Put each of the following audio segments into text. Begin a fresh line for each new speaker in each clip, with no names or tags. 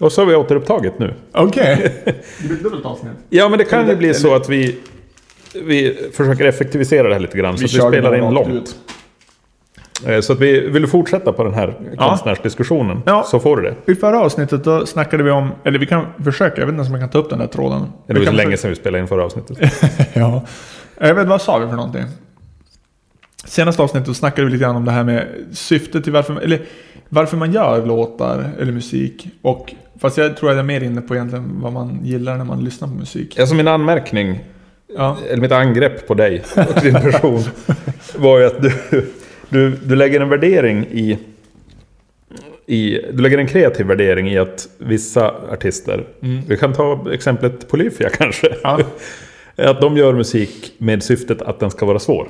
Och så har vi återupptagit nu.
Okej.
Det blir ett dubbelt avsnitt.
Ja, men det kan ju
Eller-
bli så att vi, vi försöker effektivisera det här lite grann. så att vi
kör
spelar
det
in
rakt
långt.
ut.
Eh, Så att vi vill du fortsätta på den här
Ja.
konstnärsdiskussionen.
Ja.
Så får du det.
I förra avsnittet då snackade vi om, eller vi kan försöka, jag vet inte ens om jag kan ta upp den där tråden.
Det
Vi
var ju så
kan
länge
försöka-
sedan vi spelade in förra avsnittet.
ja. Jag vet, vad sa vi för någonting? Senaste avsnittet då snackade vi lite grann om det här med syftet till varför, eller varför man gör låtar eller musik. Och, fast jag tror att jag är mer inne på egentligen vad man gillar när man lyssnar på musik.
Alltså min anmärkning,
Ja,
eller mitt angrepp på dig och din person, var ju att du, du, du lägger en värdering i, i... Du lägger en kreativ värdering i att vissa artister,
Mm.
vi kan ta exemplet Polyphia kanske,
Ja.
att de gör musik med syftet att den ska vara svår.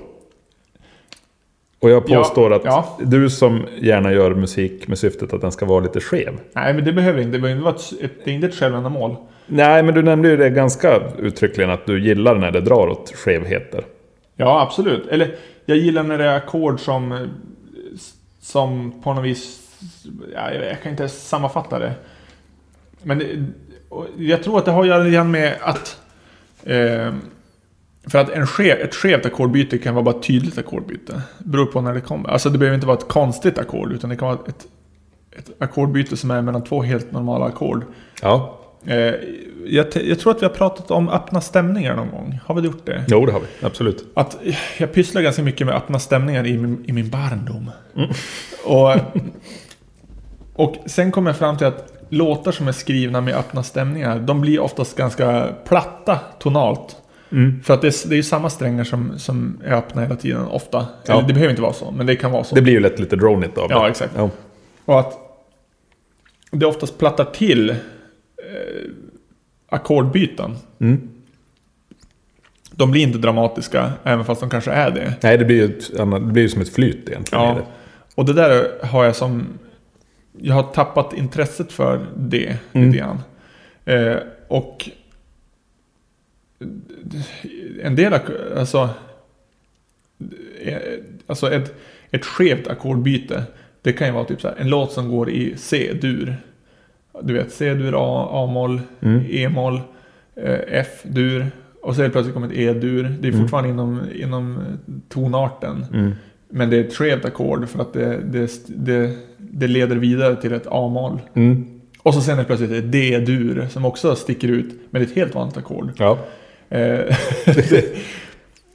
Och jag
Ja,
påstår att
ja.
du som gärna gör musik med syftet att den ska vara lite skev,
nej men det behöver inte, det behöver inte vara ett, ett, det är inte ett självändamål.
Nej, men du nämnde ju det ganska uttryckligen att du gillar när det drar åt skevheter.
Ja, absolut. Eller jag gillar när det är ackord som, eh, som på något vis... Ja, jag jag kan inte ens sammanfatta det. Men det- och jag tror att det har att göra lite grann med att... Eh, för att en skev, ett skevt ackordbyte kan vara bara ett tydligt ackordbyte. Det Beror på när det kommer. Alltså det behöver inte vara ett konstigt ackord utan det kan vara ett, ett ackordbyte som är mellan två helt normala ackord.
Ja,
Eh, jag, te- jag tror att vi har pratat om öppna stämningar någon gång. Har vi gjort det?
jo det har vi. Absolut.
att jag pysslar ganska mycket med öppna stämningar i min, i min barndom. Och, och sen kom jag fram till att låtar som är skrivna med öppna stämningar, de blir oftast ganska platta tonalt.
Mm.
För att det är, det är ju samma strängar som, som är öppna hela tiden, ofta.
Ja.
Eller det behöver inte vara så, men det kan vara så.
Det blir ju lätt lite dronigt av
Ja,
det.
exakt.
Ja.
Och att det oftast plattar till eh, ackordbyten.
Mm.
De blir inte dramatiska, även fast de kanske är det.
Nej, det blir ju ett annat, det blir ju som ett flyt egentligen. i
Ja.
det.
Och det där har jag som... Jag har tappat intresset för det
Mm.
lite grann. Eh, och... En del... ack- Alltså... eh, Alltså ett, ett skevt ackordbyte. Det kan ju vara typ så här, en låt som går i C-dur. Du vet, C-dur, A, A-moll,
Mm.
E-moll, eh, F-dur. Och så helt plötsligt kommer ett E-dur. Det är fortfarande inom, inom eh, tonarten.
Mm.
Men det är ett skevt ackord för att det, det, det, det leder vidare till ett A-moll.
Mm.
Och så sen är det plötsligt ett D-dur som också sticker ut, men det är ett helt vanligt ackord.
Ja.
Eh,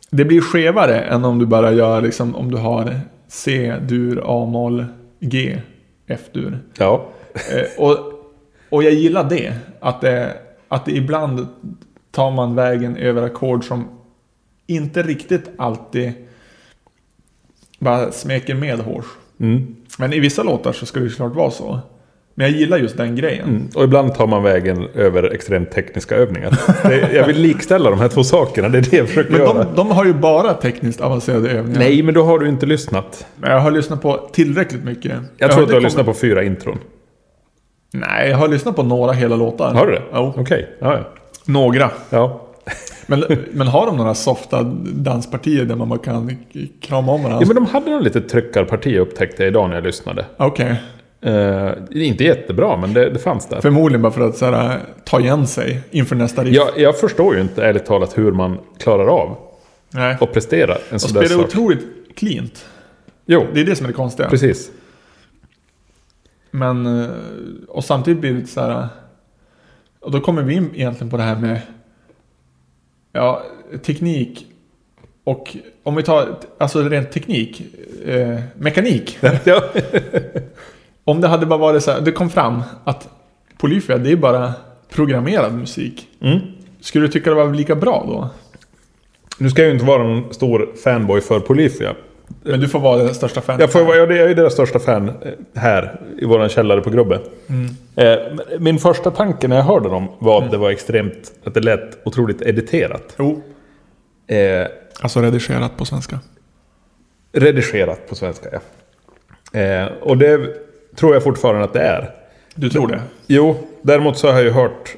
det blir skevare än om du bara gör liksom, om du har C-dur, A-moll, G, F-dur.
ja.
Eh, och, och jag gillar det. Att, det. att det ibland tar man vägen över ackord som inte riktigt alltid bara smeker med hårs.
Mm.
Men i vissa låtar så ska det ju såklart vara så. Men jag gillar just den grejen.
Mm. Och ibland tar man vägen över extremt tekniska övningar. Det, jag vill likställa de här två sakerna, det är det jag försöker
Men
göra.
de, de har ju bara tekniskt avancerade övningar.
Nej, men då har du inte lyssnat.
Men jag har lyssnat på tillräckligt mycket. Jag,
Jag, tror att
inte
du har
kommit-
lyssnat på fyra intron.
Nej, jag har lyssnat på några hela låtar.
Har du det?
Jo,
Okej. Ja, ja.
några.
ja.
Men, men har de några softa danspartier där man bara kan krama om varandra?
Ja, men de hade nog lite tryckarparti upptäckte jag idag när jag lyssnade.
Okej.
Eh, det är inte jättebra, men det, det fanns där.
Förmodligen bara för att så här, ta igen sig inför nästa riff.
Jag, jag förstår ju inte ärligt talat hur man klarar av
Nej. Och
att prestera en sån där
spela
sak.
otroligt cleant.
Jo,
Det är det som är det konstiga.
precis.
Men, eh, och samtidigt blir det lite så här... Och då kommer vi in egentligen på det här med ja, teknik och om vi tar alltså rent teknik, eh, mekanik.
Ja.
Om det hade bara varit så här, det kom fram att Polyphia det är bara programmerad musik.
Mm.
Skulle du tycka det var lika bra då?
Nu ska jag ju inte vara någon stor fanboy för Polyphia.
Men du får vara den största fanen.
Jag, får, vara- jag är ju deras största fan eh, här i våran källare på Grubbe.
Mm.
Eh, men Min första tanke när jag hörde dem var att det var extremt, att det lät otroligt editerat.
Jo.
Eh,
Alltså redigerat på svenska.
Redigerat på svenska, ja. Eh, och det tror jag fortfarande att det är.
Du tror det?
Jo, däremot så har jag ju hört,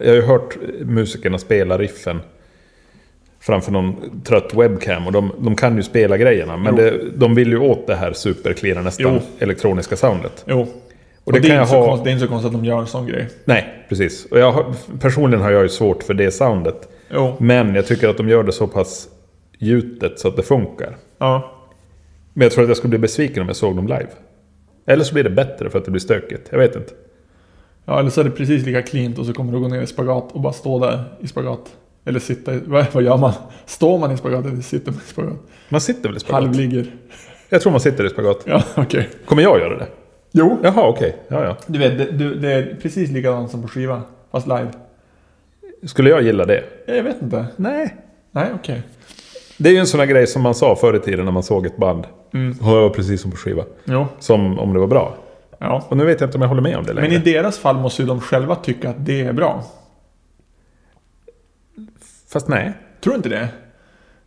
jag har ju hört musikerna spela riffen framför någon trött webcam. Och de, de kan ju spela grejerna, men
Jo.
det, de vill ju åt det här superklina nästan
Jo.
elektroniska soundet.
Jo.
Och det,
är
kan jag
inte så
ha...
konstigt, det är inte så konstigt att de gör en sån grej.
Nej, precis. Och jag, har- personligen har jag ju svårt för det soundet.
Jo.
Men jag tycker att de gör det så pass gjutet så att det funkar.
Ja.
Men jag tror att jag skulle bli besviken om jag såg dem live. Eller så blir det bättre för att det blir stökigt. Jag vet inte.
ja, eller så är det precis lika cleant och så kommer du gå ner i spagat och bara stå där i spagat. Eller sitta i... Vad, vad gör man? Står man i spagat eller sitter man i spagat?
Man sitter väl i spagat?
Halvligger.
Jag tror man sitter i spagat.
Ja, okej.
Kommer jag göra det?
Jo.
Jaha, okej. Ja, ja.
Du vet, det, du- det är precis likadant som på skiva, fast live.
Skulle jag gilla det?
Ja, Jag vet inte.
Nej.
Nej, okej.
Det är ju en sån här grej som man sa förr i tiden när man såg ett band.
Mm.
Och det var precis som på skiva.
Jo.
Som om det var bra.
Ja.
Och nu vet jag inte om jag håller med om det längre.
Men i deras fall måste ju de själva tycka att det är bra.
Fast nej.
Tror du inte det?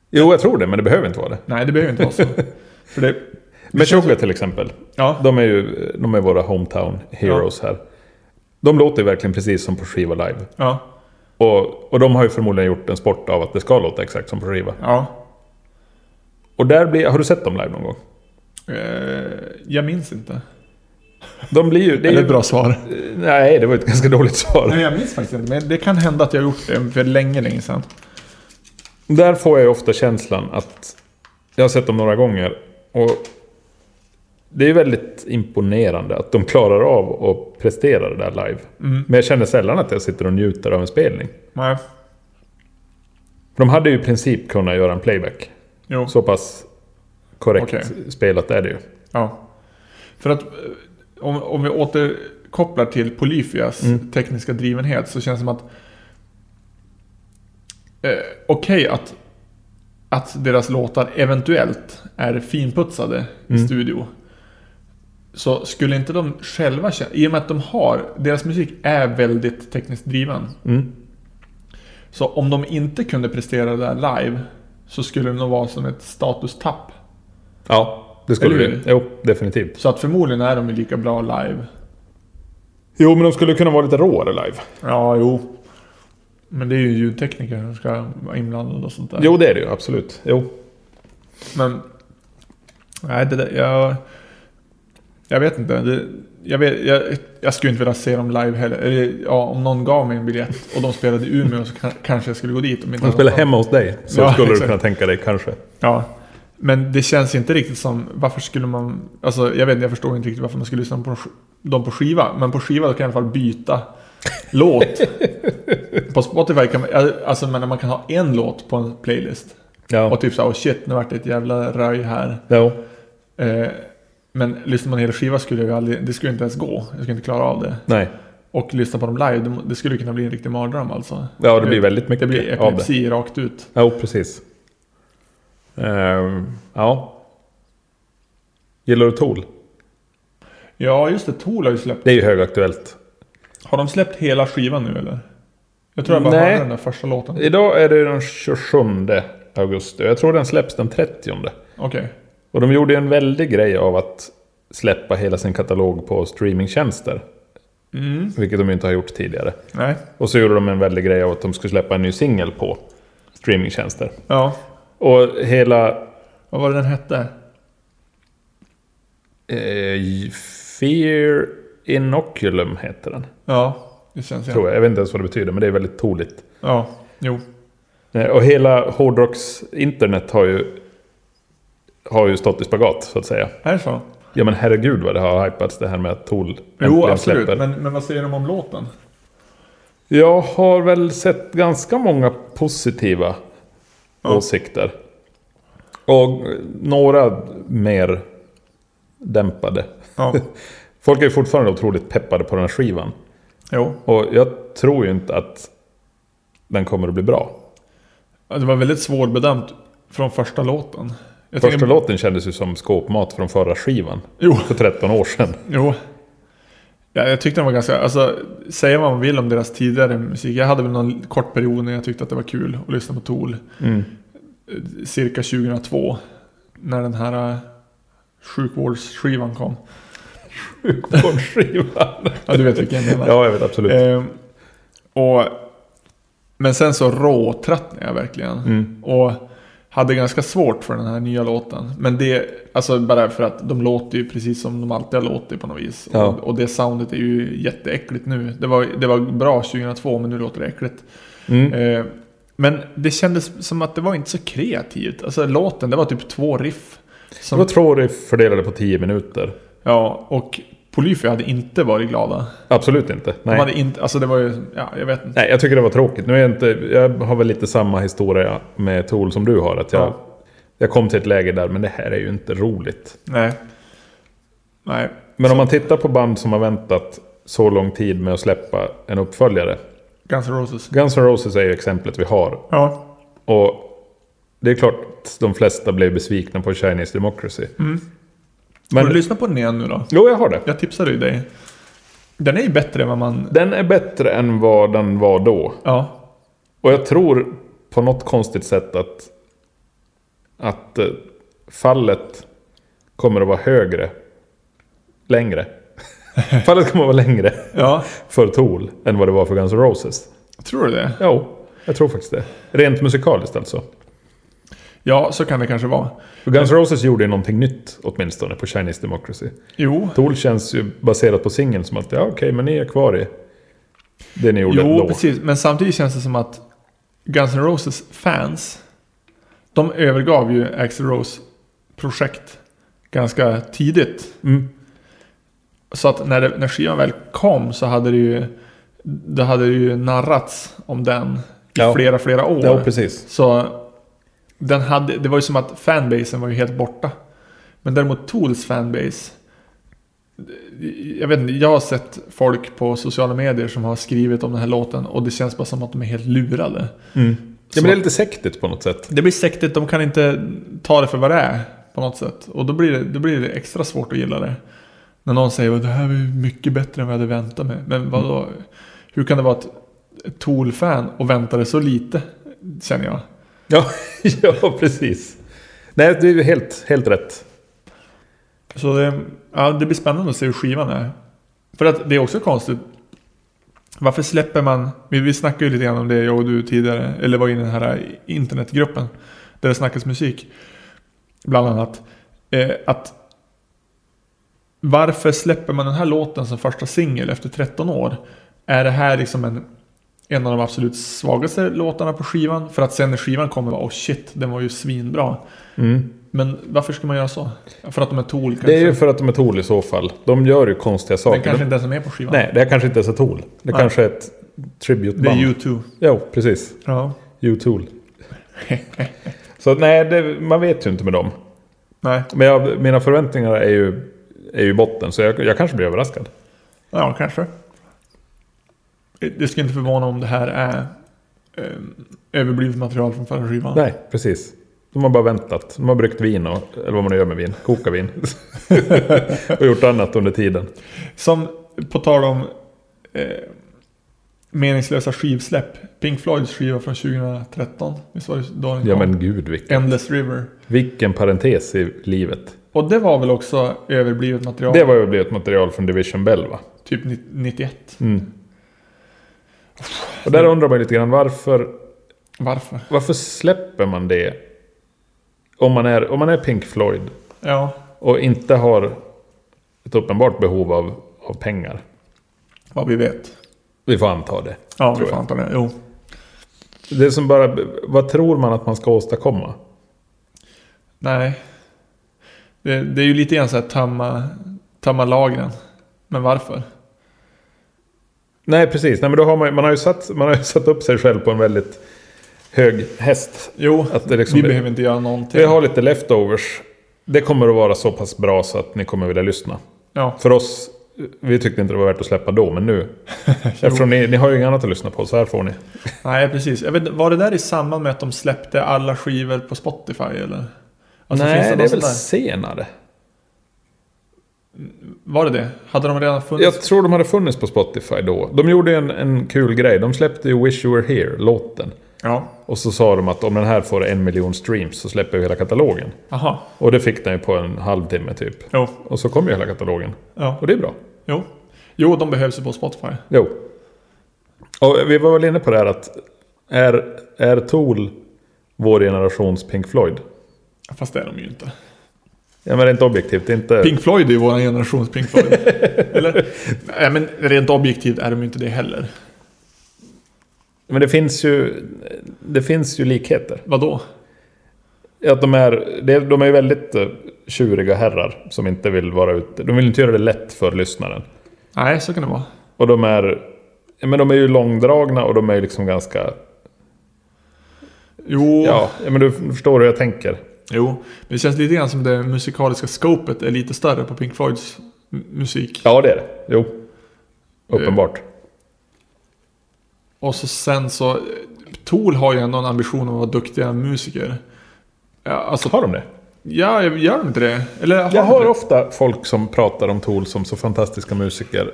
Jo, jag tror det, men det behöver inte vara det.
Nej, det behöver inte vara så. För det...
Men Sugar till exempel.
Ja.
De är ju de är våra hometown heroes här. De låter ju verkligen precis som på skiva live.
Ja.
Och, och de har ju förmodligen gjort en sport av att det ska låta exakt som på skiva.
Ja.
Och där blir, har du sett dem live någon gång?
Eh, jag minns inte.
De blir ju... Det är ju
svar.
Nej, det var ett ganska dåligt svar.
Nej, jag minns faktiskt inte. Men det kan hända att jag har gjort det för länge, länge sedan.
Där får jag ju ofta känslan att... Jag har sett dem några gånger och... Det är väldigt imponerande att de klarar av att prestera det där live.
Mm.
Men jag känner sällan att jag sitter och njuter av en spelning.
Nej.
De hade ju i princip kunnat göra en playback.
Jo.
Så pass korrekt
Okej.
spelat är det ju.
Ja. För att eh, om, om vi återkopplar till Polyphias
Mm.
tekniska drivenhet så känns det som att eh, okej att, att deras låtar eventuellt är finputsade i
Mm.
studio. Så skulle inte de själva känna, i och med att de har, deras musik är väldigt tekniskt driven.
Mm.
Så om de inte kunde prestera det där live så skulle det nog vara som ett statustapp.
Ja, det skulle
Eller
det.
hur?
ju. Jo, definitivt.
Så att förmodligen är de ju lika bra live
Jo, men de skulle kunna vara lite råare live.
Ja, jo. Men det är ju ljudtekniker som ska vara inblandad och sånt där.
Jo, det är det ju. Absolut. Jo.
Men... Nej, det där... Jag, jag vet inte. Det, jag, vet, jag, jag skulle inte vilja se dem live heller. Eller, ja, om någon gav mig en biljett och de spelade i Umeå så kan, kanske jag skulle gå dit. Om inte
De
annat.
spelar hemma hos dig. Så
Ja,
skulle du
exakt.
kunna tänka dig kanske.
Ja. Men det känns inte riktigt som... Varför skulle man... Alltså, jag vet inte, jag förstår inte riktigt varför man skulle lyssna på sk- dem på skiva. Men på skiva då kan jag i alla fall byta låt. På Spotify kan man... Alltså, men man kan ha en låt på en playlist.
Ja.
Och typ såhär, oh shit, nu vart det ett jävla röj här.
Jo.
Eh, men lyssnar man hela skiva skulle jag ju aldrig, det skulle inte ens gå. Jag skulle inte klara av det.
Nej.
Och lyssna på dem live, det, det skulle kunna bli en riktig mardröm alltså.
Ja, det blir väldigt
Det
mycket
blir
av det.
epilepsi rakt ut.
Jo, precis. Ehm, ja. Gillar du Tool?
Ja, just det, Tool har ju släppt.
Det är ju högaktuellt.
Har de släppt hela skivan nu eller? Jag tror jag bara
Nej.
hörde den där första låten. Okej.
Idag är det den 27 augusti. Jag tror den släpps den 30. Och de gjorde ju en väldig grej av att släppa hela sin katalog på streamingtjänster.
Mm.
Vilket de ju inte har gjort tidigare.
Nej.
Och så gjorde de en väldig grej av att de skulle släppa en ny singel på streamingtjänster.
Ja.
Och hela
Vad var det den hette?
eh, Fear Inoculum heter den.
Ja, det känns
Tror jag. Jag vet inte ens vad det betyder, men det är väldigt toligt.
Ja, jo.
Eh, Och hela hårdrocks internet har ju, har ju stått i spagat, så att säga.
Är det så?
Ja men herregud vad det har hypats det här med att Tool
Jo,
äntligen
absolut. Men, men vad säger de om låten?
Jag har väl sett ganska många positiva
Ja.
åsikter. Och eh, några mer dämpade.
Ja.
Folk är ju fortfarande otroligt peppade på den här skivan.
jo.
Och jag tror ju inte att den kommer att bli bra.
Ja, Det var väldigt svårbedömt från första låten. Jag
Första
tänker-
låten kändes ju som skåpmat från förra skivan.
Jo,
För 13 år sedan.
jo. Ja, jag tyckte den var ganska... Alltså, säga vad man vill om deras tidigare musik. Jag hade väl någon kort period när jag tyckte att det var kul att lyssna på Tool. Eh, Cirka 2002. När den här eh, sjukvårdsskivan kom.
Sjukvårdsskivan.
Ja, du vet vilken jag menar.
ja, jag vet absolut.
Ehm, och, men sen så råtröttnade jag verkligen.
Mm.
Och hade ganska svårt för den här nya låten. Men det, alltså bara för att de låter ju precis som de alltid har låtit på något vis.
Ja.
Och, och det soundet är ju jätteäckligt nu. Det var, det var bra 2002 men nu låter det äckligt.
Mm.
Eh, Men det kändes som att det var inte så kreativt. Alltså låten, det var typ två riff.
Det
Som,
var två riff fördelade på tio minuter.
ja, och Polyfy hade inte varit glada.
Absolut inte.
De
Nej.
hade inte, alltså det var ju, ja jag vet inte.
Nej, jag tycker det var tråkigt. Nu är jag, inte, jag har väl lite samma historia med Tool som du har. Att jag,
Ja.
jag kom till ett läge där, men det här är ju inte roligt.
Nej. Nej.
Men om man tittar på band som har väntat så lång tid med att släppa en uppföljare.
Guns N' Roses.
Guns N' Roses är ju exemplet vi har.
Ja.
Och det är klart att de flesta blev besvikna på Chinese Democracy.
Mm. Har
Men,
du lyssnat på den igen nu då?
jo, jag har det.
Jag tipsade ju dig. Den är ju bättre än vad man...
Den är bättre än vad den var då.
Ja.
Och jag tror på något konstigt sätt att, att eh, fallet kommer att vara högre. Längre. fallet kommer att vara längre
Ja.
för Tool än vad det var för Guns N' Roses.
Tror du det?
Jo, jag tror faktiskt det. Rent musikaliskt alltså.
Ja, så kan det kanske vara.
För Guns N' Roses gjorde ju någonting nytt åtminstone på Chinese Democracy.
Jo.
Tool känns ju baserat på singeln som att ja, okej, men ni är kvar i det ni gjorde
Jo,
då.
precis. Men samtidigt känns det som att Guns N' Roses fans. De övergav ju Axl Rose projekt ganska tidigt.
Mm.
Så att när, det, när skivan väl kom så hade det ju... Det hade ju narrats om den i
Ja.
flera, flera år.
Ja, precis.
Så den hade, det var ju som att fanbasen var ju helt borta. Men däremot Tools fanbase. Jag vet inte, jag har sett folk på sociala medier som har skrivit om den här låten och det känns bara som att de är helt lurade.
Mm. Ja,
Så-
men det är lite sektigt på något sätt.
Det blir sektigt, de kan inte ta det för vad det är på något sätt. Och då blir det, då blir det extra svårt att gilla det. När någon säger att det här var ju mycket bättre än vad jag hade väntat mig. Men vadå? Hur kan det vara ett ett Tool-fan och väntade så lite? Känner jag.
Ja, ja precis. Nej, det är ju helt, helt rätt.
Så det, ja, det blir spännande att se hur skivan är. För att det är också konstigt. Varför släpper man... Vi, vi snackade ju lite grann om det jag och du tidigare. Eller var inne i den här internetgruppen. Där det snackas musik. Bland annat. Eh, att... Varför släpper man den här låten som första singel efter 13 år? Är det här liksom en... En av de absolut svagaste låtarna på skivan. För att sen när skivan kommer, bara, oh shit, den var ju svinbra.
Mm.
Men varför ska man göra så? För att de är Tool kanske?
Det är ju för att de är Tool i så fall. De gör ju konstiga saker.
Den kanske inte ens är med på skivan.
Nej, det här kanske inte ens är Tool. Det
Nej.
kanske är ett
Det är
tributeband.
U2.
Jo, precis.
Ja.
U-Tool. så nej, det, man vet ju inte med dem.
Nej.
Men jag, mina förväntningar är ju, är ju i botten, så jag, jag kanske blir överraskad.
Ja, kanske. Det skulle inte förvåna om det här är eh, överblivet material från förra skivan.
Nej, precis. De har bara väntat. De har bryggt vin, och, eller vad man nu gör med vin. Koka vin. och gjort annat under tiden.
Som, på tal om eh, meningslösa skivsläpp. Pink Floyds skiva från 2013. Visst var det då den
Ja
kom?
men gud vilken,
Endless River.
vilken parentes i livet.
Och det var väl också överblivet material?
Det var ju blivit ett material från Division Bell va?
Typ ni- 91.
Mm. Och
Mm.
där undrar man ju lite grann varför,
Varför?
varför släpper man det? Om man, är, om man är Pink Floyd
Ja.
och inte har ett uppenbart behov av, av pengar.
Vad vi vet.
Vi får anta det.
Ja,
Tror
vi får
jag.
anta det. Jo.
Det som bara, vad tror man att man ska åstadkomma?
Nej. Det, det är ju lite grann så här tömma, tömma lagren. Men varför?
Nej precis, Nej, men då har man, ju- man, har ju satt, man har ju satt upp sig själv på en väldigt hög häst.
Jo,
Att det liksom
vi
det-
behöver inte göra någonting.
Vi har lite leftovers. Det kommer att vara så pass bra så att ni kommer vilja lyssna.
Ja,
För oss, vi tyckte inte det var värt att släppa då, men nu.
jo.
Eftersom ni, ni har ju inget annat att lyssna på, så här får ni.
Nej, precis. Jag vet, inte, var det där i samband med att de släppte alla skivor på Spotify eller? Alltså, finns det, något sånt där?
senare.
Var det det? Hade de redan funnits?
Jag tror de hade funnits på Spotify då. De gjorde ju en, en kul grej. De släppte ju Wish You Were Here, låten.
Ja.
Och så sa de att om den här får en miljon streams så släpper vi hela katalogen.
Aha.
Och det fick den ju på en halvtimme typ.
Jo.
Och så kom ju hela katalogen.
Ja.
Och det är bra.
Jo. Jo, de behövs ju på Spotify.
Jo. Och vi var väl inne på det här att är, är Tool vår generations Pink Floyd.
Fast det är de ju inte.
Ja, men rent objektivt, det är inte...
Pink Floyd är ju vår generations Pink Floyd. Eller? Nej, men rent objektivt är de ju inte det heller.
Men det finns ju, det finns ju likheter.
Vadå?
Att de är, det- de är ju väldigt eh, tjuriga herrar som inte vill vara ute. De vill inte göra det lätt för lyssnaren.
Nej, så kan det vara.
Och de är, ja, men de är ju långdragna och de är ju liksom ganska...
Jo,
Ja, ja, men du förstår hur jag tänker.
jo. Men det känns lite grann som det musikaliska scopet är lite större på Pink Floyds m- musik.
Ja, det Eh, är det. Jo. Uppenbart.
Och så sen så... Tool har ju ändå en ambition om att vara duktiga musiker. Ja, alltså,
Har de det?
ja, gör de inte det? Eller har
Jag
de inte
hör
det?
ofta folk som pratar om Tool som så fantastiska musiker.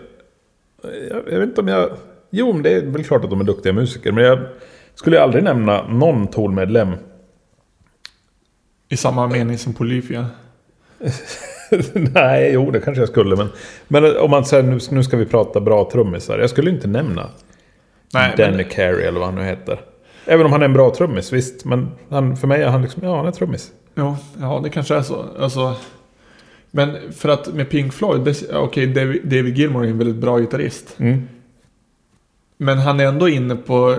Jag, jag vet inte om jag... Jo, men det är väl klart att de är duktiga musiker. Men jag skulle ju aldrig nämna någon Tool-medlem.
I samma mening som Polyphia.
Nej, jo, det kanske jag skulle. Men, men om man säger nu, nu ska vi prata bra trummisar. Jag skulle ju inte nämna
Nej,
Danny
men,
Carey eller vad han nu heter. Även om han är en bra trummis, visst. Men han, för mig är han liksom, ja, han är trummis.
ja, ja, det kanske är så. Alltså, men för att med Pink Floyd, det- ja, okej, David, David Gilmour är en väldigt bra gitarrist.
Mm.
Men han är ändå inne på,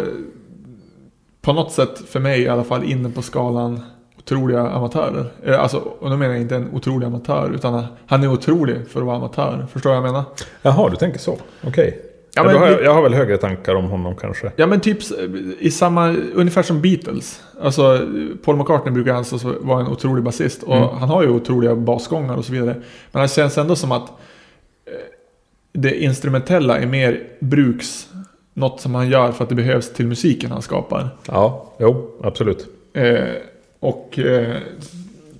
på något sätt för mig i alla fall, inne på skalan otroliga amatörer. Eh, Alltså, och då menar jag inte en otrolig amatör, utan han är otrolig för att vara amatör. Förstår du vad jag menar?
Jaha, du tänker så. Okej. Ja,
Ja, men
då har jag,
vi-
jag har väl högre tankar om honom kanske.
Ja men typ s- i samma, ungefär som Beatles. Alltså Paul McCartney brukar anses vara en otrolig basist och
Mm.
han har ju otroliga basgångar och så vidare. Men det känns ändå som att eh, det instrumentella är mer bruks, något som han gör för att det behövs till musiken han skapar.
Ja, jo, absolut.
Eh, och eh,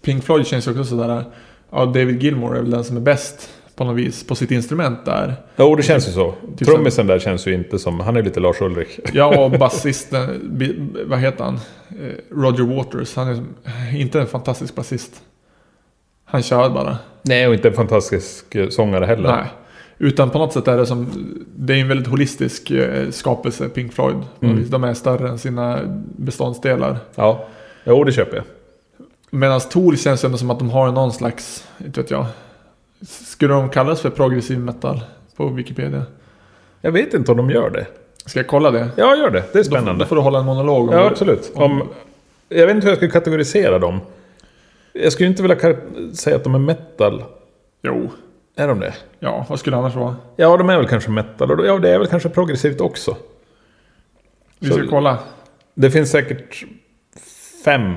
Pink Floyd känns ju också sådär, ja David Gilmour är väl den som är bäst på något vis på sitt instrument där.
Jo, det känns ju så.
Typ
Trummisen där känns ju inte som... Han är lite Lars Ulrich.
Ja, och basisten, bi- vad heter han? Eh, Roger Waters. Han är som- eh, inte en fantastisk basist. Han kör bara.
Nej, och inte en fantastisk eh, sångare heller.
Nej. Utan på något sätt är det som, det är en väldigt holistisk eh, skapelse, Pink Floyd.
Mm.
De är större än sina beståndsdelar.
Ja. Jo, det köper jag.
Medan Tool känns ju ändå som att de har någon slags, inte vet jag. Skulle de kallas för progressiv metal på Wikipedia?
Jag vet inte om de gör det.
Ska jag kolla det?
Ja, gör det. Det är
Då, då
spännande.
får du hålla en monolog om
Ja,
det.
absolut. Om, jag vet inte hur jag skulle kategorisera dem. Jag skulle ju inte vilja kar- säga att de är metal.
Jo.
Är de det?
Ja, vad skulle det annars vara?
Ja, de är väl kanske metal. Och då- ja, det är väl kanske progressivt också.
Vi ska
Så-
kolla.
Det finns säkert fem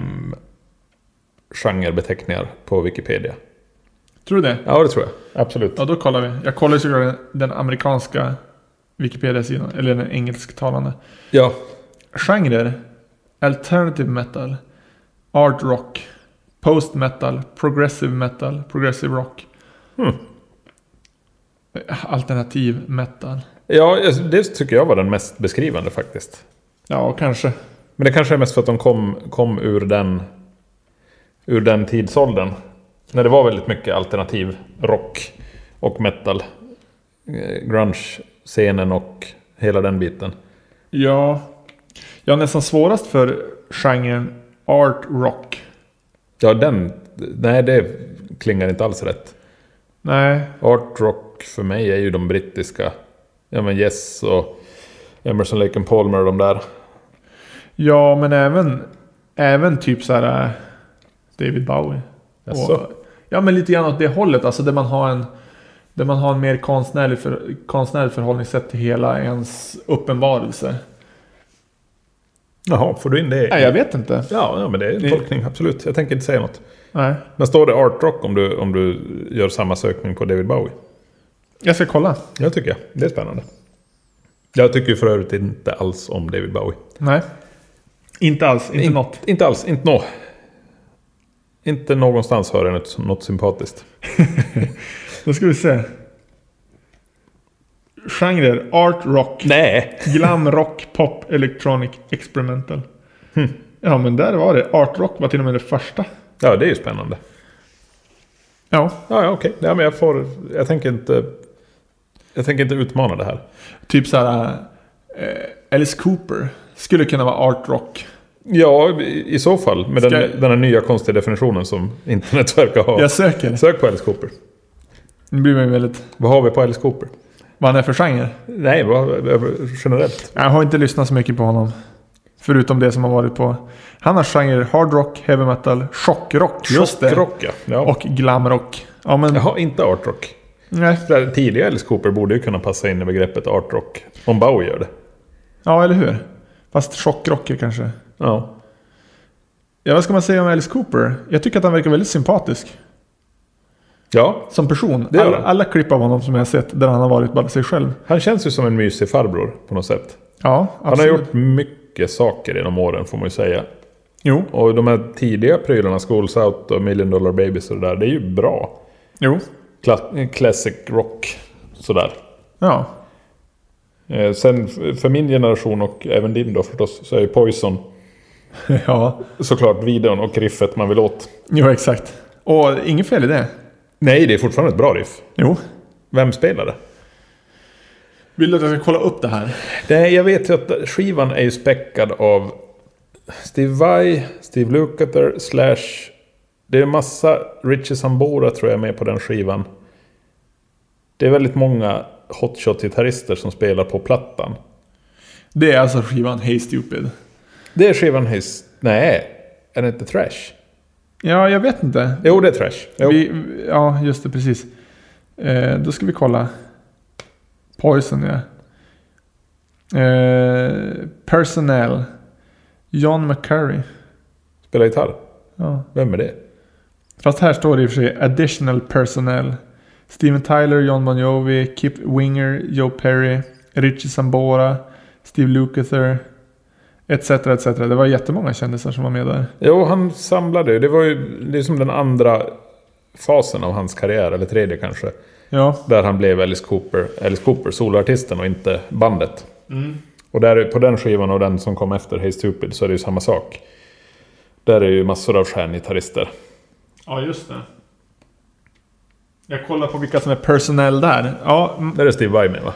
genrebeteckningar på Wikipedia.
Tror du det?
Ja, det tror jag. Absolut.
Ja, då kollar vi. Jag kollar ju såklart den- den amerikanska Wikipedia-sidan, eller den engelsktalande.
Ja,
Genrer. Alternative metal. Art rock. Post metal. Progressive metal. Progressive rock.
Hmm.
Alternativ metal.
ja det tycker jag var den mest beskrivande faktiskt.
Ja, kanske.
Men det kanske är mest för att de kom, kom ur, den, ur den tidsåldern. När det var väldigt mycket alternativ rock och metal. eh, Grunge-scenen och hela den biten.
Ja. Jag har nästan svårast för genren art rock.
Ja, den... Nej, det klingar inte alls rätt.
Nej.
Art rock för mig är ju de brittiska. Ja, men Yes och Emerson, Lake and Palmer och de där.
Ja, men även, även typ så här äh, David Bowie.
Jaså?
Och, ja, men lite grann åt det hållet. Alltså där man har en, där man har en mer konstnärlig, för, konstnärlig förhållningssätt till hela ens uppenbarelse.
Jaha, får du in det?
Nej, jag vet inte.
Ja, ja, men det är en
Ni-
tolkning, absolut. Jag tänker inte säga något.
Nej.
Men står det art rock om du, om du gör samma sökning på David Bowie?
Jag ska kolla.
Jag tycker jag. Det är spännande. Jag tycker ju för övrigt inte alls om David Bowie.
Nej. Inte alls. Inte
In-
något.
Inte alls. Inte nå. Inte någonstans hör jag något, något sympatiskt.
Då ska vi se. Genrer. Art rock.
Nej!
Glam rock. Pop. Electronic. Experimental. Hm. Ja, men där var det. Art rock var till och med det första.
Ja, det är ju spännande.
Ja.
Ja, ja okej. Ja, men jag får... Jag tänker inte... Jag tänker inte utmana det här.
Typ så här. eh, Alice Cooper skulle kunna vara art rock.
Ja, i i så fall. Med den,
Ska-
den här nya konstiga definitionen som internet verkar ha.
Jag söker.
Sök på Alice Cooper.
Nu blir man ju väldigt...
Vad har vi på Alice Cooper?
Vad han är för genre.
Nej, vad, över- generellt.
Jag har inte lyssnat så mycket på honom. Förutom det som har varit på... Han har genre hard rock, heavy metal, chockrock. just det.
Rock, ja. ja.
Och glamrock. Ja men...
Jaha, inte artrock.
Nej.
Tidigare Alice Cooper borde ju kunna passa in i begreppet artrock. Om Bowie gör det.
Ja eller hur? Fast chockrocker kanske.
Ja.
Ja vad ska man säga om Alice Cooper? Jag tycker att han verkar väldigt sympatisk.
Ja,
Som person.
Det gör
alla,
han.
alla klipp av honom som jag har sett där han har varit bara sig själv.
han känns ju som en mysig farbror på något sätt.
Ja,
Han
absolut.
har gjort mycket saker genom åren får man ju säga.
Jo,
Och de här tidiga prylarna, Schools Out och Million Dollar Babies och det där, det är ju bra.
jo.
Kla- classic rock, sådär.
Ja.
Eh, sen f- för min generation och även din då förstås, så är ju Poison
ja.
såklart videon och riffet man vill åt.
Jo, exakt. Och inget fel i det.
Nej, det är fortfarande ett bra riff.
Jo.
Vem spelar det?
Vill du att jag ska kolla upp det här?
Nej, jag vet ju att skivan är ju späckad av Steve Vai, Steve Lukather, Slash. Det är en massa Richie Sambora tror jag är med på den skivan. Det är väldigt många hotshot-gitarrister som spelar på plattan.
Det är alltså skivan Hey Stupid.
Det är skivan Hiss... Nej, är det inte Trash?
Ja, jag vet inte.
Jo, det är Trash. Jo.
Vi, ja, just det, precis. Eh, då ska vi kolla. Poison, ja. Eh, personnel. John McCurry.
Spelar gitarr.
Ja.
Vem är det?
Fast här står det i och för sig additional personnel. Steven Tyler, John Bon Jovi, Kip Winger, Joe Perry, Richie Sambora, Steve Lukather. Etc, etc. Det var jättemånga kändisar som var med där.
Jo, han samlade ju. Det var ju det är som den andra fasen av hans karriär, eller tredje kanske.
Ja.
Där han blev Alice Cooper, Alice Cooper, soloartisten och inte bandet.
Mm.
Och där, på den skivan och den som kom efter, Hey Stupid, så är det ju samma sak. Där är ju massor av stjärngitarrister.
Ja, just det. Jag kollar på vilka som är personnel där. Ja, mm,
Där är Steve Vai med va?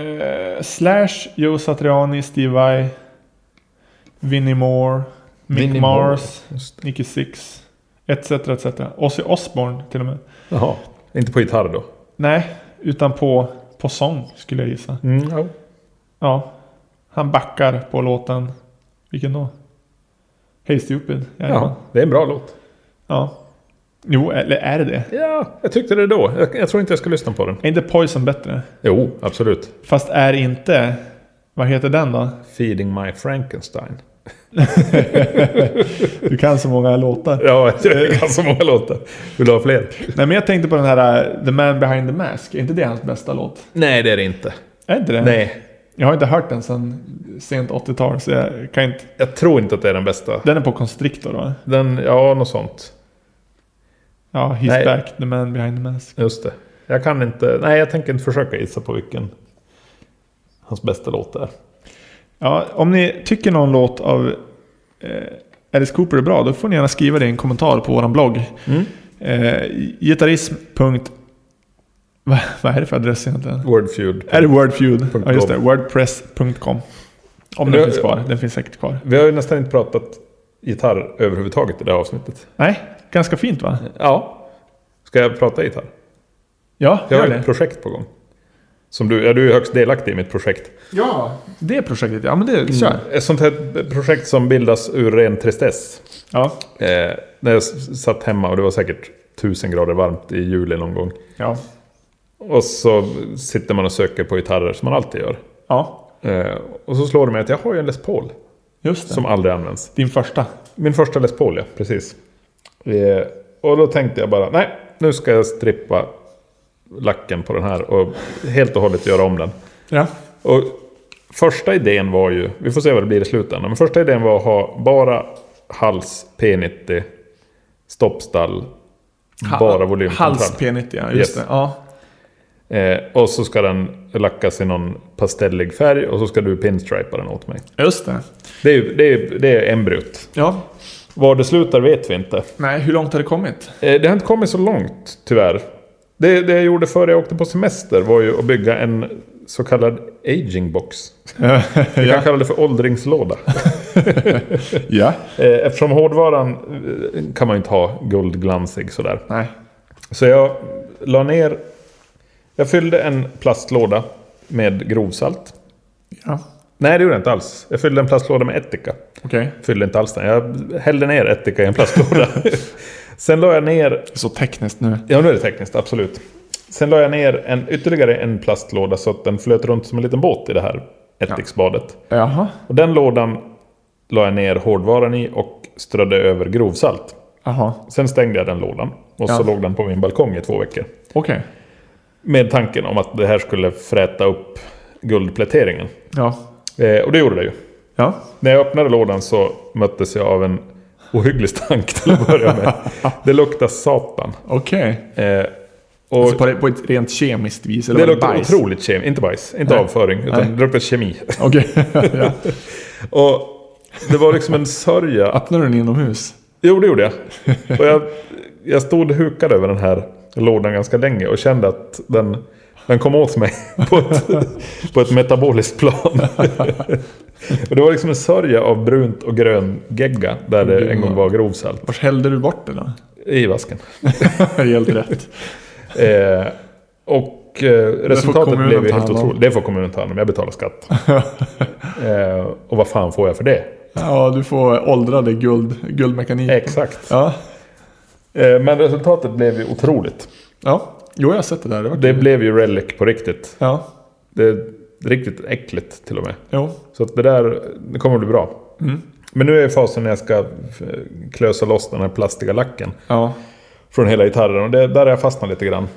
eh, Slash, Joe Satriani, Steve Vai, Vinnie Moore, Mick
Vinnie Moore.
Mars,
Just det.
Nicky Six, etc, etc. Ozzy Osbourne till och med.
Jaha, inte på gitarr då?
Nej, utan på, på sång skulle jag gissa.
Mm, ja.
Ja. Han backar på låten. Vilken då? Hey Stupid.
Jaha,
Ja.
det är en bra låt.
ja. Jo, eller är det det?
Ja, jag tyckte det då. Jag, jag tror inte jag ska lyssna på den.
Är inte Poison bättre?
Jo, absolut.
Fast är inte... Vad heter den då?
Feeding My Frankenstein.
Du kan så många låtar.
Ja, jag kan så många låtar. Vill du ha fler?
Nej men jag tänkte på den här eh, The Man Behind the Mask. Är inte det hans bästa låt?
Nej, det är det inte.
Är inte det?
Nej,
Jag har inte hört den sedan sent 80-tal så jag kan inte...
jag tror inte att det är den bästa.
Den är på Constrictor va?
Den, ja, något sånt.
Ja, He's
Nej.
Back, The Man Behind the Mask.
Just det. Jag kan inte, nej jag tänker inte försöka gissa på vilken hans bästa låt är.
Ja, om ni tycker någon låt av eh, Alice Cooper är bra, då får ni gärna skriva det i en kommentar på vår blogg.
Mm.
Eh, gitarrism. Va, vad är det för adress egentligen?
Wordfeud.
Är det Wordfeud?
Punkt
Ja, just det.
com.
Wordpress.com. Om
Det-
den finns kvar. Den finns säkert kvar.
Vi har ju nästan inte pratat gitarr överhuvudtaget i det här avsnittet.
Nej, ganska fint va?
Ja. Ska jag prata gitarr?
Ja,
Jag
gör
har ett
det.
projekt på gång. Som du, ja, du är högst delaktig i mitt projekt.
Ja, det projektet. Ja, men
Mm.
det Mm. kör.
Ett sånt här projekt som bildas ur ren tristess.
Ja.
Eh, när jag s- satt hemma och det var säkert tusen grader varmt i juli någon gång.
Ja.
Och så sitter man och söker på gitarrer som man alltid gör.
Ja,
Eh, och så slår det mig att jag har ju en Les Paul
just det.
som aldrig används.
Din första.
Min första Les Paul, ja. Precis. Eh, och då tänkte jag bara, nej, nu ska jag strippa lacken på den här och helt och hållet göra om den.
Ja.
Och första idén var ju, vi får se vad det blir i slutändan, men första idén var att ha bara hals P90, stoppstall, bara volymkontroll.
Hals P90, ja. Just
Yes.
det. Ja.
Eh, och så ska den lackas i någon pastellig färg och så ska du pinstripa den åt mig.
Just det.
Det är, ju- det är, det är embryot.
Ja.
Var det slutar vet vi inte.
Nej, hur långt har det kommit?
Eh, det har inte kommit så långt, tyvärr. Det, det jag gjorde före jag åkte på semester var ju att bygga en så kallad aging box. Vi kan
Eh, ja.
kalla det för åldringslåda.
Ja.
Eh, Eftersom hårdvaran eh, kan man ju inte ha guldglansig sådär.
Nej.
Så jag la ner... Jag fyllde en plastlåda med grovsalt.
Ja.
Nej, det gjorde jag inte alls. Jag fyllde en plastlåda med ättika.
Okej.
Fyllde inte alls den. Jag hällde ner ättika i en plastlåda. Sen la jag ner...
Så tekniskt nu.
Ja, nu är det tekniskt, absolut. Sen la jag ner en, ytterligare en plastlåda så att den flöt runt som en liten båt i det här ättiksbadet.
Jaha.
Och den lådan la jag ner hårdvaran i och strödde över grovsalt.
Jaha.
Sen stängde jag den lådan och så
Ja.
låg den på min balkong i två veckor.
Okej.
Med tanken om att det här skulle fräta upp guldpläteringen.
Ja.
Eh, och det gjorde det ju.
Ja.
När jag öppnade lådan så möttes jag av en ohygglig stank till att börja med. Det luktar satan.
Okej.
Eh, och
Alltså på, det- på ett rent kemiskt vis? Eller var
det
det
luktar
bajs?
otroligt kemiskt. Inte bajs, inte
Nej.
avföring, utan
Nej.
det luktar kemi.
Okej. ja.
Och det var liksom en sörja
Öppnade du den inomhus?
Jo, det gjorde jag. Och jag, jag stod hukad över den här lådan ganska länge och kände att den, den kom åt mig på ett, på ett metaboliskt plan. och det var liksom en sörja av brunt och grön gegga där det en gång var grovsalt
Vart hällde du bort den då?
i vasken.
Helt rätt.
Eh, och eh, resultatet
kommunen
blev ju
ta
helt
hand om.
otroligt. Det får kommunen ta hand om, jag betalar skatt. eh, och vad fan får jag för det?
Ja, du får åldrade guld, guldmekanik.
Exakt.
Ja.
Eh, men resultatet blev ju otroligt.
ja. Jo, jag har sett det där. Det var
Det blev ju relic på riktigt.
Ja.
Det är riktigt äckligt till och med.
Jo.
Så att det där det kommer att bli bra.
Mm.
Men nu är jag i fasen när jag ska eh, klösa loss den här plastiga lacken
Ja.
från hela gitarren. Och det, där har jag fastnat lite grann.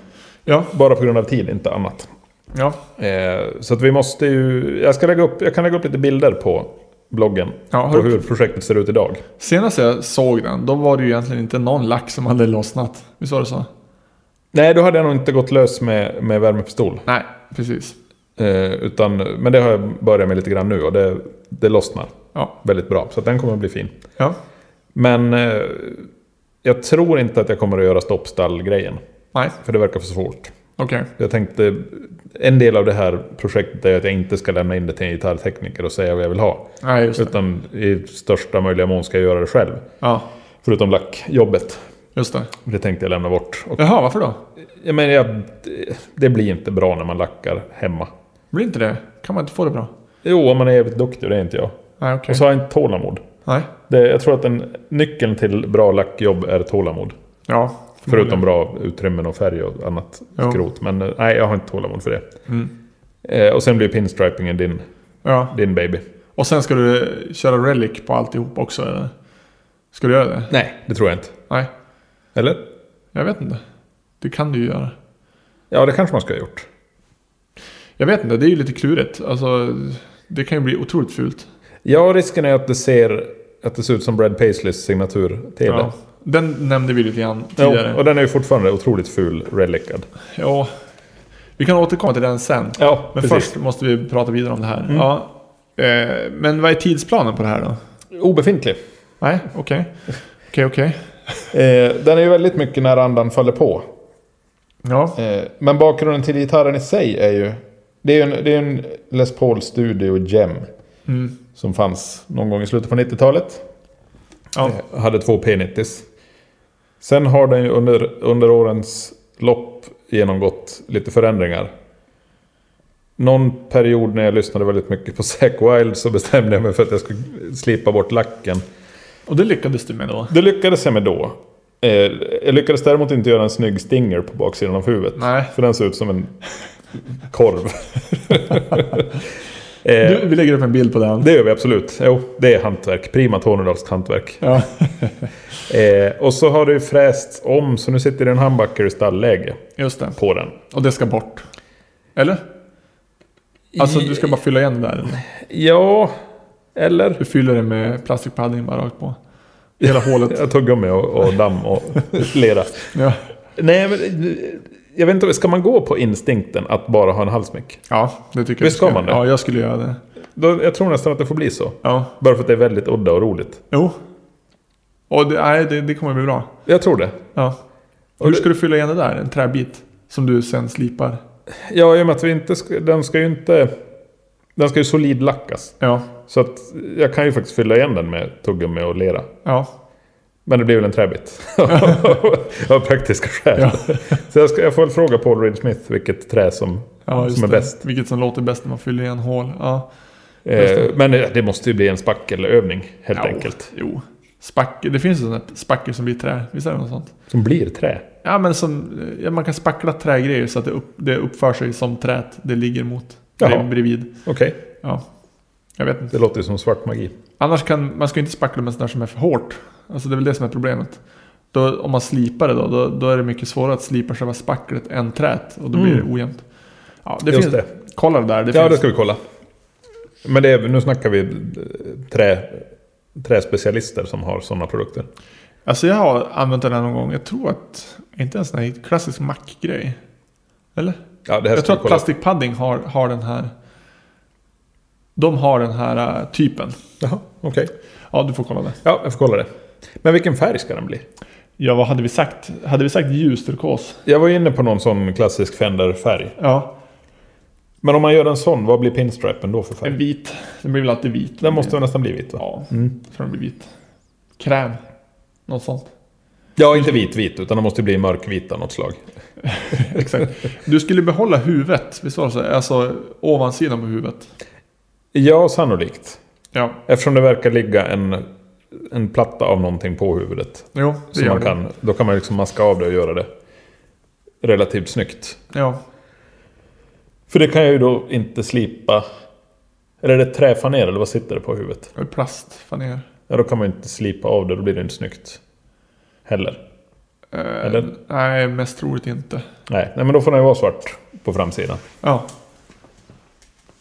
Ja.
Bara på grund av tid, inte annat.
Ja.
Eh, så att vi måste ju... Jag, ska lägga upp, jag kan lägga upp lite bilder på bloggen.
Ja,
på
har du-
hur projektet ser ut idag.
Senast jag såg den, då var det ju egentligen inte någon lack som hade lossnat. Visst var det så?
Nej, då hade jag nog inte gått lös med, med värmepistol.
Nej, precis.
Eh, utan, men det har jag börjat med lite grann nu och det, det lossnar
Ja.
väldigt bra. Så att den kommer att bli fin.
Ja.
Men eh, jag tror inte att jag kommer att göra stoppstall-grejen.
Nej,
För det verkar för svårt.
okej.
Jag tänkte, en del av det här projektet är att jag inte ska lämna in det till en gitarrtekniker och säga vad jag vill ha.
Nej, just det.
Utan i största möjliga mån ska jag göra det själv.
Ja,
Förutom lackjobbet.
just det.
Det tänkte jag lämna bort. Och,
Jaha, varför då?
jag menar, jag, det blir inte bra när man lackar hemma.
Blir inte det? Kan man inte få det bra?
Jo, om man är jävligt duktig, det är inte jag.
Nej, okej.
Och så har jag inte tålamod.
Nej.
Det, jag tror att en, nyckeln till bra lackjobb är tålamod.
Ja.
Förutom bra utrymmen och färg och annat
Jo.
skrot. Men eh, nej, jag har inte tålamod för det.
Mm.
Eh, och sen blir pinstripingen din,
Ja.
din baby.
Och sen ska du köra relic på alltihop också, eller? Ska du göra det?
Nej. Det tror jag inte.
Nej.
Eller?
Jag vet inte. Det kan du ju göra.
Ja, det kanske man ska ha gjort.
Jag vet inte, det är ju lite klurigt. Alltså, det kan ju bli otroligt fult.
Ja, risken är att det ser, att det ser ut som Brad Paisleys signatur-tv.
Ja. Den nämnde vi lite grann tidigare.
Ja,
Ja,
och den är ju fortfarande otroligt ful relicad.
Vi kan återkomma till den sen.
Ja,
Men först måste vi prata vidare om det här.
Mm.
Ja. Eh, men vad är tidsplanen på det här då?
Obefintlig.
Nej, okej. Okej, okej.
Eh, den är ju väldigt mycket när andan faller på.
Ja.
Eh, men bakgrunden till gitarren i sig är ju... Det är ju en, det är en Les Paul Studio Gem.
Mm.
Som fanns någon gång i slutet på 90-talet.
Ja.
Eh, Hade två P90s. Sen har den ju under, under årens lopp genomgått lite förändringar. Någon period när jag lyssnade väldigt mycket på Zack Wild så bestämde jag mig för att jag skulle slipa bort lacken.
Och det lyckades du med då?
Det lyckades jag med då. Eh, Jag lyckades däremot inte göra en snygg stinger på baksidan av huvudet.
Nej.
För den ser ut som en korv. Eh,
Du, vi lägger upp en bild på den.
Det gör vi absolut. Jo, det är hantverk. Prima Tornedalskt hantverk.
Ja.
Eh, och så har det ju frästs om, så nu sitter det en handbacker i stallläge
Just det.
på den.
Och det ska bort. Eller? Alltså du ska bara fylla igen det där.
Ja, eller?
Du fyller det med plastikpadding bara rakt på. Hela hålet.
Jag tog med och, och damm och lera.
Ja.
Nej, men jag vet inte, ska man gå på instinkten att bara ha en halsmick?
ja, det tycker jag.
Visst
du
ska man det?
Ja, jag skulle göra det.
Då, jag tror nästan att det får bli så.
Ja.
Bara för att det är väldigt udda och roligt.
Jo. Och det, nej, det, det kommer bli bra.
Jag tror det.
Ja.
Och
Hur
det-
ska du fylla igen det där? En träbit? Som du sen slipar?
Ja, i och med att vi inte ska, den ska ju inte... Den ska ju solidlackas.
Ja.
Så att jag kan ju faktiskt fylla igen den med tuggummi och lera.
Ja.
Men det blir väl en träbit. Av praktiska skäl. Så jag, ska, jag får väl fråga Paul Reed Smith vilket trä som...
Ja,
Som
just
är
det.
bäst.
Vilket som låter bäst när man fyller igen hål. Ja, Just
Eh,
det.
men det måste ju bli en spackelövning helt
Ja.
enkelt.
jo. Spackel. Det finns ju sådana här spackel som blir trä. Visst är det något sånt?
Som blir trä.
Ja, men som, ja, man kan spackla trägrejer så att det, upp, det uppför sig som träet det ligger mot.
Jaha.
Bredvid.
Okej,
Ja. Jag vet inte.
det låter ju som svart magi.
Annars kan man ska ju inte spackla med sånt där som är för hårt. Alltså det är väl det som är problemet. Då, om man slipar det då, då, då är det mycket svårare att slipa själva spacklet än träet. Och då blir
Mm.
det ojämnt. Ja, det
Just
finns,
det.
Kolla det där. Det
ja,
finns,
det ska vi kolla. Men det är, nu snackar vi eh, trä, träspecialister som har sådana produkter.
Alltså jag har använt den här någon gång. Jag tror att, inte en sån här klassisk mackgrej. Eller?
Ja, det här
Jag
ska
tror
vi
att
kolla.
Plastic Pudding har, har den här. De har den här äh, typen.
Jaha, okej.
Ja, du får kolla det.
Ja, jag får kolla det. Men vilken färg ska den bli?
Ja, vad hade vi sagt? Hade vi sagt ljus turkos?
Jag var ju inne på någon sån klassisk Fender-färg.
Ja,
Men om man gör en sån, vad blir pinstripen då för
en
färg?
vit. Den blir väl alltid vit.
Den måste väl nästan bli vit va?
Ja,
Mm.
jag tror den blir vit. Kräm. Något sånt.
Ja, inte vit-vit, utan den måste bli mörkvit av något slag.
Exakt. Du skulle behålla huvudet. Visst var det så? Alltså ovansidan på huvudet.
Ja, sannolikt.
Ja,
Eftersom det verkar ligga en, en platta av någonting på huvudet.
jo, det
Så
gör
man
det.
kan, då kan man liksom maska av det och göra det relativt snyggt.
Ja,
För det kan jag ju då inte slipa... Eller är det träfaner eller vad sitter det på huvudet?
plast, faner.
Ja, då kan man ju inte slipa av det, då blir det inte snyggt. Heller.
Eh,
Eller?
Nej, mest troligt inte.
Nej, nej men då får den ju vara svart på framsidan.
Ja,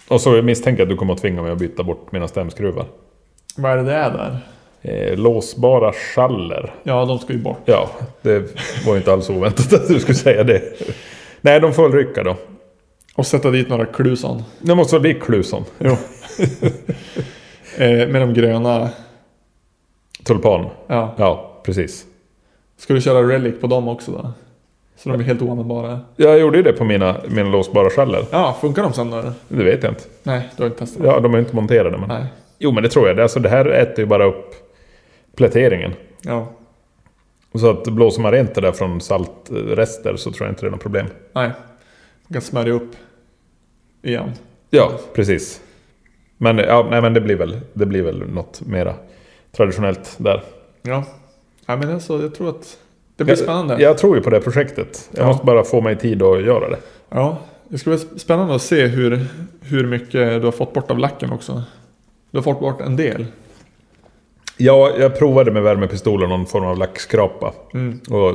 Och så misstänker jag att du kommer att tvinga mig att byta bort mina stämskruvar.
vad är det det är där?
Eh, låsbara schaller.
Ja, de ska ju bort.
Ja, det var ju inte alls oväntat att du skulle säga det. Nej, de får väl rycka då.
Och sätta dit några kluson.
Det måste väl bli Kluson.
Eh, med de gröna.
Tulpan.
Ja.
Ja, precis.
Ska du köra relic på dem också då? Så de blir helt oanvändbara.
Jag gjorde ju det på mina, mina låsbara schaller.
Ja, funkar de sen då? eller?
Det vet jag inte.
Nej, du har inte testat.
Ja, de är ju inte monterade. Men...
Nej.
Jo, men det tror jag. Det, alltså, det här äter ju bara upp pläteringen.
Ja.
Så att blåser man rent det där från saltrester så tror jag inte det är något problem.
Nej. Du kan smörja upp. Igen.
Ja, precis. Men, ja, nej, men det, blir väl, det blir väl något mera traditionellt där.
Ja. Ja, men alltså jag tror att det blir spännande.
Jag, jag tror ju på det här projektet. Jag
Ja.
måste bara få mig tid att göra det.
Ja, det ska bli spännande att se hur, hur mycket du har fått bort av lacken också. Du har fått bort en del.
Ja, jag provade med värmepistol och någon form av lackskrapa.
Mm.
Och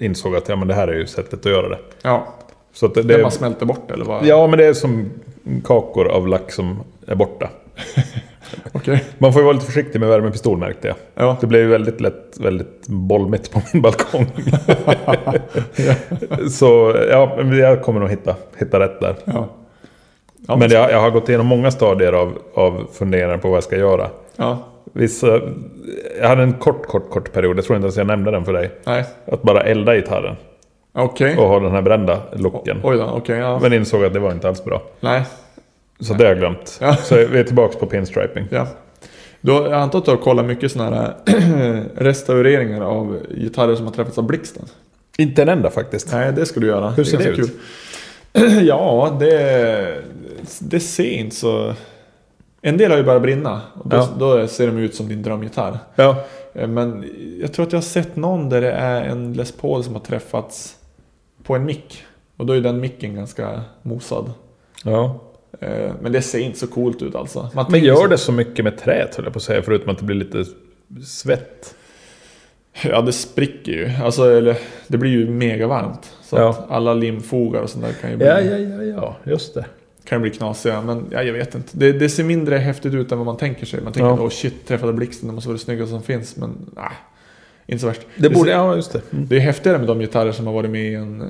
insåg att ja, men det här är ju sättet att göra det.
Ja,
Så att det,
det
det
bara smälter bort eller vad?
Ja, men det är som kakor av lack som är borta.
Okej.
Man får ju vara lite försiktig med värmepistol märkte jag.
Ja.
Det blev ju väldigt lätt väldigt bolmigt på min balkong. Så ja, men jag kommer nog hitta, hitta rätt där.
ja. Ja,
men jag, jag har gått igenom många stadier av, av funderingar på vad jag ska göra.
Ja.
Vissa, jag hade en kort, kort, kort period, jag tror inte ens jag nämnde den för dig.
Nej.
Att bara elda gitarren
Okej.
och ha den här brända locken.
Oj då, okej. ja.
Men insåg att det var inte alls bra.
Nej.
Så det har jag glömt.
Ja.
Så vi är tillbaka på pinstriping.
Ja. Då, jag antar att du har kollat mycket sådana här restaureringar av gitarrer som har träffats av blixten.
Inte en enda faktiskt.
Nej, det ska du göra.
Hur ser det
är ganska
ut?
Kul. ja, det, det ser inte så... En del har ju börjat brinna. Och då,
Ja.
då ser de ut som din drömgitarr.
Ja.
Eh, Men jag tror att jag har sett någon där det är en Les Paul som har träffats på en mick. Och då är den micken ganska mosad.
ja.
Eh, Men det ser inte så coolt ut alltså. Man
Men
tänker så-
gör det så mycket med träet höll jag på att säga, förutom att det blir lite svett.
Ja, det spricker ju. Alltså, eller, det blir ju mega varmt. Så
Ja.
att alla limfogar och sånt där kan ju bli,
Ja, ja, ja, ja, just det.
Kan ju bli knasiga. Men ja, jag vet inte. Det, det ser mindre häftigt ut än vad man tänker sig. Man tänker
Ja.
åh shit, träffade blixten, det måste vara det snyggaste som finns. Men ah, inte så värst.
Det borde,
ser,
ja, just det. Mm.
det är häftigare med de gitarrer som har varit med i en eh,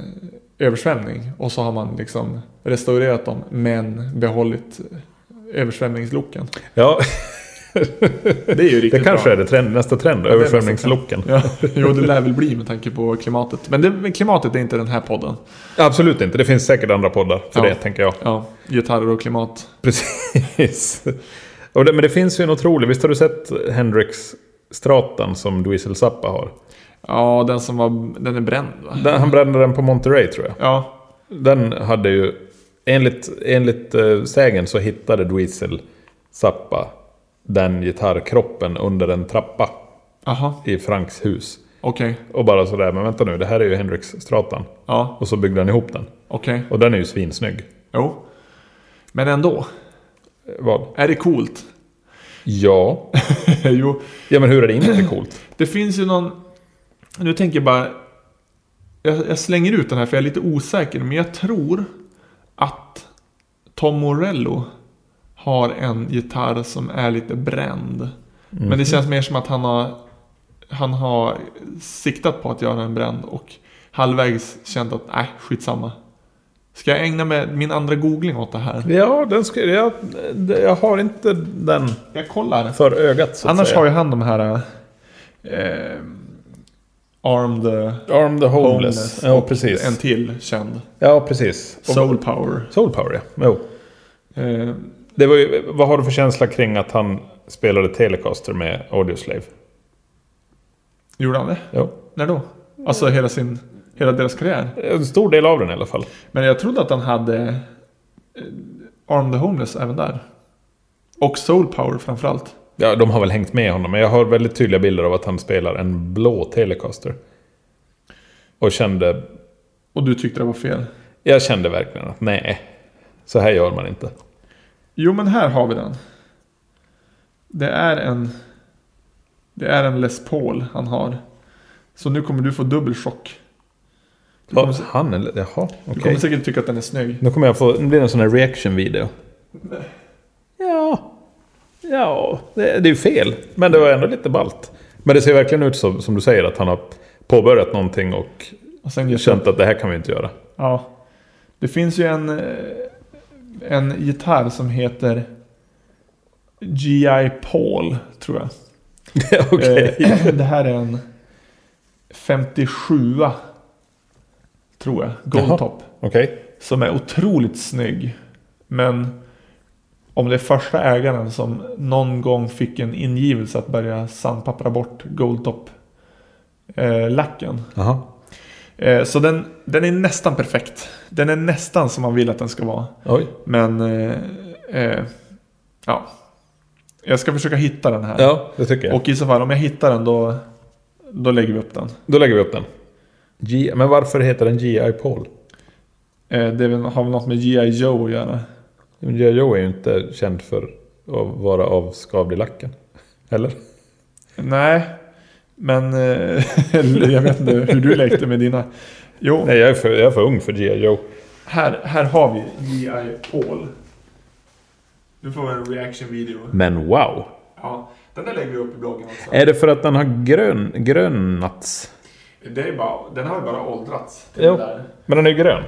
översvämning. Och så har man liksom restaurerat dem, men behållit eh, översvämningslooken.
Ja.
Det är ju riktigt
Det kanske
bra.
är det trend, nästa trend,
är
översvämningslocken.
Ja, jo, det lär väl bli med tanke på klimatet. Men det, men klimatet är inte den här podden.
Absolut inte, det finns säkert andra poddar för
Ja.
det tänker jag.
Ja, gitarrer och klimat.
Precis. Och det, men det finns ju en otrolig, visst har du sett Hendrix stratan som Dweezil Zappa har?
Ja, den som var... Den är bränd va?
Den, han brände den på Monterey tror jag.
Ja,
Den hade ju, enligt, enligt eh, sägen så hittade Dweezil Zappa den gitarrkroppen under en trappa
aha,
i Franks hus.
okej.
Och bara sådär, men vänta nu, det här är ju Hendrix stratan.
Ja,
Och så byggde han ihop den.
okej.
Och den är ju svinsnygg.
Jo. Men ändå.
Eh, Vad?
Är det coolt?
Ja.
jo,
Ja men hur är det inte coolt?
det finns ju någon... Nu tänker jag bara... Jag, jag slänger ut den här för jag är lite osäker, men jag tror att Tom Morello har en gitarr som är lite bränd.
Mm.
Men det känns mer som att han har, han har siktat på att göra en bränd och halvvägs känt att, nej, skitsamma. Ska jag ägna mig min andra googling åt det här?
Mm. Ja, den ska, jag, jag har inte den
Jag kollar.
för ögat så att
Annars
säga.
har ju han de här... Eh, Armed eh,
Arm the Homeless.
Homeless.
Ja,
och
precis.
En till känd.
Ja, precis. Och
Soul Power.
Soul Power, ja. Jo.
Eh,
Det var ju, vad har du för känsla kring att han spelade Telecaster med Audioslave?
gjorde han det?
Jo.
När då? Alltså hela sin... Hela deras karriär.
En stor del av den i alla fall.
Men jag trodde att han hade... Eh, Armed the Homeless även där. Och Soul Power framförallt.
Ja, de har väl hängt med honom, men jag har väldigt tydliga bilder av att han spelar en blå Telecaster. Och kände...
Och du tyckte det var fel.
Jag kände verkligen att nej, så här gör man inte.
Jo men här har vi den. Det är en... Det är en Les Paul han har. Så nu kommer du få dubbel chock. Du
Ja,
kommer, sä-
han eller? Jaha,
du
okej.
kommer säkert tycka att den är snygg.
Nu kommer jag få... Nu blir det en sån här reaction-video. Ja... Ja, det, det är ju fel. Men det var ändå lite balt. Men det ser verkligen ut som, som du säger, att han har påbörjat någonting och
Och sen gitarr.
känt att det här kan vi inte göra.
Ja. Det finns ju en, eh, en gitarr som heter G.I. Paul, tror jag.
Okej.
Eh, Det här är en 57 tror jag, Goldtop.
Okej.
Som är otroligt snygg. Men om det är första ägaren som någon gång fick en ingivelse att börja sandpappra bort Goldtop-lacken.
Jaha.
Eh, så den, den är nästan perfekt. Den är nästan som man vill att den ska vara.
Oj.
Men... Eh, eh, ja. Jag ska försöka hitta den här.
Ja, det tycker jag.
Och i så fall, om jag hittar den då... Då lägger vi upp den.
Då lägger vi upp den. G- Men varför heter den G.I. Paul?
Eh, det är väl- har väl något med G.I. Joe att göra.
G.I. Joe är ju inte känd för att vara avskavlig i lacken. Eller?
Nej. Men... Eh, jag vet inte hur du lekte med dina. Jo,
Nej, jag är för, jag är för ung för G.I. Joe.
här, här har vi G.I. Paul. Du får en reaction video.
Men wow!
Ja, den där lägger vi upp i bloggen också.
Är det för att den har grön, grönats?
Det är bara, den har ju bara åldrats. till
Jo.
det där.
Men den är ju grön.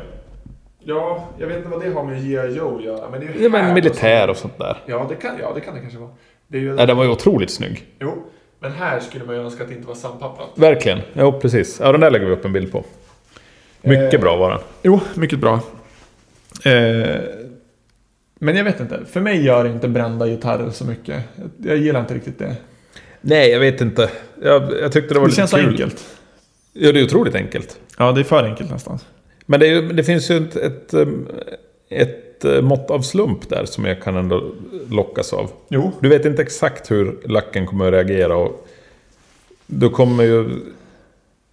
Ja, jag vet inte vad det har med G.I. Joe att göra. Men det är ju
Det var en
här
militär
och
och
så.
sånt där.
Ja, det kan, ja, det kan det kanske vara. Det är ju,
Ja, den var ju otroligt snygg.
Jo, men här skulle man ju önska att det inte var sandpapprat.
Verkligen. Jo, precis. Ja, den där lägger vi upp en bild på. Mycket
Eh.
bra var den.
Jo, mycket bra. Eh, men jag vet inte. För mig gör inte brända gitarrer så mycket. Jag gillar inte riktigt det.
Nej, jag vet inte. Jag, jag tyckte det var
Det
lite
känns så
kul.
enkelt.
Ja, det är otroligt enkelt.
Ja, det är för enkelt nästan.
Men det, är, ju- det finns ju ett, ett, ehm, ett eh, mått av slump där som jag kan ändå lockas av.
Jo.
Du vet inte exakt hur lacken kommer att reagera och du kommer ju...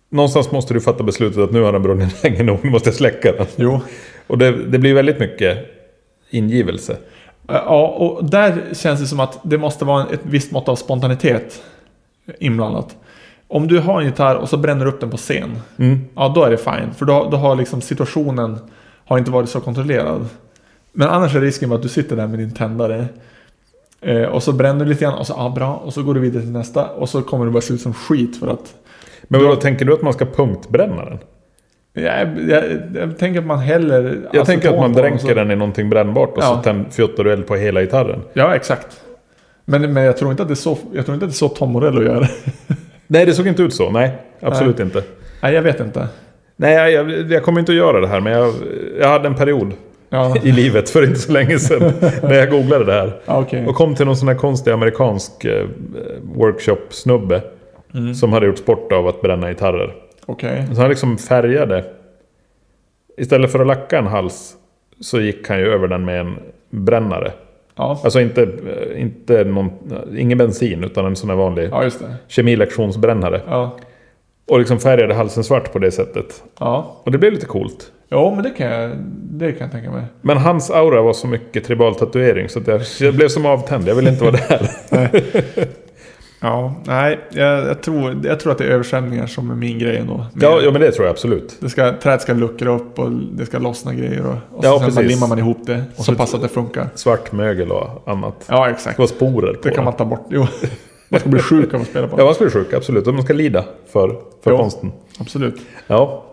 Någonstans måste du fatta beslutet att nu har den brunnit länge nog, nu måste jag släcka den.
Jo.
Och det, det blir väldigt mycket ingivelse.
Ja, och där känns det som att det måste vara ett visst mått av spontanitet inblandat. Om du har en gitarr och så bränner du upp den på scen.
Mm.
Ja, då är det fine. För då, då har liksom situationen har inte varit så kontrollerad. Men annars är risken bara att du sitter där med din tändare. Eh, och så bränner du lite grann och så, ja bra. Och så går du vidare till nästa. Och så kommer det bara se ut som skit för att...
Men vad tänker du att man ska punktbränna den?
Jag, jag, jag tänker att man häller...
Jag tänker att man dränker
den.
den i någonting brännbart och
Alltså, Ja.
så tänd, fjuttar du eld på hela gitarren.
Ja, exakt. Men, men jag, tror inte att det är så, jag tror inte att det är så Tom Morello gör.
Nej, det såg inte ut så. Nej, absolut inte.
Nej, jag vet inte.
Nej, jag, jag, jag kommer inte att göra det här, men jag, jag hade en period
Ja,
i livet för inte så länge sedan när jag googlade det här.
ja, okej.
Mm. Och kom till någon sån här konstig amerikansk eh, workshop-snubbe.
Mm.
Som hade gjort sport av att bränna gitarrer.
Okej.
Så han liksom färgade. Istället för att lacka en hals så gick han ju över den med en brännare.
Ja.
Alltså inte, eh, inte någon, eh, ingen bensin utan en sån här vanlig
ja, just det.
kemilektionsbrännare.
Ja.
Och liksom färgade halsen svart på det sättet.
ja.
Och det blev lite coolt.
Jo, men det kan jag, det kan jag tänka mig.
Men hans aura var så mycket tribal tatuering så att jag, jag blev som avtänd. Jag ville inte vara där.
Ja, nej, jag, jag, tror, jag tror att det är översvämningar som är min grej ändå. Men
Ja, ja men det tror jag absolut.
det ska, trädet ska luckra upp och det ska lossna grejer. Och, och
Ja,
så sen man
precis.
limmar man ihop det och så
så-
passar att det funkar.
Svart mögel och annat.
Ja,
Det
exakt.
ska vara sporer på
Det kan
den.
man ta bort. Jo. Man ska bli sjuk av att spela på.
Ja, man ska bli sjuk, absolut. Och man ska lida för, för
Jo.
konsten.
Absolut.
Ja.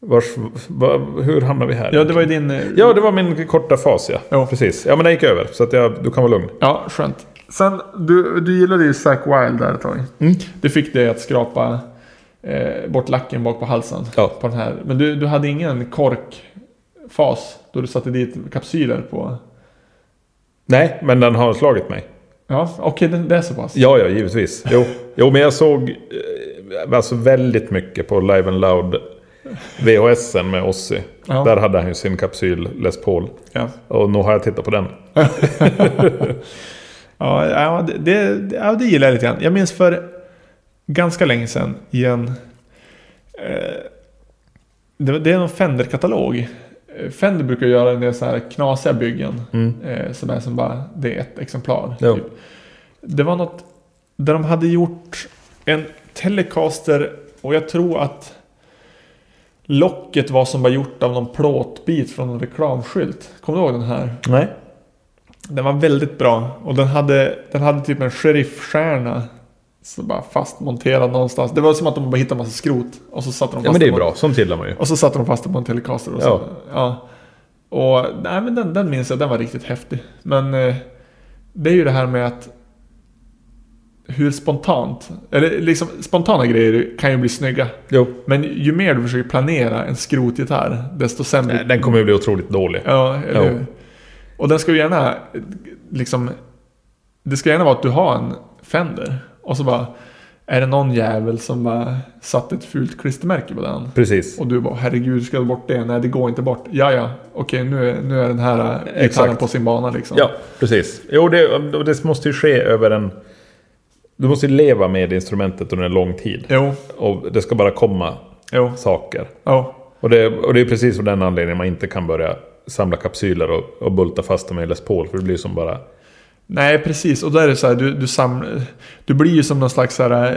Vars, va, hur hamnar vi här?
Ja, det var ju din... eh,
ja, det var min korta fas, ja.
Ja.
Precis. Ja, men den gick över. Så att jag, du kan vara lugn.
Ja, skönt. Sen, du, du gillade ju Zack Wild där ett tag.
Mm.
Du fick dig att skrapa eh, bort lacken bak på halsen.
Ja.
På den här. Men du, du hade ingen korkfas då du satte dit kapsyler på...
Nej, men den har slagit mig.
Ja, okej, det, det är så pass.
Ja, ja, givetvis. Jo, jo men jag såg eh, alltså väldigt mycket på Live and Loud VHSen med Ozzy.
Ja.
Där hade han ju sin kapsyl Les Paul.
Ja.
Och nog har jag tittat på den.
Ja, ja, det, det, ja, det gillar jag lite grann. Jag minns för ganska länge sedan i en... Eh, det, var- det är någon Fender-katalog. Eh, Fender brukar göra en del så här knasiga byggen.
Mm.
Eh, som är som bara, det är ett exemplar.
Jo.
Typ. Det var något där de hade gjort en Telecaster och jag tror att locket var som var gjort av någon plåtbit från en reklamskylt. Kommer du ihåg den här?
Nej.
Den var väldigt bra och den hade, den hade typ en sheriffstjärna. Så bara fastmonterad någonstans. Det var som att de bara hittade en massa skrot och så satte de fast
Ja, men det är
den på-
bra. Sånt gillar man ju.
Och så satte de fast den på en Telecaster. Och, så, ja. och nej, men den, den minns jag, den var riktigt häftig. Men eh, det är ju det här med att hur spontant, eller liksom spontana grejer kan ju bli snygga.
Jo.
Men ju mer du försöker planera en skrotgitarr, desto sämre
Nej, Den kommer ju bli otroligt dålig.
Ja, eller
Ja.
hur? Och den ska ju gärna eh, liksom... Det ska gärna vara att du har en Fender och så bara... Är det någon jävel som bara satt ett fult klistermärke på den?
Precis.
Och du bara herregud, ska jag ta bort det? Nej, det går inte bort. Ja, ja, okej, nu, är- nu är den här eh, gitarren
Exakt.
på sin bana liksom.
Ja, precis. Jo, det, och det måste ju ske över en... Du måste ju leva med instrumentet under en lång tid.
Jo,
Och det ska bara komma
jo,
saker.
jo.
Och det, och det är precis av den anledningen man inte kan börja samla kapsyler och, och bulta fast dem i Les Paul. För det blir som bara...
Nej, precis. Och där är det så här, du, du samlar... Du blir ju som någon slags så här... eh,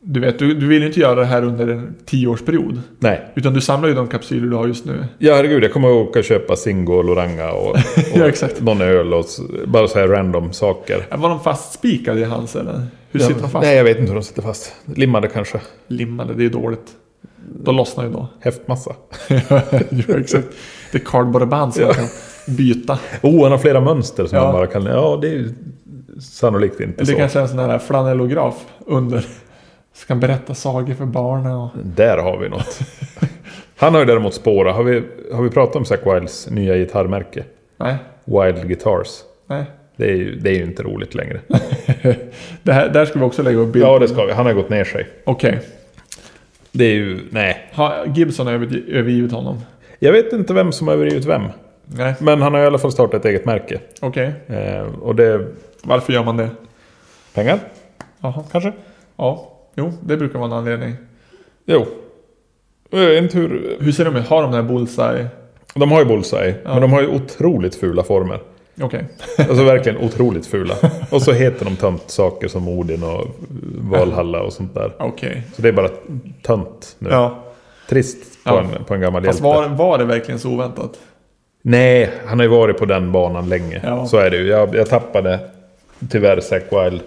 Du vet, du, du vill ju inte göra det här under en tioårsperiod.
Nej.
Utan du samlar ju de kapsyler du har just nu.
Ja, herregud. Jag kommer att åka och köpa Zingo och Loranga och, och
Ja, exakt.
någon öl och s- bara så här random saker.
Var de fastspikade i hans eller? Hur sitter de fast?
Nej, jag vet inte hur de sitter fast. Limmade kanske.
Limmade, det är dåligt. Då lossnar ju då.
Häftmassa.
jo, exakt. Det är cardboardband som man kan byta.
Oh, han har flera mönster som
Ja.
man bara kan... Ja, det är ju sannolikt inte
Eller
så.
kanske en sån här flanellograf under. Som kan berätta sagor för barnen och...
Där har vi något. Han har ju däremot Spåra. Har vi, har vi pratat om Zack Wilds nya gitarrmärke?
Nej,
Wild Guitars.
nej.
Det är ju, det är ju inte roligt längre.
det här, där ska vi också lägga upp bild.
Ja, det ska vi. Han har gått ner sig.
Okej.
Det är ju... Nej.
Har Gibson över, övergivit honom?
Jag vet inte vem som har övergivit vem.
Nej,
Men han har i alla fall startat ett eget märke.
okej.
Eh, och det...
Varför gör man det?
Pengar?
Jaha.
Kanske?
Ja, jo, det brukar vara en anledning.
Jo. Eh, Inte hur...
Hur ser de ut? Har de den här bullseye?
De har ju Bullseye,
Ja.
men de har ju otroligt fula former.
Okej.
Alltså verkligen otroligt fula. Och så heter de tönt saker som Odin och Valhalla och sånt där.
Okej.
Så det är bara tönt nu.
Ja.
Trist på,
Ja.
en, på en gammal
Fast
hjälte.
var, var det verkligen så oväntat?
Nej, han har ju varit på den banan länge.
Ja.
Så är det ju. Jag, jag tappade tyvärr Zack Wild.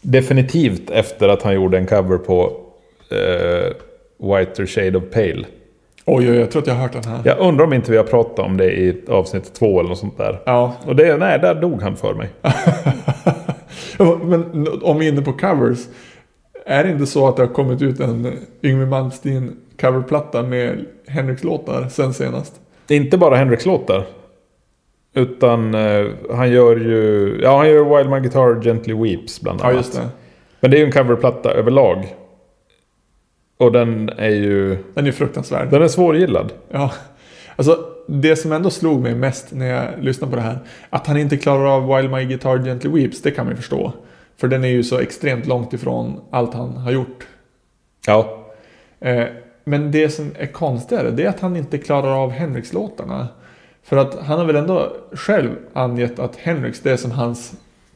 Definitivt efter att han gjorde en cover på eh, Whiter Shade of Pale.
Oj, oj, jag tror att jag har hört den här.
Jag undrar om inte vi har pratat om det i avsnitt två eller något sånt där.
Ja.
Och det, nej, där dog han för mig.
Men om vi är inne på covers. Är det inte så att det har kommit ut en Yngwie Malmsteen coverplatta med Henriks låtar sen senast?
Inte bara Henrik låtar. Utan eh, han gör ju... Ja, han gör Wild My Guitar Gently Weeps bland annat.
det.
Men det är ju en coverplatta överlag. Och den är ju...
Den är ju fruktansvärd.
Den är svårgillad.
Ja. Alltså, det som ändå slog mig mest när jag lyssnade på det här. Att han inte klarar av While My Guitar Gently Weeps, det kan man ju förstå. För den är ju så extremt långt ifrån allt han har gjort.
Ja.
Eh, men det som är konstigare, det är att han inte klarar av Henriks-låtarna. För att han har väl ändå själv angett att Henriks, det är som hans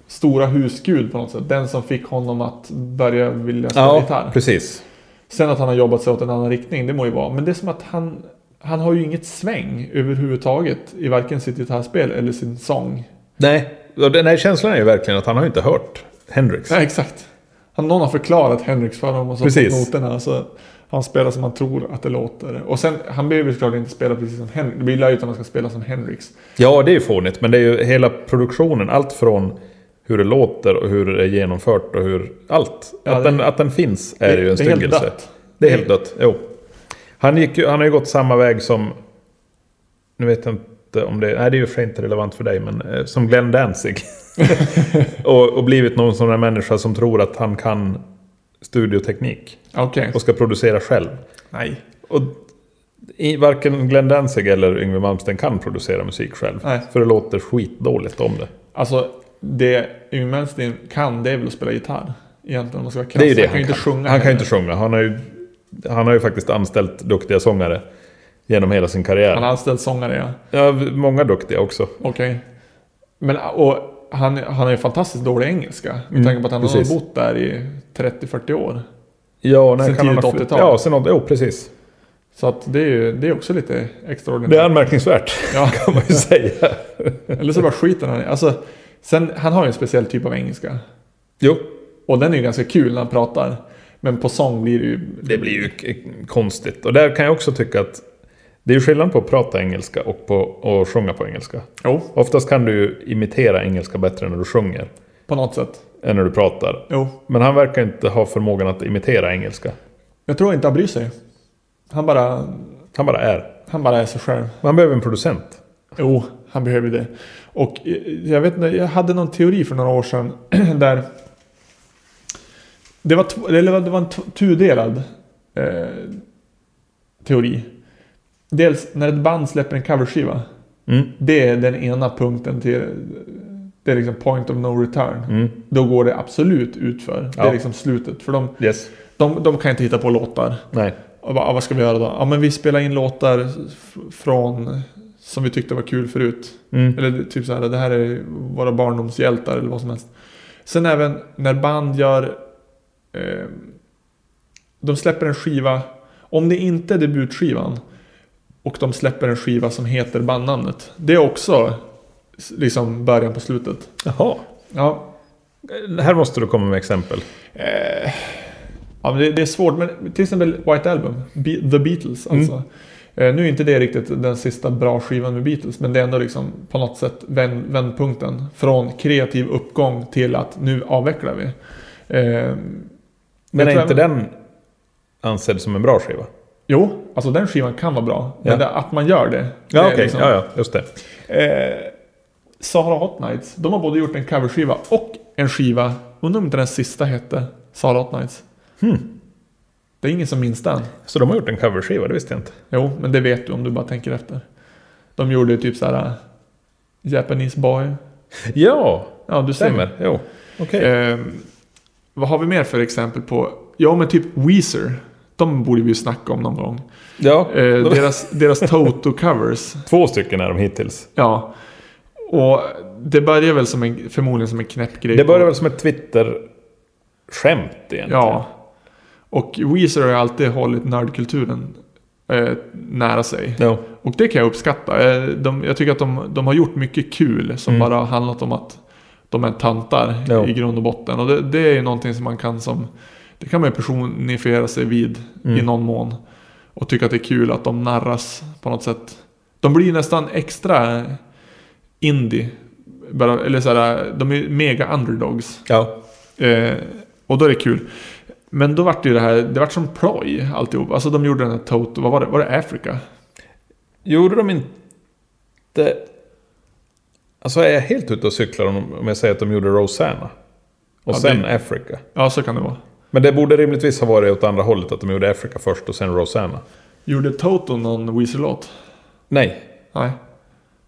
stora husgud på något sätt. Den som fick honom att börja vilja spela gitarr.
precis.
Sen att han har jobbat sig åt en annan riktning, det må ju vara. Men det är som att han, han har ju inget sväng överhuvudtaget i varken sitt gitarrspel eller sin sång.
Nej. Och den här känslan är ju verkligen att han har ju inte hört Hendrix.
Nej, exakt. Han, någon har förklarat Henriks för honom och så
Precis.
fått noterna. Så han spelar som han tror att det låter. Och sen, han behöver ju såklart inte spela precis som Henrik. Det blir löjligt om han ska spela som Henriks.
Ja, det är ju fånigt. Men det är ju hela produktionen. Allt från hur det låter och hur det är genomfört och hur... Allt.
Ja,
att,
det-
den, att den finns är ju en
det är helt
styggelse.
dött.
Det är helt dött, jo. Han, gick, ju- han har ju gått samma väg som... Nu vet jag inte om det... Nej, det är ju i och för sig inte relevant för dig, men eh, som Glenn Danzig. och, och blivit någon sån där människa som tror att han kan studioteknik.
Okej.
Och ska producera själv.
Nej.
Och i, varken Glenn Danzig eller Yngwie Malmsteen kan producera musik själv.
Nej.
För det låter skitdåligt om det.
Alltså, det Yngwie Malmsteen kan, det är väl att spela gitarr. Egentligen, om man ska vara krass.
det är ju det
han kan ju inte sjunga.
Han kan ju
heller.
inte sjunga. Han har ju, han har ju faktiskt anställt duktiga sångare. Genom hela sin karriär.
Han har anställt sångare, ja.
Ja, v- många duktiga också.
Okej. Men och han, han är ju fantastiskt dålig i engelska. Med
Mm,
tanke på att han
precis.
har bott där i 30-40 år.
Ja, när
Sen
kan han
tidigt
ha flytt-
80-tal.
Ja, sen 80 Jo, precis.
Så att det är ju det är också lite
Det är
extraordinärt.
anmärkningsvärt,
Ja.
kan man ju säga.
Eller så bara skiter han i- alltså, sen, Han har ju en speciell typ av engelska.
Jo,
Och den är ju ganska kul när han pratar. Men på sång blir det ju...
det blir ju k- konstigt. Och där kan jag också tycka att det är ju skillnad på att prata engelska och på att sjunga på engelska.
Jo,
Oftast kan du ju imitera engelska bättre när du sjunger
på något sätt.
än när du pratar.
Jo.
Men han verkar inte ha förmågan att imitera engelska.
Jag tror inte han bryr sig. Han bara,
Han bara är.
han bara är sig själv.
Han behöver en producent.
Jo, han behöver det. Och eh, jag vet inte, jag hade någon teori för några år sedan där det var, två- eller det var- det var en t- tudelad eh, teori. Dels när ett band släpper en coverskiva.
Mm.
Det är den ena punkten till det är liksom point of no return.
Mm.
Då går det absolut utför. Det
Ja.
är liksom slutet. För de,
Yes.
de, de kan inte hitta på låtar.
Nej.
Och bara, ah, vad ska vi göra då? Ja men vi spelar in låtar f- från som vi tyckte var kul förut.
Mm.
Eller typ så här, det här är våra barndomshjältar eller vad som helst. Sen även när band gör... Eh, de släpper en skiva. Om det inte är debutskivan och de släpper en skiva som heter bandnamnet. Det är också s- liksom början på slutet.
Jaha.
Ja,
Här måste du komma med exempel.
Eh, ja, men det, det är svårt, men till exempel White Album, Be- The Beatles
Mm.
alltså. Eh, nu är inte det riktigt den sista bra skivan med Beatles, men det är ändå liksom på något sätt vänd, vändpunkten. Från kreativ uppgång till att nu avvecklar vi. Eh,
Men
jag tror
är inte
jag-
den ansedd som en bra skiva?
Jo, alltså den skivan kan vara bra.
Ja.
Men det, att man gör det. det
Ja,
är
okej.
liksom-
Ja, ja, just det.
Eh, Sahara Hot Nights, de har både gjort en coverskiva och en skiva. Undrar om inte den sista hette Sahara Hot Nights.
Hmm.
Det är ingen som minns den.
Så de har gjort en coverskiva, det visste jag inte.
Jo, men det vet du om du bara tänker efter. De gjorde ju typ så här... Japanese boy.
Ja,
Ja, du ser.
stämmer. Jo, okej.
Eh, vad har vi mer för exempel på? Ja, men typ Weezer. De borde vi ju snacka om någon gång.
Ja,
Eh,
de-
deras deras Toto-covers.
två stycken är de hittills.
Ja. Och det börjar väl som en, förmodligen som en knäpp grej.
Det
på-
började väl som ett Twitter-skämt egentligen.
Ja. Och Weezer har ju alltid hållit nördkulturen eh, nära sig.
Jo.
Och det kan jag uppskatta. Eh, De, jag tycker att de, de har gjort mycket kul som
Mm.
bara har handlat om att de är töntar
Ja.
i grund och botten. Och det, det är ju någonting som man kan som... Det kan man ju personifiera sig vid
Mm.
i någon mån. Och tycka att det är kul att de narras på något sätt. De blir nästan extra indie. Bara, eller så här, de är mega underdogs.
Ja.
Eh, och då är det kul. Men då vart det ju det här, det vart som ploj alltihop. Alltså de gjorde den här Toto, vad var det? Var det Africa?
Gjorde de inte... Alltså är jag helt ute och cyklar om om jag säger att de gjorde Rosanna? Och
Ja,
sen
det-
Africa.
Ja, så kan det vara.
Men det borde rimligtvis ha varit åt andra hållet, att de gjorde Africa först och sen Rosanna.
Gjorde Toto någon Weezer-låt?
Nej,
Nej.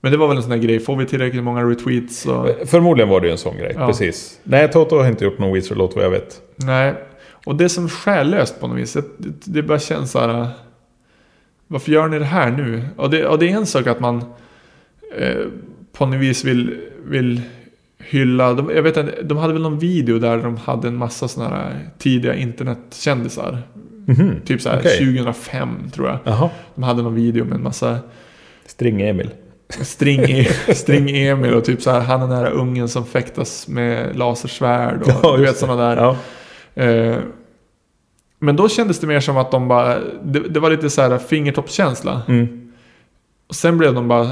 Men det var väl en sån här grej, får vi tillräckligt många retweets så...
förmodligen var det ju en sån grej.
Ja.
Precis. Nej, Toto har inte gjort någon Weezer-låt vad jag vet.
Nej. Och det är som själlöst på något vis. Det- Det, det bara känns så här... äh, Varför gör ni det här nu? Och det, och det är en sak att man eh, på något vis vill, vill hylla... De, jag vet inte, de hade väl någon video där de hade en massa såna här äh, tidiga internetkändisar.
Mhm.
Typ så här
Okej.
2005 tror jag.
Jaha.
De hade någon video med en massa
String-Emil.
String, E, string Emil och typ så här, han är nära ungen som fäktas med lasersvärd och
Ja,
du
just
vet sådana där.
Ja.
Eh, men då kändes det mer som att de bara, det, det var lite så här fingertoppskänsla.
Mm.
Och sen blev de bara,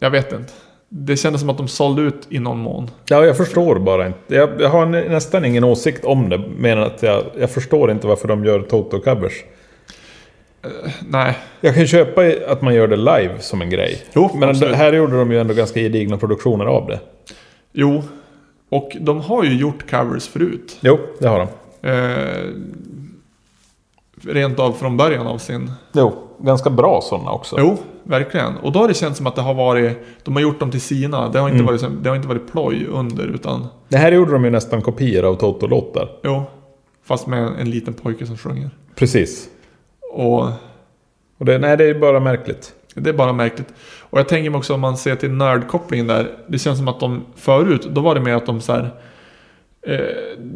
jag vet inte. Det kändes som att de sålde ut i någon mån.
ja, jag förstår bara inte. Jag, jag har nä- nästan ingen åsikt om det, men att jag, jag förstår inte varför de gör Toto-covers.
Eh, Nej,
Jag kan köpa i- att man gör det live som en grej.
Jo,
men det,
absolut.
här gjorde de ju ändå ganska gedigna produktioner av det.
jo. Och de har ju gjort covers förut.
Jo, det har de.
Eh, rent av från början av sin
Jo, ganska bra sådana också.
Jo, verkligen. Och då har det känts som att det har varit... De har gjort dem till sina. Det har inte,
Mm.
varit, som- det har inte varit ploj under, utan...
Det här gjorde de ju nästan kopior av Toto-låtar.
Jo. Fast med en, en liten pojke som sjunger.
Precis.
Och
Och det, nej, det är ju bara märkligt.
det är bara märkligt. Och jag tänker mig också om man ser till nördkopplingen där. Det känns som att de förut, då var det mer att de så här... Eh,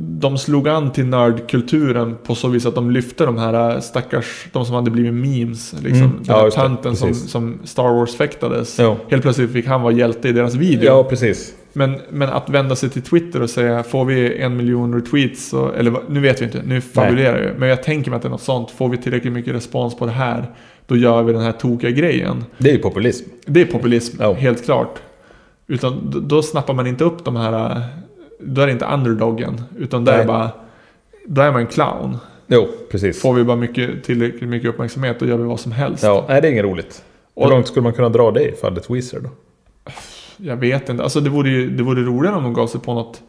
de slog an till nördkulturen på så vis att de lyfte de här eh, stackars, de som hade blivit memes. Liksom.
Mm.
Den
Ja,
här
just det.
tanten som,
Precis.
som Star Wars-fäktades.
Jo.
Helt plötsligt fick han vara hjälte i deras video.
Ja, precis.
Men, men att vända sig till Twitter och säga får vi en miljon retweets, så, eller vad- nu vet vi inte, nu fabulerar jag Men jag tänker mig att det är något sånt. Får vi tillräckligt mycket respons på det här, då gör vi den här tokiga grejen.
Det är ju populism.
Det är populism,
Ja.
helt klart. Utan d- då snappar man inte upp de här, äh, då är det inte underdogen. Utan där
Nej.
är bara, då är man en clown.
Jo, precis.
Får vi bara mycket, tillräckligt mycket uppmärksamhet, då gör vi vad som helst.
Ja, nej, det är inget roligt. Hur
Och-
långt skulle man kunna dra det i fallet Weezer då?
Jag vet inte. Alltså det vore, ju- det vore roligare om de gav sig på något,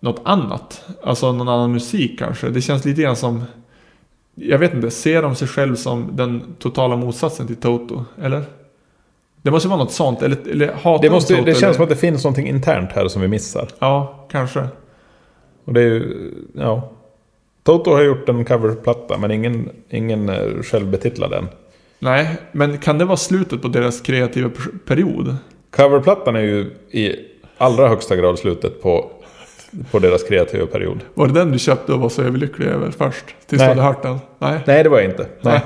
något annat. Alltså någon annan musik kanske. Det känns lite grann som... Jag vet inte, ser de sig själv som den totala motsatsen till Toto? Eller? Det måste vara något sånt. Eller, eller hatar
Det,
de
måste,
Toto,
det
eller?
känns som att det finns någonting internt här som vi missar.
Ja, kanske.
Och det är ju, ja. Toto har gjort en coverplatta, men ingen, ingen eh, självbetitlad än.
Nej, men kan det vara slutet på deras kreativa per- period?
Coverplattan är ju i allra högsta grad slutet på, på deras kreativa period.
Var det den du köpte och var så överlycklig över först? Tills
Nej.
du hade hört den? Nej.
Nej, det var jag inte. Nej.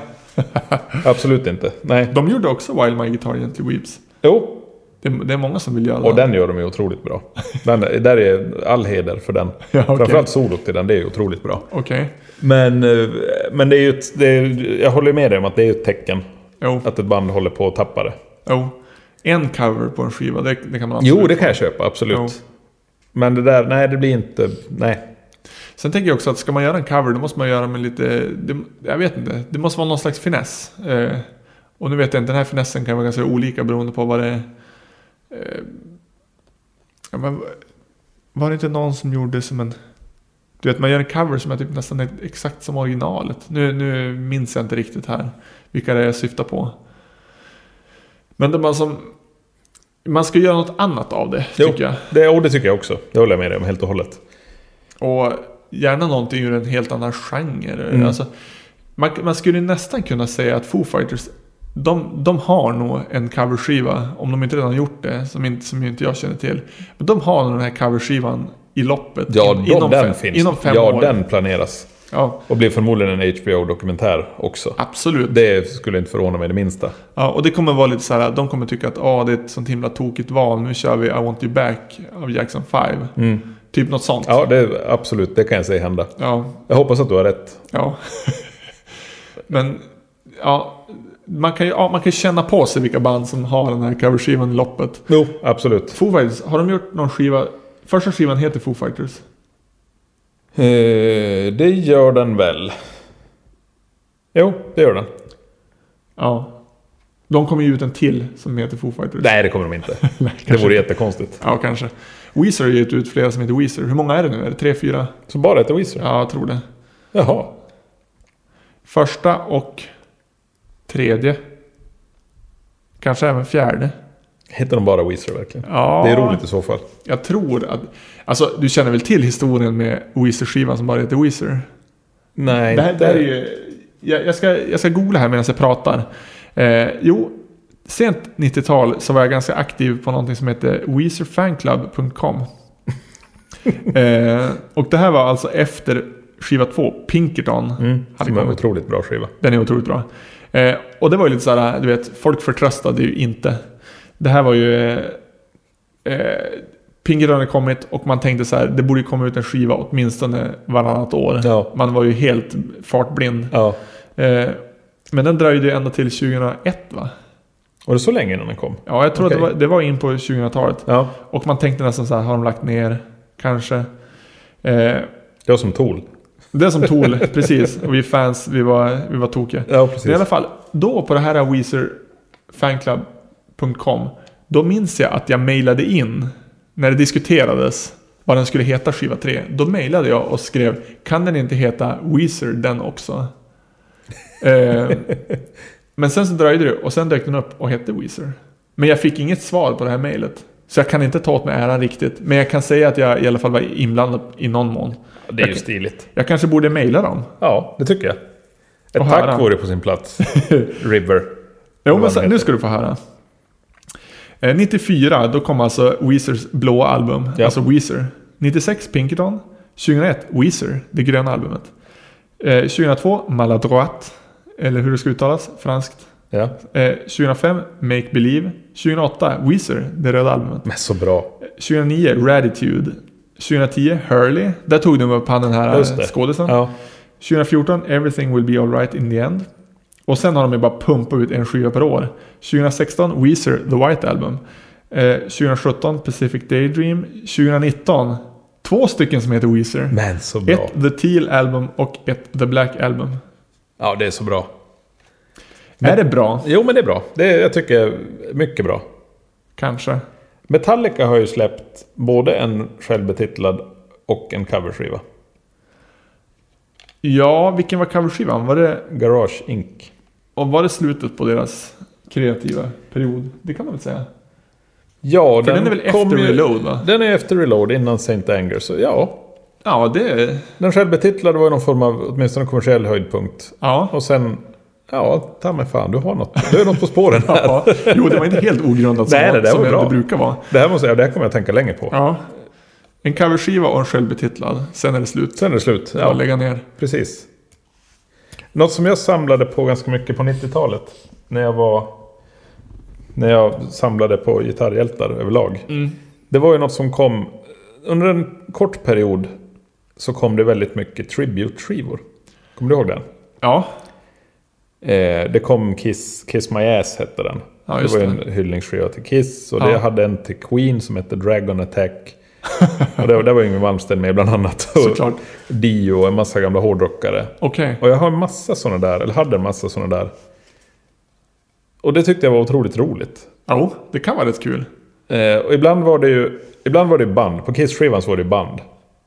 Absolut inte. Nej.
De gjorde också Wild My Guitar Gently Weeps.
Jo,
Det, det är många som vill göra
och den gör de ju otroligt bra. Den, där är all heder för den.
Ja, okej.
Framförallt solot i den, det är ju otroligt bra.
Okej.
Men, eh, men det är ju ett, det är, jag håller med dig om att det är ett tecken.
Jo.
Att ett band håller på att tappa det.
Jo. Oh, En cover på en skiva, det, det kan man absolut. Oh.
Jo, det kan jag köpa, absolut.
Jo.
Men det där, nej det blir inte, nej.
Sen tänker jag också att ska man göra en cover, då måste man göra med lite... Det, jag vet inte. Det måste vara någon slags finess. Eh, och nu vet jag inte, den här finessen kan vara ganska olika beroende på vad det... Eh, ja, men, var det inte någon som gjorde som en... Du vet, man gör en cover som är typ nästan exakt som originalet. Nu, nu minns jag inte riktigt här vilka det är jag syftar på. Men det man som... Man ska göra något annat av det,
Jo.
tycker jag.
Det, och det tycker jag också. Det håller jag med dig om helt och hållet.
Och gärna någonting ur en helt annan genre.
Mm.
Alltså, man, man skulle nästan kunna säga att Foo Fighters, de, de har nog en coverskiva, om de inte redan gjort det, som inte, som ju inte jag känner till. Men de har nog den här coverskivan i loppet.
Ja,
in-
de, den
fem,
finns.
Inom fem
ja,
år.
den planeras.
Ja,
Och blir förmodligen en HBO-dokumentär också.
absolut.
Det skulle inte förvåna mig det minsta.
Ja, och det kommer vara lite så här, de kommer tycka att ah, det är ett sånt himla tokigt val, nu kör vi I want you back av Jackson 5.
Mm.
Typ något sånt.
Ja, det, absolut. Det kan jag säga hända.
ja
Jag hoppas att du har rätt.
Ja. Men ja, man kan ju ja, man kan känna på sig vilka band som har den här coverskivan i loppet.
Jo, absolut.
Foo Fighters, har de gjort någon skiva? Första skivan heter Foo Fighters.
Eh, det gör den väl? Jo, det gör den.
Ja. De kommer ju ut en till som heter Foo Fighters.
Nej, det kommer de inte. Det
Nej, kanske.
vore jättekonstigt.
Ja, kanske. Weezer har gett ut flera som heter Weezer. Hur många är det nu? Är det tre, fyra?
Så bara hette Weezer?
Ja, jag tror det.
Jaha.
Första och tredje. Kanske även fjärde.
Heter de bara Weezer verkligen?
Ja,
Det är roligt i så fall.
Jag tror att... Alltså, du känner väl till historien med Weezer-skivan som bara heter Weezer?
Nej,
det här, det här är ju... Jag, jag, ska, jag ska googla här medan jag pratar. Eh, jo, sent 90-tal så var jag ganska aktiv på någonting som hette WeezerFanclub.com. eh, och det här var alltså efter skiva två, Pinkerton.
Mm,
hade
som är en
kommit.
otroligt bra skiva.
Den är otroligt bra. Eh, och det var ju lite såhär, du vet, folk förtröstade ju inte. Det här var ju... Eh, eh, Pinkerton hade kommit och man tänkte så här, det borde ju komma ut en skiva åtminstone varannat år.
Ja.
Man var ju helt fartblind.
ja.
Eh, men den dröjde ju ända till 2001 va?
Var det så länge innan den kom?
Ja, jag tror att det
Okej.
var, det var in på 2000-talet.
Ja.
Och man tänkte nästan så här, har de lagt ner? Kanske. Eh,
Jag som Tool.
det är som Tool, precis. Och vi fans, vi var, vi var tokiga.
Ja, precis.
Men I alla fall, då på det här WeezerFanclub.com Då minns jag att jag mejlade in när det diskuterades vad den skulle heta skiva 3. Då mejlade jag och skrev Kan den inte heta Weezer den också? eh, men sen så dröjde det och sen dök den upp och hette Weezer. Men jag fick inget svar på det här mejlet. Så jag kan inte ta åt mig äran riktigt. Men jag kan säga att jag i alla fall var inblandad i någon mån.
Det är ju
Okej.
stiligt.
Jag kanske borde mejla dem.
Ja, det tycker jag.
Och
Ett
höra.
tack vore på sin plats. River.
Jo, men
Vad
så,
den
nu
heter.
ska du få höra. Eh, 94, då kom alltså Weezers blåa album,
Ja.
alltså Weezer. 96, Pinkerton. 2001, Weezer, det gröna albumet. Eh, 2002, Maladroit, eller hur det ska uttalas, franskt.
Ja.
Eh, 2005, Make Believe. 2008, Weezer, det röda albumet.
Men så bra.
Eh, 2009, Ratitude. 2010, Hurley. Där tog de upp han den här
Just
eh,
det.
skådisen.
Ja.
2014, Everything will be alright in the end. Och sen har de ju bara pumpat ut en skiva per år. 2016, Weezer, The White Album. Eh, 2017, Pacific Daydream. 2019, två stycken som heter Weezer.
Men så bra.
Ett The Teal Album och ett The Black Album.
Ja, det är så bra.
Är det bra?
Jo, men det är bra. Det är, jag tycker mycket bra.
Kanske.
Metallica har ju släppt både en självbetitlad och en coverskiva.
Ja, vilken var coverskivan? Var det,
Garage Inc.
och var det slutet på deras kreativa period? Det kan man väl säga?
Ja,
För den, är väl
kom
efter
ju-
Reload va?
Den är efter Reload, innan St. Anger. Så ja,
Ja, det...
den självbetitlade var ju någon form av åtminstone kommersiell höjdpunkt.
Ja.
Och sen... Ja, ta mig fan, du har något. Du är något på spåren här.
ja. Jo, det var inte helt ogrundat som,
Nej, det där
som
var bra.
det brukar vara.
Det här måste jag, det här kommer jag tänka länge på.
Ja. En coverskiva och en självbetitlad. Sen är det slut.
Sen är det slut.
Ja.
Ja,
Lägga ner.
precis. Något som jag samlade på ganska mycket på 90-talet. När jag var... När jag samlade på gitarrhjältar överlag. Det var ju något som kom... Under en kort period så kom det väldigt mycket tribute-skivor. Kommer du ihåg den?
Ja.
Eh, det kom Kiss, Kiss My Ass hette den.
Ja,
det
just
var ju
det.
en hyllningsskiva till Kiss. Och
Ja.
det hade en till Queen som hette Dragon Attack. och det, där var Yngwie Malmsteen med bland annat. Och
Såklart.
Dio och en massa gamla hårdrockare.
Okej.
Och jag har en massa sådana där, eller hade en massa sådana där. Och det tyckte jag var otroligt roligt.
Jo, det kan vara rätt kul.
Eh, och ibland var det ju ibland var det band. På Kiss-skivan så var det ju band.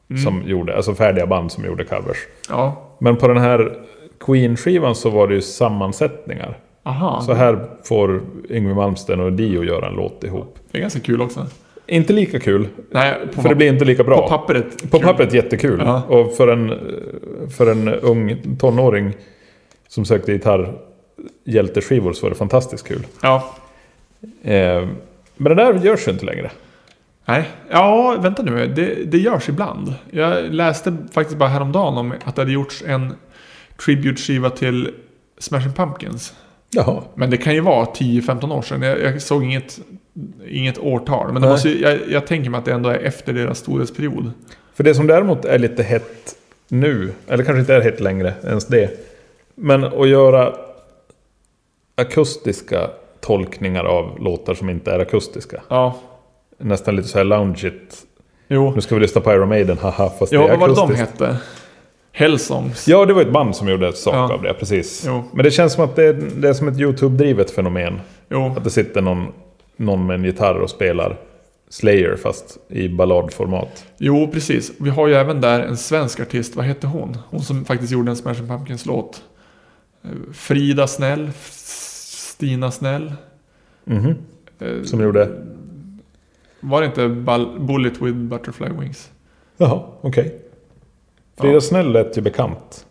Mm.
Som gjorde, alltså färdiga band som gjorde covers.
Ja.
Men på den här Queen-skivan så var det ju sammansättningar.
Aha.
Så här får Yngwie Malmsteen och Dio göra en låt ihop.
Det är ganska kul också.
Inte lika kul,
Nej, på,
för det blir inte lika bra.
på pappret.
På
kul.
pappret jättekul.
Ja.
Och för en, för en ung tonåring som sökte gitarrhjälteskivor så var det fantastiskt kul.
Ja.
Eh, men det där görs ju inte längre.
Nej. Ja, vänta nu. Det, det görs ibland. Jag läste faktiskt bara häromdagen om att det hade gjorts en tribute-skiva till Smashing Pumpkins.
Jaha.
Men det kan ju vara 10-15 år sedan. Jag, jag såg inget, inget årtal. Men det
Nej.
måste, ju- jag, jag tänker mig att det ändå är efter deras storhetsperiod.
För det som däremot är lite hett nu, eller kanske inte är hett längre ens det. Men att göra akustiska tolkningar av låtar som inte är akustiska.
Ja.
Nästan lite så här loungeigt.
Jo.
Nu ska vi lyssna på Iron Maiden, haha, fast
Ja,
det är
vad var det de
akustiskt.
hette? Hellsongs.
Ja, det var ett band som gjorde ett sak
Ja.
av det, precis.
Jo.
Men det känns som att det är, det är som ett YouTube-drivet fenomen.
Jo.
Att det sitter någon, någon med en gitarr och spelar Slayer, fast i balladformat.
jo, precis. Vi har ju även där en svensk artist. Vad hette hon? Hon som faktiskt gjorde en Smashing Pumpkins-låt. Eh, Frida Snäll. F- Stina Snäll.
Mhm.
Eh,
Som gjorde...
Var det inte Bal- Bullet with Butterfly Wings?
Jaha, okej. Frida
Ja.
Snäll lät ju bekant.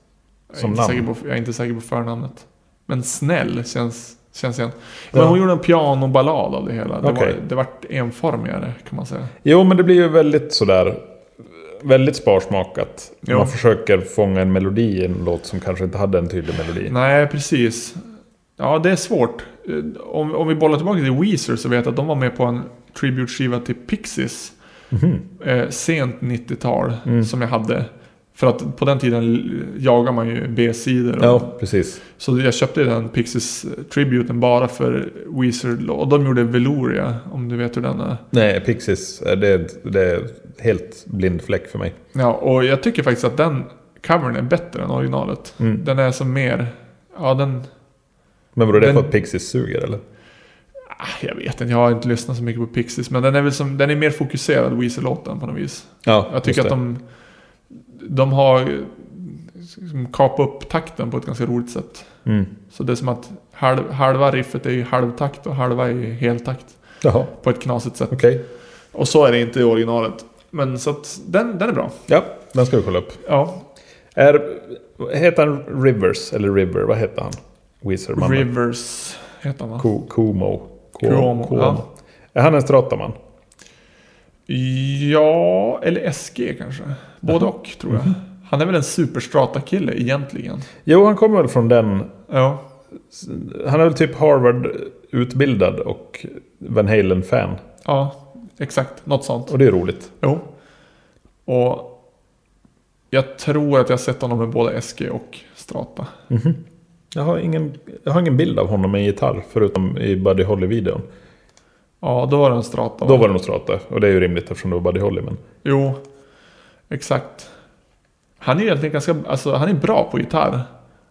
Jag är,
Som
inte
namn.
säker på, jag är inte säker på förnamnet. Men Snäll känns, känns igen.
Ja.
Men hon gjorde en pianoballad av det hela. Det,
Okej.
var, det vart enformigare kan man säga.
Jo, men det blir ju väldigt sådär... Väldigt sparsmakat.
Jo.
Man försöker fånga en melodi i en låt som kanske inte hade en tydlig melodi.
Nej, precis. Ja, det är svårt. Eh, Om, om vi bollar tillbaka till Weezer så vet jag att de var med på en tribute-skiva till Pixies.
Mhm.
Eh, sent 90-tal
Mm.
som jag hade. För att på den tiden l- jagar man ju B-sidor. och-
Ja, precis.
Så jag köpte den Pixies-tributen bara för Weezer. Och de gjorde Velouria, om du vet hur den är.
Nej, Pixies, eh, det, är- det är helt blind fläck för mig.
Ja, och jag tycker faktiskt att den covern är bättre än originalet.
Mm.
Den är som mer... Ja, den...
Men var det
Den-
för att Pixies suger, eller?
Ah, Jag vet inte, jag har inte lyssnat så mycket på Pixies. Men den är väl som... Den är mer fokuserad, Weezer-låten på något vis.
Ja,
Jag tycker att de... De har... eh, Liksom, kapat upp takten på ett ganska roligt sätt.
de... Mm.
Så det är som att halv, halva riffet är i halvtakt och halva är i heltakt.
Jaha,
På ett knasigt sätt.
okej.
Och så är det inte i originalet. Men så att den, den är bra.
Ja, den ska vi kolla upp.
Ja,
Är, heter han Rivers, eller River, vad heter han? Weezer-mannen.
Rivers heter han va?
Ko- Kumo. Ko-
Kuomo, ja.
Är han en strataman?
Ja, eller SG kanske. Både
Jaha. Mhm.
och tror jag. Han är väl en superstrata-kille egentligen.
Jo, han kommer väl från den...
Ja,
Han är väl typ Harvard-utbildad och Van Halen-fan.
ja exakt. Något sånt.
Och det är roligt.
Jo. Och jag tror att jag har sett honom med både SG och strata.
Mhm. Jag, har ingen, jag har ingen bild av honom med en gitarr, förutom i Buddy Holly-videon.
Ja, då var det en strata. va?
Då var det nog strata, och det är ju rimligt eftersom det var Buddy Holly. Men...
Jo, exakt. Han är ju egentligen ganska... Alltså, han är bra på gitarr.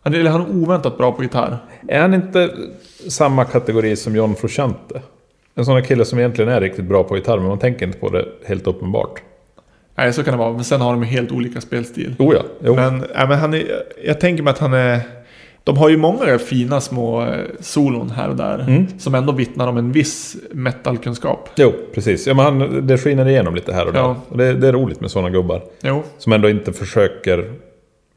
Han, eller han är oväntat bra på gitarr.
Är han inte samma kategori som John Frusciante? En sån här kille som egentligen är riktigt bra på gitarr, men man tänker inte på det helt uppenbart.
Nej, så kan det vara. Men sen har de ju helt olika spelstil.
Oh ja, jo.
Men, ja, men han är, jag tänker mig att han är... De har ju många fina små eh, solon här och där.
Mm.
Som ändå vittnar om en viss metalkunskap.
Jo, precis. Ja, men han, det skiner igenom lite här och där.
Ja.
Och det, det är roligt med sådana gubbar.
Jo,
Som ändå inte försöker...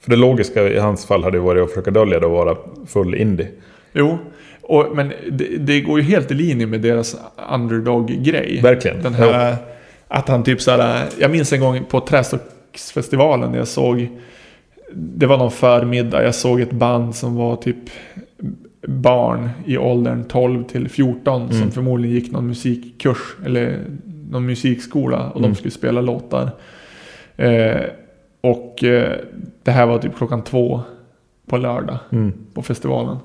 För det logiska i hans fall hade ju varit att försöka dölja det och vara full indie.
jo. Och, men det, det går ju helt i linje med deras underdog-grej.
Verkligen.
Den här... Att han typ såhär... Jag minns en gång på Trästocksfestivalen när jag såg... Det var någon förmiddag. Jag såg ett band som var typ barn i åldern 12 till 14
Mm.
som förmodligen gick någon musikkurs eller någon musikskola och
Mm.
de skulle spela låtar. Eh, och eh, det här var typ klockan två på lördag
Jo. Mm.
på festivalen.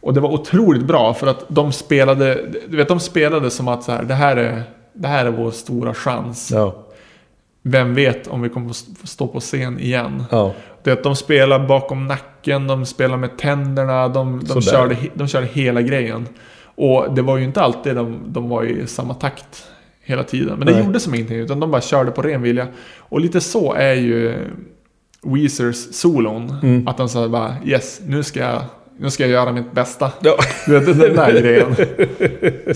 Och det var otroligt bra för att de spelade, du vet de spelade som att så här, det här är, det här är vår stora chans.
Ja.
Vem vet om vi kommer att stå på scen igen.
ja.
Du vet, de spelar bakom nacken, de spelar med tänderna, de, de,
Sådär.
körde, he- de körde hela grejen. Och det var ju inte alltid de, de var i samma takt hela tiden. Men det
Nej.
gjorde som ingenting, utan de bara körde på ren vilja. Och lite så är ju Weezers solon.
Mm.
Att de säger bara yes, nu ska jag, nu ska jag göra mitt bästa.
Ja.
Du vet, den där grejen.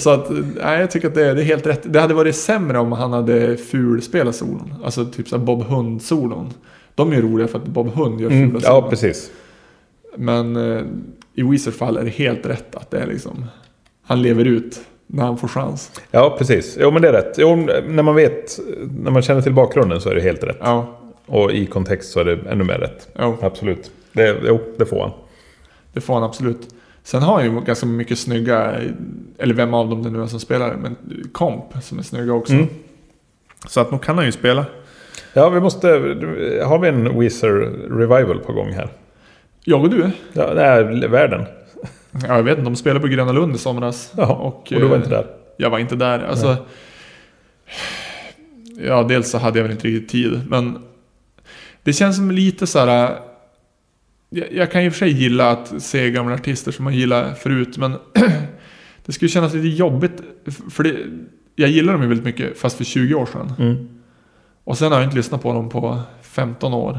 Så att, nej, jag tycker att det, är- det är helt rätt. Det hade varit sämre om han hade fulspelat solon. Alltså typ såhär Bob Hund-solon. De är ju roliga för att Bob Hund gör fula
Mm.
solon.
ja, precis.
Men eh, i Weezers fall är det helt rätt att det är liksom... Han lever ut när han får chans.
Ja, precis. Jo, men det är rätt. Jo, när man vet... När man känner till bakgrunden så är det helt rätt.
Ja,
Och i kontext så är det ännu mer rätt.
ja
Absolut. Det, jo, det får han.
det får han absolut. Sen har han ju ganska mycket snygga, eller vem av dem det nu är som spelar, men komp som är snygga också.
Mm.
Så att nog kan han ju spela.
Ja, vi måste... Har vi en Weezer Revival på gång här?
Jag och du?
Ja, det är världen.
Ja, jag vet inte. De spelade på Gröna Lund i somras.
Jaha, och du var
eh,
inte där.
Jag var inte där. Alltså, ja, dels så hade jag väl inte riktigt tid, men det känns som lite så här. äh, Jag, jag kan ju för sig gilla att se gamla artister som man gillar förut, men det skulle kännas lite jobbigt. För det, jag gillar dem ju väldigt mycket, fast för 20 år sedan.
Mm.
Och sen har jag inte lyssnat på dem på 15 år,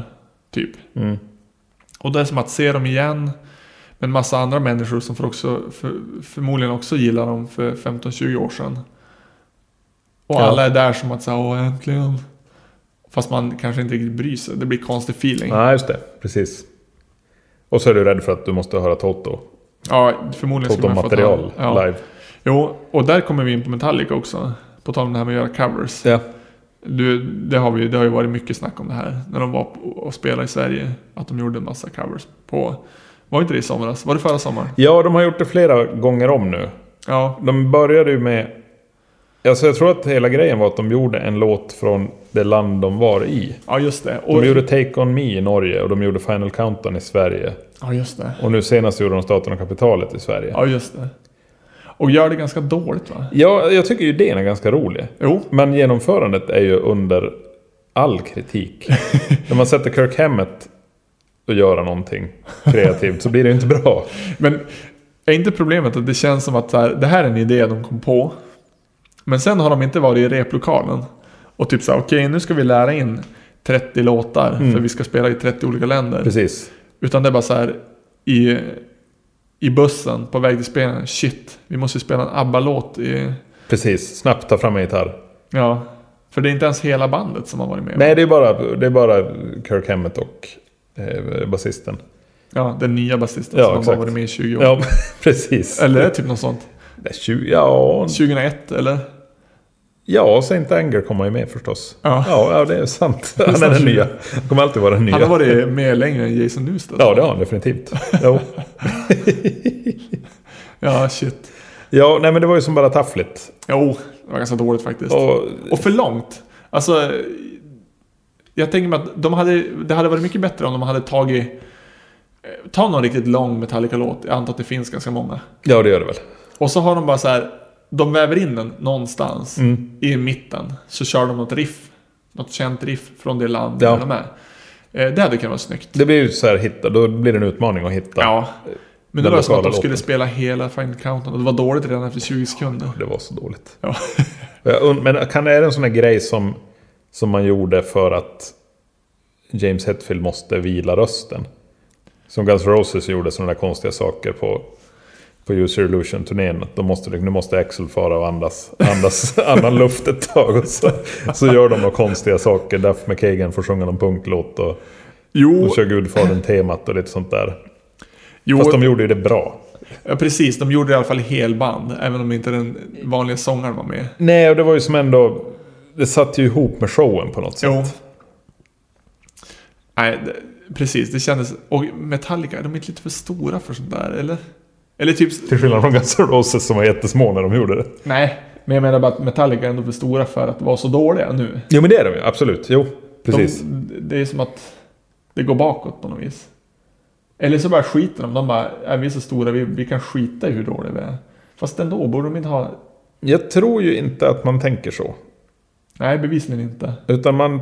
typ.
Mm.
Och det är som att se dem igen med en massa andra människor som för också, för, förmodligen också gillar dem för 15-20 år sedan. Och
Ja.
alla är där som att säga åh äntligen. Fast man kanske inte riktigt bryr sig. Det blir konstig feeling.
Nej, just det. Precis. Och så är du rädd för att du måste höra Toto.
Ja, förmodligen skulle man få ta-
Toto-material
ja.
live.
Jo, och där kommer vi in på Metallica också. På tal om det här med att göra covers.
Ja.
Du, det, har vi, det har ju varit mycket snack om det här. När de var på- och spelade i Sverige. Att de gjorde en massa covers på... Var inte det i somras? Var det förra sommaren?
ja, de har gjort det flera gånger om nu.
Ja.
De började ju med... Alltså jag tror att hela grejen var att de gjorde en låt från det land de var i.
Ja, just det.
De
Och-
gjorde Take On Me i Norge och de gjorde Final Countdown i Sverige.
Ja, just det.
Och nu senast gjorde de Staten och Kapitalet i Sverige.
Ja, just det. Och gör det ganska dåligt va?
Ja, jag tycker ju idén är ganska rolig.
Jo.
Men genomförandet är ju under all kritik. När man sätter Kirk Hammett och göra någonting kreativt så blir det ju inte bra.
Men är inte problemet att det känns som att så här, det här är en idé de kom på. Men sen har de inte varit i replokalen. Och typ så här, okej nu ska vi lära in 30 låtar för vi ska spela i 30 olika länder.
Mm. Precis.
Utan det är bara så här i, i bussen på väg till spelningen. Shit, vi måste ju spela en ABBA-låt i...
Precis. Snabbt ta fram en gitarr.
Ja. För det är inte ens hela bandet som har varit med.
Nej, det är bara, det är bara Kirk Hammett och eh, basisten.
Ja, den nya basisten
Ja,
som har
exakt.
varit med i 20 år.
Ja, precis.
Eller typ något sånt.
Det är 20, ja,
2001 eller?
ja, Saint Anger kommer ju med förstås.
Ja.
Ja, ja, det är sant. Han är den nya. Han kommer alltid vara den nya.
Han har varit med längre än Jason Newsted.
Ja, det har han definitivt. Jo.
Ja, shit.
Ja, nej men det var ju som bara taffligt.
Jo, det var ganska dåligt faktiskt. Och,
Och,
för långt. Alltså, jag tänker mig att de hade, det hade varit mycket bättre om de hade tagit... eh, Ta någon riktigt lång Metallica-låt. Jag antar att det finns ganska många.
ja, det gör det väl.
Och så har de bara så här... De väver in den någonstans
Mm.
i mitten. Så kör de något riff. Något känt riff från det land
Ja.
där de är. Eh, Det hade kunnat vara snyggt.
Det blir ju så här hitta, då blir det en utmaning att hitta.
Ja. Men det
Den
var som att de
lokala
skulle
låten.
spela hela Final Countdown och det var dåligt redan efter 20 sekunder.
Det var så dåligt.
Ja.
Och jag und- Men kan, är det en sån här grej som, som man gjorde för att James Hetfield måste vila rösten? Som Guns N' Roses gjorde sådana där konstiga saker på, på User Illusion-turnén. att De måste, nu måste Axel fara och andas, andas annan luft ett tag. Och så, så gör de några konstiga saker. Duff McKagan får sjunga någon punklåt och,
Jo,
och kör Gudfadern-temat och lite sånt där.
jo
Fast de gjorde ju det bra.
ja, precis. De gjorde i alla fall helband, även om inte den vanliga sångaren var med.
Nej, och det var ju som ändå... Det satt ju ihop med showen på något sätt.
Jo. Nej, det, precis. Det kändes... Och Metallica, är de inte lite för stora för sånt där? Eller? Eller typ...
Till skillnad från Guns N' Roses som var jättesmå när de gjorde det.
Nej, men jag menar bara att Metallica är ändå för stora för att vara så dåliga nu.
Jo men det är de ju, absolut. Jo, precis.
De, det är som att det går bakåt på något vis. Eller så bara skiter de. De bara, är vi är så stora, vi, vi kan skita i hur dåliga vi är. Fast ändå, borde de inte ha...
Jag tror ju inte att man tänker så.
Nej, bevisligen inte.
Utan man...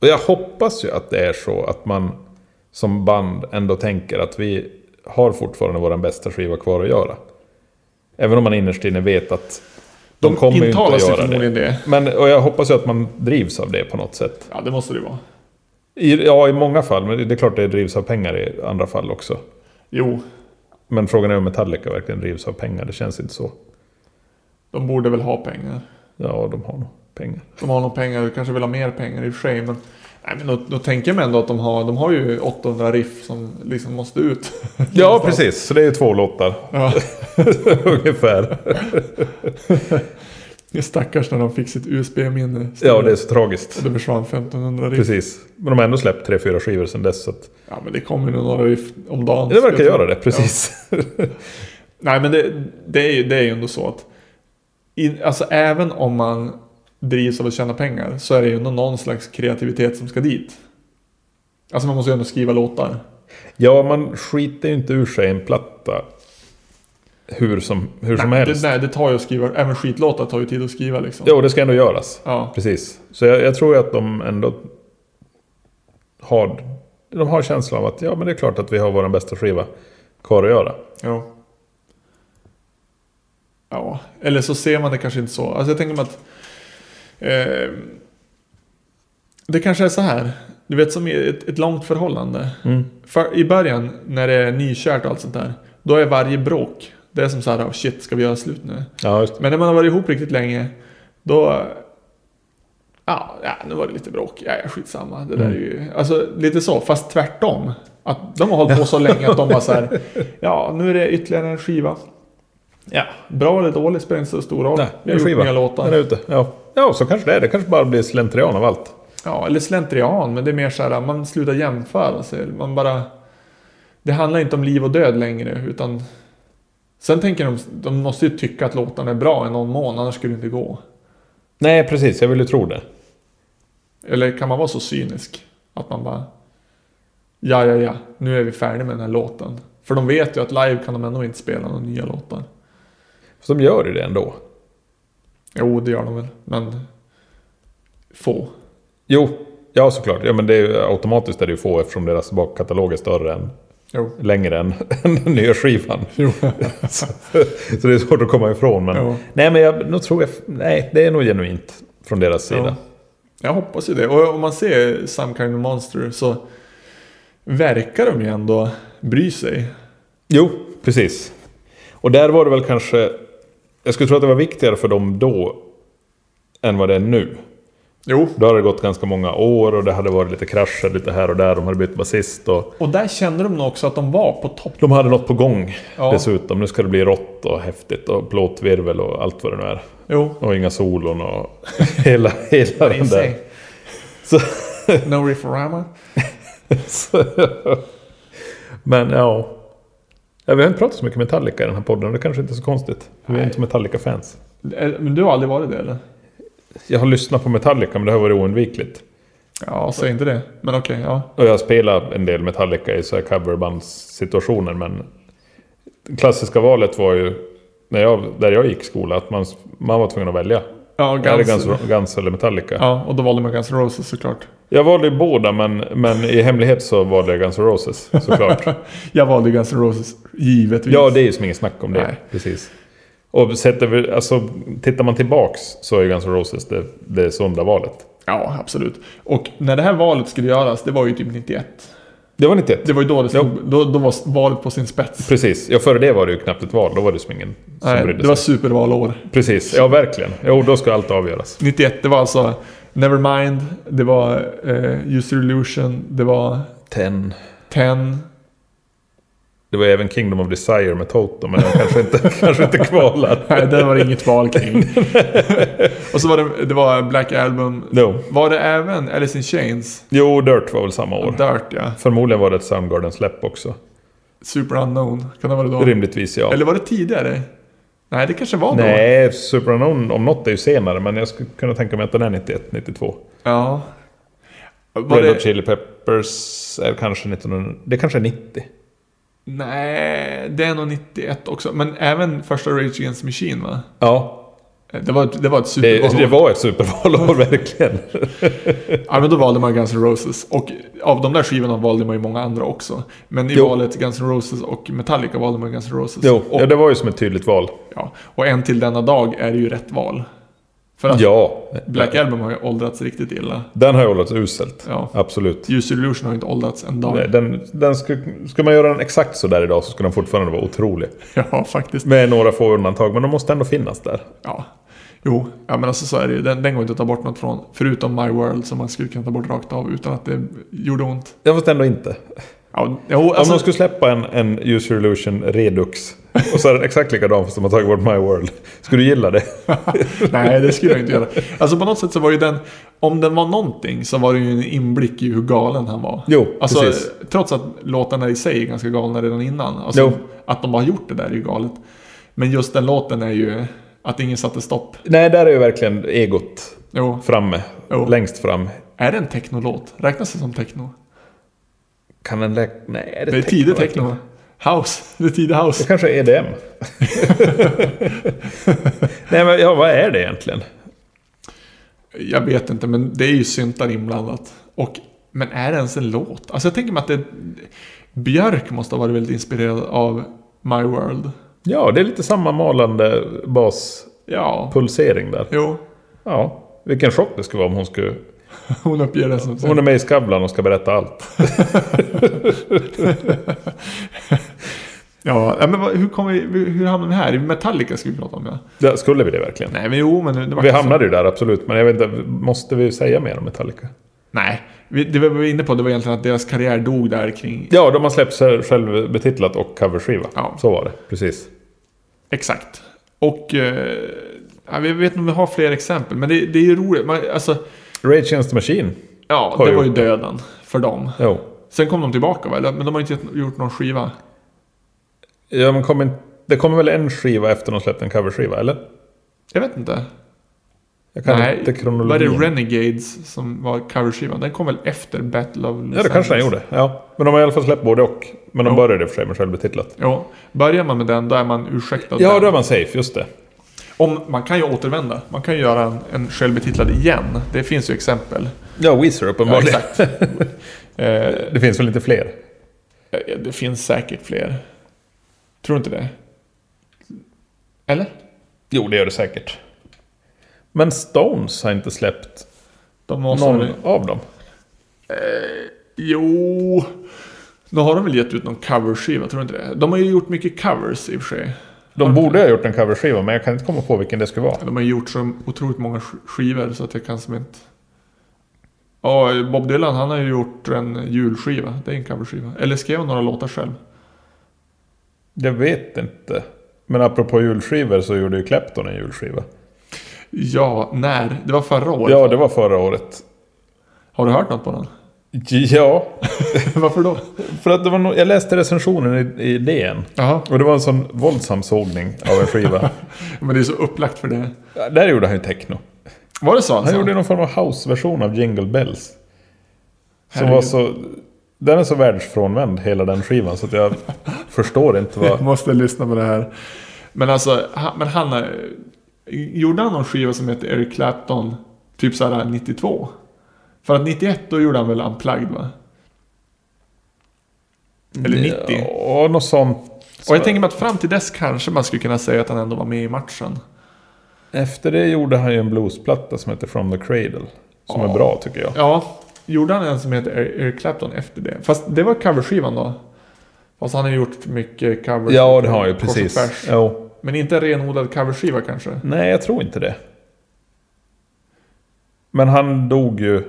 Och jag hoppas ju att det är så att man som band ändå tänker att vi har fortfarande vår bästa skiva kvar att göra. Även om man innerst inne vet att de,
De
kommer ju inte
intalar
att
sig
göra
förmodligen
det.
det.
Men, och jag hoppas ju att man drivs av det på något sätt.
Ja, det måste det ju vara.
I, ja, i många fall. Men det är klart det drivs av pengar i andra fall också.
Jo,
Men frågan är om Metallica verkligen drivs av pengar. Det känns inte så.
de borde väl ha pengar.
Ja, de har nog pengar.
De har nog pengar, kanske vill ha mer pengar i och för sig. Men, nej, men då, då tänker jag mig ändå att de har, de har ju 800 riff som liksom måste ut.
Ja, precis. Så det är ju två låtar.
Ja,
Ungefär.
det är stackars när de fick sitt USB-minne.
Ja, det är
och
så tragiskt.
det försvann 1500 riff.
Precis. Men de har ändå släppt tre, fyra skivor sedan dess. Så att...
Ja men det kommer nog några riff om dagen.
Det verkar
skulle jag tro.
göra det, precis.
Ja. Nej men det, det, är ju, det är ju ändå så att i, alltså även om man drivs av att tjäna pengar så är det ju ändå någon slags kreativitet som ska dit. Alltså man måste ju ändå skriva låtar.
Ja, man skiter ju inte ur sig en platta hur som, hur som
nej,
helst.
det, nej, det tar ju att skriva. Även skitlåtar tar ju tid att skriva liksom.
Jo, det ska ändå göras.
Ja.
Precis. Så jag, jag tror ju att de ändå har, de har känslan av att ja, men det är klart att vi har vår bästa skiva kvar att göra.
Jo. Ja, eller så ser man det kanske inte så. Alltså jag tänker mig att... Eh, det kanske är så här. Du vet som i ett, ett långt förhållande.
Mm.
För, I början när det är nykärt och allt sånt där. Då är varje bråk. Det är som så här, oh shit ska vi göra slut nu?
Ja, just det.
Men när man har varit ihop riktigt länge. Då... Ja, ja nu var det lite bråk. Ja, ja skitsamma. Det där är ju...
Mm.
Alltså lite så, fast tvärtom. Att de har hållit på så länge att de bara så här. Ja, nu är det ytterligare en skiva. Ja, bra eller dåligt spelar inte så stor roll.
Nej,
vi har gjort
skiva.
nya
Den är
låtar.
ute. Ja. ja, så kanske det är. Det kanske bara blir slentrian av allt.
Ja, eller slentrian. Men det är mer så här, man slutar jämföra sig. Man bara... Det handlar inte om liv och död längre, utan... Sen tänker de, de måste ju tycka att låtarna är bra i någon mån, annars skulle det inte gå.
Nej, precis. Jag vill ju tro det.
Eller kan man vara så cynisk att man bara... Ja, ja, ja, nu är vi färdiga med den här låten. För de vet ju att live kan de ändå inte spela några nya låtar.
Fast de gör ju det ändå.
Jo, det gör de väl, men... Få.
Jo, ja såklart. Ja, men det är ju, automatiskt är det ju få eftersom deras bakkatalog är större än,
Jo.
längre än, än den nya skivan. så, så det är svårt att komma ifrån. Men,
jo.
Nej, men jag nog tror jag... Nej, det är nog genuint från deras sida.
Jag hoppas ju det. Och om man ser Some Kind of Monster så verkar de ju ändå bry sig.
Jo, precis. Och där var det väl kanske... Jag skulle tro att det var viktigare för dem då än vad det är nu.
Jo.
Då hade det gått ganska många år och det hade varit lite krascher lite här och där. De hade bytt basist och...
Och där kände de nog också att de var på topp.
De hade något på gång
Ja.
dessutom. Nu ska det bli rått och häftigt och plåtvirvel och allt vad det nu är.
Jo.
Och inga solon och hela, hela den där. Så,
No Rifferama.
så, men ja. ja. Vi har inte pratat så mycket Metallica i den här podden och det kanske inte är så konstigt. Vi är
Nej.
inte Metallica-fans.
Eh, Men du har aldrig varit det eller?
Jag har lyssnat på Metallica men det har varit oundvikligt.
Ja, säg inte det. Men okej, ja.
Och jag spelar en del Metallica i så här coverbandssituationer men det klassiska valet var ju när jag, där jag gick skola att man, man var tvungen att välja.
Ja,
Är det
Guns.
Guns, Guns eller Metallica?
Ja, och då valde man Guns N' Roses såklart.
Jag valde ju båda men, men i hemlighet så valde jag Guns N' Roses såklart.
Jag valde Guns N' Roses, givetvis.
ja, det är ju som inget snack om det.
Nej.
Precis. Och sett över, alltså, tittar man tillbaks så är ju Guns N' Roses det, det sunda valet.
ja, absolut. Och när det här valet skulle göras, det var ju typ 91.
Det var 91.
Det var ju då det stod, då, då var valet på sin spets.
Precis, ja före det var det ju knappt ett val. Då var det som ingen som
Nej,
brydde
det var
sig.
supervalår.
Precis, ja verkligen. Jo, då ska allt avgöras.
91, det var alltså Nevermind, det var eh, User Illusion, det var
Ten.
Ten.
Det var ju även Kingdom of Desire med Totem, men den kanske inte, kanske inte kvalar.
Nej, där var det inget val kring. och så var det, det var Black Album.
No.
Var det även Alice in Chains?
Jo, Dirt var väl samma år.
Dirt ja.
Förmodligen var det ett Soundgarden-släpp också.
Super Unknown, kan det vara då?
Rimligtvis ja.
Eller var det tidigare? Nej, det kanske var då.
Nej, Super Unknown om något är ju senare, men jag skulle kunna tänka mig att den är 91, 92.
Ja. Var
Red Hot
det...
Chili Peppers är kanske 1900, det kanske är 90.
Nej, det är nog 91 också. Men även första Rage Against the Machine va?
Ja,
Det var, ett- det var ett
det,
superval.
det var ett supervalår verkligen.
Ja, men då valde man Guns N' Roses. Och av de där skivorna valde man ju många andra också. Men i
Jo.
valet Guns N' Roses och Metallica valde man Guns N' Roses.
Jo,
Och,
ja, det var ju som ett tydligt val.
ja. och än till denna dag är det ju rätt val. För att
Ja,
Black Album har ju åldrats riktigt illa.
den har ju hållits uselt.
Ja.
Absolut.
Use Illusion har ju inte åldrats en dag.
Nej, Den, den skulle, skulle man göra den exakt så där idag så skulle den fortfarande vara otrolig.
Ja, faktiskt.
Med några få undantag, men de måste ändå finnas där.
Ja. Jo, ja, men alltså så är det ju. Den, den går inte att ta bort något från. Förutom My World som man skulle kunna ta bort rakt av utan att det gjorde ont.
Jag fast ändå inte.
Ja, jo, alltså,
Om de skulle släppa en, en User Illusion Redux och så är den exakt likadan fast de har tagit bort My World. Skulle du gilla det?
Nej, det skulle jag inte göra. Alltså på något sätt så var ju den, om den var någonting så var det ju en inblick i hur galen han var.
Jo,
alltså,
precis.
Trots att låtarna i sig är ganska galna redan innan. Alltså,
Jo.
Att de bara gjort det där är ju galet. Men just den låten är ju att ingen satte stopp.
Nej, där är ju verkligen egot
Jo.
framme.
Jo.
Längst fram.
Är det en technolåt? Räknas det som techno?
Kan den lägga... Nej,
Det är tidig techno. va? House. Det är tidig
Det
house.
kanske är E EDM. Nej men ja, vad är det egentligen?
Jag vet inte, men det är ju syntar inblandat. Och, men är det ens en låt? Alltså jag tänker mig att det... Björk måste ha varit väldigt inspirerad av My World.
Ja, det är lite samma malande baspulsering
Ja.
där.
Jo,
Ja, vilken chock det skulle vara om hon skulle...
hon uppger det som
Hon är med i Skavlan och ska berätta allt.
Ja, ja, men vad- hur, kommer vi, hur hamnar vi här? Metallica ska vi prata om ja.
Ja, Skulle vi det verkligen?
Nej, men jo, men... Det var
Vi hamnade ju där absolut, men jag vet inte, måste vi säga mer om Metallica?
Nej, vi, det vi var inne på det var egentligen att deras karriär dog där kring...
Ja, de har släppt sig självbetitlat och coverskiva.
Ja.
Så var det, precis.
Exakt. Och... Eh, ja, vi vet inte om vi har fler exempel, men det, det är ju roligt. Man, alltså,
Rage Against the Machine.
ja,
Har
det
ju-
var ju döden för dem.
Jo.
Sen kom de tillbaka va? Eller- Men de har inte gett- gjort någon skiva.
Ja, men kom in, det kommer väl en skiva efter de släppte en coverskiva, eller?
Jag vet inte.
Jag kan
Nej,
inte
Var det
kronologin.
Renegades som var coverskivan? Den kom väl efter Battle of Los
Ja, det kanske den
Angeles?
gjorde. Ja. Men de har i alla fall släppt både och. Men de
Jo.
började i och för sig med självbetitlat.
Ja, börjar man med den då är man ursäktad.
Ja,
den.
då är man safe, just det.
Om, man kan ju återvända. Man kan ju göra en, en självbetitlad igen. Det finns ju exempel.
Ja, Weezer uppenbarligen.
Eh,
det finns väl inte fler?
Eh, Det finns säkert fler. Tror du inte det? Eller?
Jo, det gör det säkert. Men Stones har inte släppt
De måste
någon
väl-
av dem.
Jo... Nu har de väl gett ut någon coverskiva, tror du inte det? De har ju gjort mycket covers i och för sig.
De borde ha gjort en coverskiva, men jag kan inte komma på vilken det skulle vara.
De har ju gjort så otroligt många sk- skivor så att jag kan som inte... Ja, Bob Dylan han har ju gjort en julskiva. Det är en coverskiva. Eller skrev han några låtar själv?
Jag vet inte. Men apropå julskivor så gjorde ju Clapton en julskiva.
Ja, när? Det var förra året.
Ja, det var förra året.
Har du hört något på den?
Ja,
Varför då?
för att det var no- jag läste recensionen i, i DN.
Jaha,
Och det var en sån våldsam sågning av en skiva.
men det är så upplagt för det.
Ja, Där gjorde han ju techno.
Var det så alltså?
Han gjorde någon form av house-version av Jingle Bells. Som
Herregud.
var så... Den är så världsfrånvänd, hela den skivan, så att jag förstår inte
Jag
vad...
måste lyssna på det här. Men alltså, han, men han... eh, Gjorde han någon skiva som heter Eric Clapton? Typ såhär 92? För att 91 då gjorde han väl Unplugged va? Eller 90?
Ja, något sånt.
Och jag tänker mig att fram till dess kanske man skulle kunna säga att han ändå var med i matchen.
Efter det gjorde han ju en bluesplatta som heter From the Cradle. Som
Ja.
är bra, tycker jag.
Ja, gjorde han en som heter Eric Eric Clapton efter det? Fast det var coverskivan då. Fast han har gjort mycket covers.
Ja, det har han ju,
Kors och
precis.
tvärs.
Jo.
Men inte en renodlad coverskiva kanske?
Nej, jag tror inte det. Men han dog ju...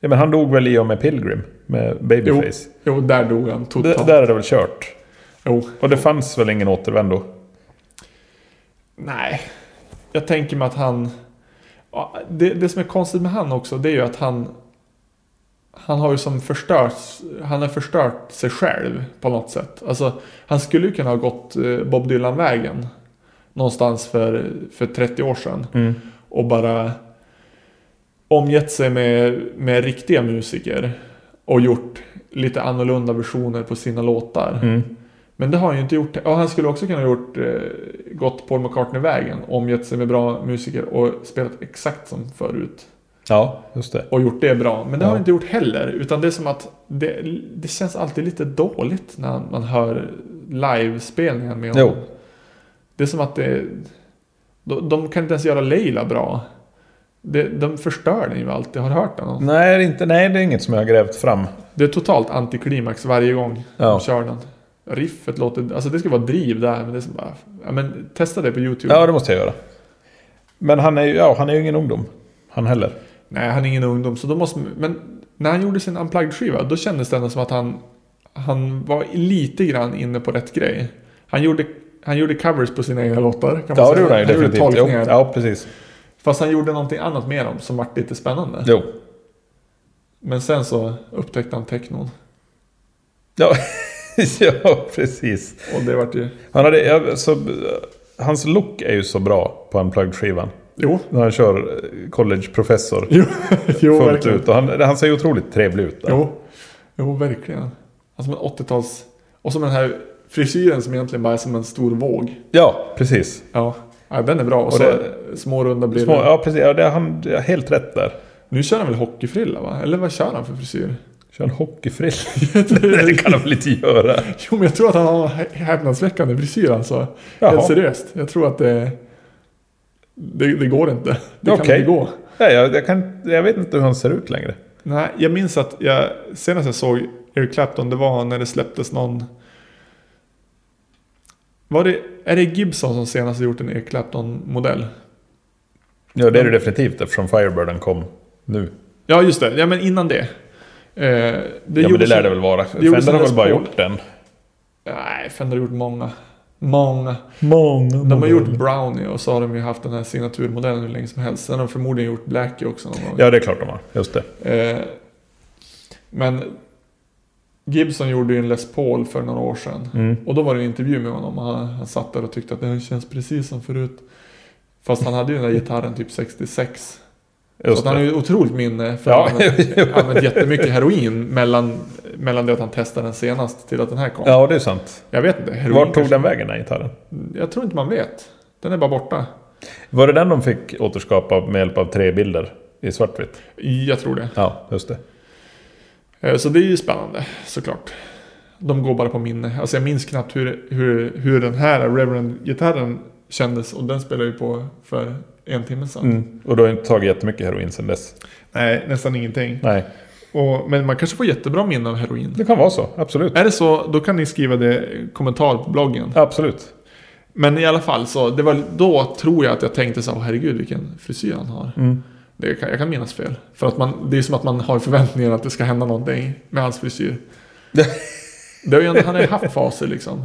Ja, men han dog väl i och med Pilgrim, med Babyface.
Jo, där dog han
D-
totalt.
där är det väl kört.
Jo.
Och det fanns väl ingen återvändo?
Nej. Jag tänker mig att han... Ja, Det, det som är konstigt med han också, det är ju att han... Han har ju som förstört... Han har förstört sig själv på något sätt. Alltså, han skulle ju kunna ha gått eh, Bob Dylan-vägen. Någonstans för, för 30 år sedan.
Mm.
Och bara... Omgett sig med, med riktiga musiker. Och gjort lite annorlunda versioner på sina låtar.
Mm.
Men det har han ju inte gjort. Ja, han skulle också kunna ha gjort, eh, gått Paul McCartney-vägen, omgett sig med bra musiker och spelat exakt som förut.
Ja, just det.
Och gjort det bra. Men det har
Ja.
han inte gjort heller. Utan det är som att det, det känns alltid lite dåligt när man hör livespelningen med honom.
Jo.
Det är som att det... De, de kan inte ens göra Leila bra. Det, de förstör den ju alltid. Har du hört den?
Nej, det är, inte, nej, det är inget som jag har grävt fram.
Det är totalt antiklimax varje gång
Ja.
de kör den. Riffet låter... Alltså det ska vara driv där, men det är som bara... Ja, men testa det på YouTube.
Ja, det måste jag göra. Men han är ju, ja, han är ju ingen ungdom. Han heller.
Nej, han är ingen ungdom, så då måste... Men när han gjorde sin Unplugged-skiva, då kändes det ändå som att han... Han var lite grann inne på rätt grej. Han gjorde, han gjorde covers på sina egna låtar, kan man
Ja,
säga.
det gjorde han ju
gjorde
definitivt. Jo,
tolkningar.
ja, precis.
Fast han gjorde någonting annat med dem som vart lite spännande.
Jo.
Men sen så upptäckte han technon.
Ja, ja precis.
Och det vart ju...
Han hade, ja, så, hans look är ju så bra på Unplugged-skivan.
Jo.
När han kör eh, college-professor
Jo, jo
fullt
verkligen.
ut. Och han, han ser ju otroligt trevlig ut. Där.
Jo. jo, verkligen. Alltså, Som en 80-tals... Och som den här frisyren som egentligen bara är som en stor våg.
Ja, precis.
Ja, ja den är bra. Och,
Och
så
det-
små runda brillor.
Små, ja, precis. Ja, det, han det är helt rätt där.
Nu kör han väl hockeyfrilla va? Eller vad kör han för frisyr?
Kör en hockeyfrill. Nej, det kan han väl inte göra?
Jo men jag tror att han har hä- häpnadsväckande frisyr alltså. Helt
Jaha.
seriöst. Jag tror att det... Det, det går inte. Det kan
Okej.
inte gå.
Ja, jag, jag, kan, jag vet inte hur han ser ut längre.
Nej, jag minns att jag senast jag såg Eric Clapton, det var när det släpptes någon... Var det, är det Gibson som senast har gjort en Eric Clapton-modell?
Ja, det är det definitivt eftersom Firebirden kom nu.
Ja, just det. Ja, men innan det. Eh, det
ja, men det
gjordes-
lär det väl vara.
gjordes
Fender har väl
en
bara
Les Paul.
gjort den.
Nej, Fender har gjort många. Många.
Många
De har gjort Brownie och så har de ju haft den här signaturmodellen hur länge som helst. Sen har de förmodligen gjort Blackie också någon gång.
Ja, det är klart de har. Just det.
Eh, men Gibson gjorde ju en Les Paul för några år sedan.
Mm.
Och då var det en intervju med honom och han, han satt där och tyckte att det här känns precis som förut. Fast han hade ju den där gitarren typ 66. så
Just
att han har
det.
ju otroligt minne för
Ja,
han har använt- använt jättemycket heroin mellan, mellan det att han testade den senast till att den här kom.
Ja, det är sant.
Jag vet inte. Heroin
Vart tog
kanske-
den vägen, den här gitarren?
Jag tror inte man vet. Den är bara borta.
Var det den de fick återskapa med hjälp av tre bilder i svartvitt?
Jag tror det.
Ja, just det.
Eh, Så det är ju spännande såklart. De går bara på minne. Alltså jag minns knappt hur, hur, hur den här Reverend-gitarren kändes och den spelade ju på för en timme sedan.
Mm. Och du har inte tagit jättemycket heroin sedan dess?
Nej, nästan ingenting.
Nej,
Och, men man kanske får jättebra minne av heroin.
det kan vara så. Absolut.
Är det så, då kan ni skriva det i kommentar på bloggen.
Absolut.
Men i alla fall så, det var då tror jag att jag tänkte så här, "Åh, herregud vilken frisyr han har.
Mm.
Det kan, jag kan minnas fel. För att man, det är som att man har förväntningar att det ska hända någonting med hans frisyr. det har ju, ändå- han har ju haft faser liksom.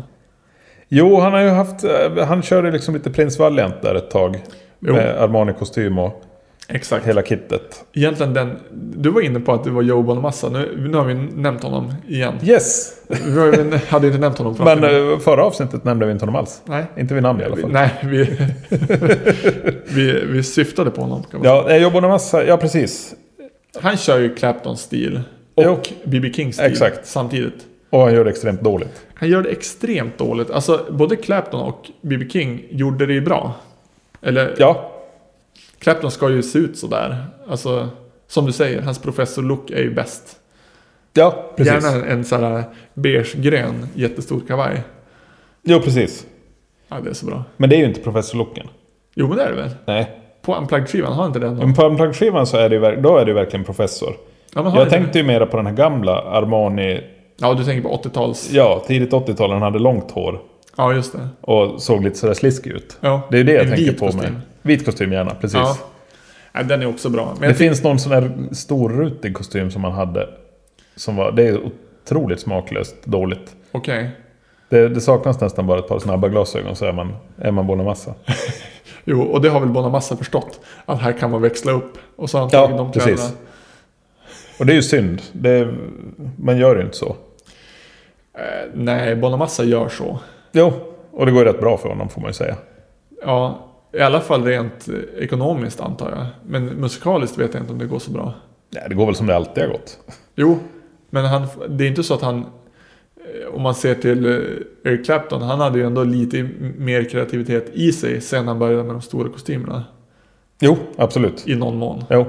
Jo, han har ju haft... eh, Han körde liksom lite Prins Valiant där ett tag.
Jo.
Med Armani-kostym och
Exakt.
hela kittet.
Egentligen den, du var inne på att det var Joe Bonamassa. Nu, nu har vi nämnt honom igen.
Yes!
Vi har ju- hade inte nämnt honom fram
Men
till nu.
eh, förra avsnittet nämnde vi inte honom alls.
Nej.
Inte vid namn i alla fall.
Nej, vi, vi, vi syftade på honom. Kan man
Ja, jag jobbar med massa... Ja, precis.
säga. Han kör ju Clapton-stil
Jo.
och B.B. King-stil
Exakt.
samtidigt.
Och han gör det extremt dåligt.
Han gör det extremt dåligt. Alltså, både Clapton och B.B. King gjorde det ju bra. Eller,
Ja,
Clapton ska ju se ut sådär. Alltså, som du säger, hans professor-look är ju bäst.
ja precis.
Gärna en sån här beige-grön jättestor kavaj.
Jo, precis.
Ja, det är så bra.
Men det är ju inte Professor Loken.
Jo, men det är det väl?
Nej.
På Unplugged-skivan, har inte den någon?
Men på Unplugged-skivan så är det ju, ver- då är det ju verkligen Professor.
Ja, men har
Jag
inte
tänkte ju mera på den här gamla Armani...
den? Ja, du tänker på 80-tals...
Ja, tidigt 80-tal. Han hade långt hår.
Ja, just det.
Och såg lite sådär sliskig ut.
Ja.
Det är ju det jag
En
tänker
vit
på
kostym.
med. Vit kostym gärna, precis.
Ja. ja, den är också bra. Men
det
jag tycker-
finns någon sån här storrutig kostym som han hade. Som var, det är otroligt smaklöst dåligt.
Okej.
Det, det saknas nästan bara ett par snabba glasögon så är man, är man Bonamassa.
Jo, och det har väl Bonamassa förstått. Att här kan man växla upp. Och så har han
Ja,
tagit de
precis.
kläderna.
Och det är ju synd. Det, man gör ju inte så.
Eh, nej, Bonamassa gör så.
Jo, och det går ju rätt bra för honom får man ju säga.
Ja, i alla fall rent eh, ekonomiskt antar jag. Men musikaliskt vet jag inte om det går så bra.
Nej, det går väl som det alltid har gått.
Jo, men han, det är inte så att han... eh, Om man ser till eh, Eric Clapton, han hade ju ändå lite m- mer kreativitet i sig sen han började med de stora kostymerna.
Jo, absolut.
I någon mån.
Jo,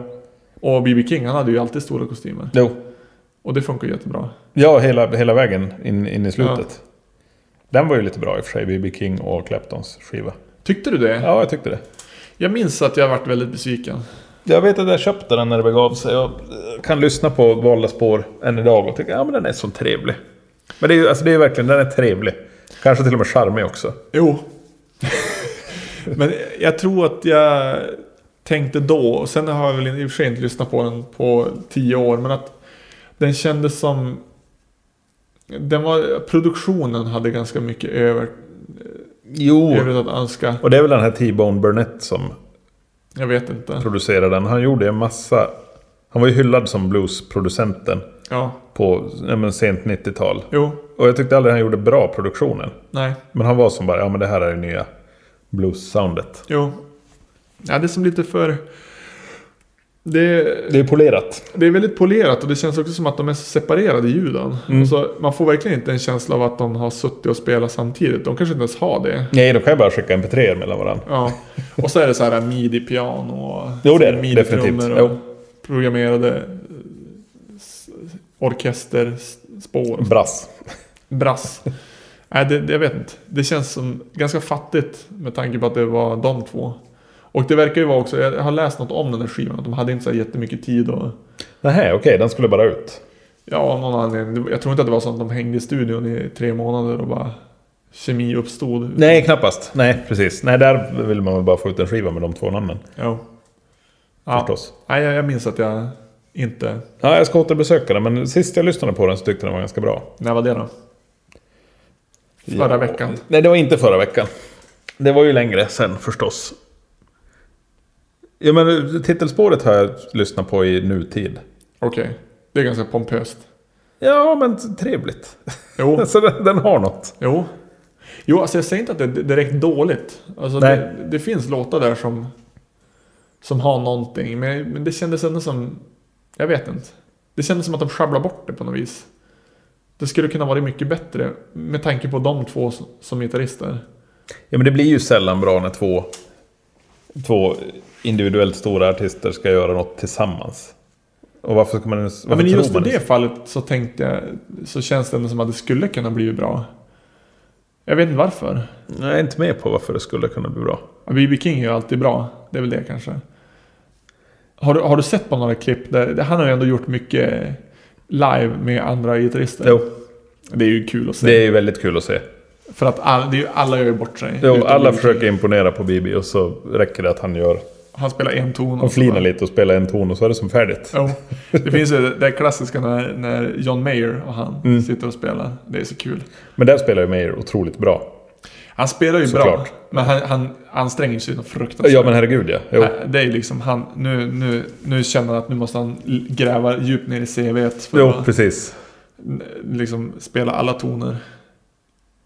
Och B.B. King, han hade ju alltid stora kostymer.
jo.
Och det funkar jättebra.
Ja, hela, hela vägen in, in i slutet. Den var ju lite bra i och för sig, B.B. King och Claptons skiva.
Tyckte du det?
Ja, jag tyckte det.
Jag minns att jag varit väldigt besviken.
Jag vet att jag köpte den när det begav sig. Jag eh, kan lyssna på valda spår än idag och tycka ja men den är så trevlig. Men det är ju alltså, det är ju verkligen, den är trevlig. Kanske till och med charmig också.
Jo. Men jag tror att jag tänkte då, och sen har jag väl i och för sig inte lyssnat på den på tio år, men att den kändes som... Den var, produktionen hade ganska mycket över,
Jo.
övrigt att önska.
Och det är väl den här T-Bone Burnett som
Jag vet inte.
producerade den. Han gjorde en massa... Han var ju hyllad som bluesproducenten
Ja,
på ja, men sent 90-tal.
jo,
Och jag tyckte aldrig han gjorde bra produktionen.
nej,
Men han var som bara, ja men det här är det nya blues-soundet.
jo. Ja, det är som lite för... Det,
Det är polerat.
det är väldigt polerat och det känns också som att de är separerade ljuden.
Mm.
Alltså, man får verkligen inte en känsla av att de har suttit och spelat samtidigt. De kanske inte ens har det.
Nej, de kan ju bara skicka mp 3 mellan varandra.
Ja. Och så är det så här midi-piano och
Jo, det är det,
midi-trummor
definitivt.
och
Jo.
programmerade eh, s- orkesterspår.
Brass.
Brass. Nej, det, det, jag vet inte. Det känns som ganska fattigt med tanke på att det var de två. Och det verkar ju vara också, jag har läst något om den där skivan, att de hade inte så här jättemycket tid och...
Nähä, okej, den skulle bara ut.
Ja, av någon anledning. Jag tror inte att det var så att de hängde i studion i tre månader och bara... Kemi uppstod.
Nej, knappast. Nej, precis. Nej, där vill man väl bara få ut en skiva med de två namnen.
Jo. Ja.
Förstås.
Nej, jag, jag minns att jag inte...
Ja, jag ska återbesöka den, men sist jag lyssnade på den så tyckte jag den var ganska bra.
När var det då? Förra
Ja.
veckan.
Nej, det var inte förra veckan. Det var ju längre sen förstås. Ja, men titelspåret har jag lyssnat på i nutid.
Okej. Det är ganska pompöst.
Ja, men trevligt.
Jo.
Så den, den har något.
jo. Jo, alltså jag säger inte att det är direkt dåligt. Alltså
Nej.
det, det finns låtar där som... Som har någonting. Men, men det kändes ändå som... Jag vet inte. Det kändes som att de sjabblar bort det på något vis. Det skulle kunna varit mycket bättre. Med tanke på de två som, som gitarrister.
Ja, men det blir ju sällan bra när två, två individuellt stora artister ska göra något tillsammans. Och varför ska man ens...
Ja,
Varför
men
tror
just i
man
det
ens-
fallet så tänkte jag... Så känns det ändå som att det skulle kunna bli bra. Jag vet inte varför.
Jag är inte med på varför det skulle kunna bli bra.
Ja, BB King är ju alltid bra. Det är väl det kanske. Har du, har du sett på några klipp där... Han har ju ändå gjort mycket live med andra gitarrister.
Jo,
Det är ju kul att se.
det är ju väldigt kul att se.
För att all, det är ju, alla gör ju bort sig.
Jo,
Utom
alla
BB
försöker
King.
imponera på Bibi och så räcker det att han gör...
Han spelar en ton.
Han
och så
flinar
bara-
lite och spelar en ton och så är det som färdigt.
Jo. Det finns ju det där klassiska när, när John Mayer och han
Mm.
sitter och spelar. Det är så kul.
Men där spelar ju Meyer otroligt bra.
Han spelar ju bra.
Såklart.
Men han, han anstränger sig något fruktansvärt.
Ja men herregud ja. Jo.
Nej, Det är ju liksom han, nu, nu, nu känner han att nu måste han l- gräva djupt ner i CVet för
Jo,
att
precis.
n- liksom spela alla toner.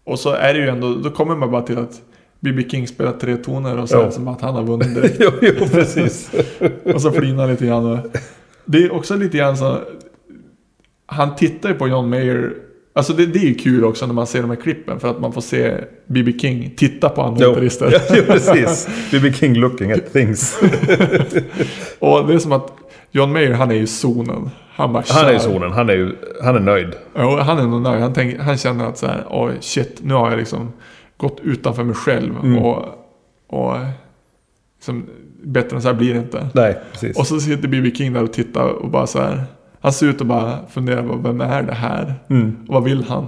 Och så är det ju ändå, då kommer man bara till att B.B. King spelar tre toner och så
Jo.
är det som att han har vunnit direkt.
jo, jo, precis.
Och så flinar han lite grann. Och, det är också lite grann så, han tittar ju på John Mayer. Alltså det, det är ju kul också när man ser de här klippen för att man får se B.B. King titta på andra
jo.
gitarrister.
Ja, jo, precis. Bibi King looking at things.
Och det är som att John Mayer, han är ju i zonen. Han bara
Han är i
kör.
zonen. Han är ju... Han är nöjd.
Jo, han är nog nöjd. Han, tänker, han känner att så här, oj shit, nu har jag liksom gått utanför mig själv
Mm.
och, och liksom, bättre än så här blir det inte.
Nej, precis.
Och så sitter B.B. King där och tittar och bara så här, han ser ut och bara funderar på vem är det här?
Mm.
Och vad vill han?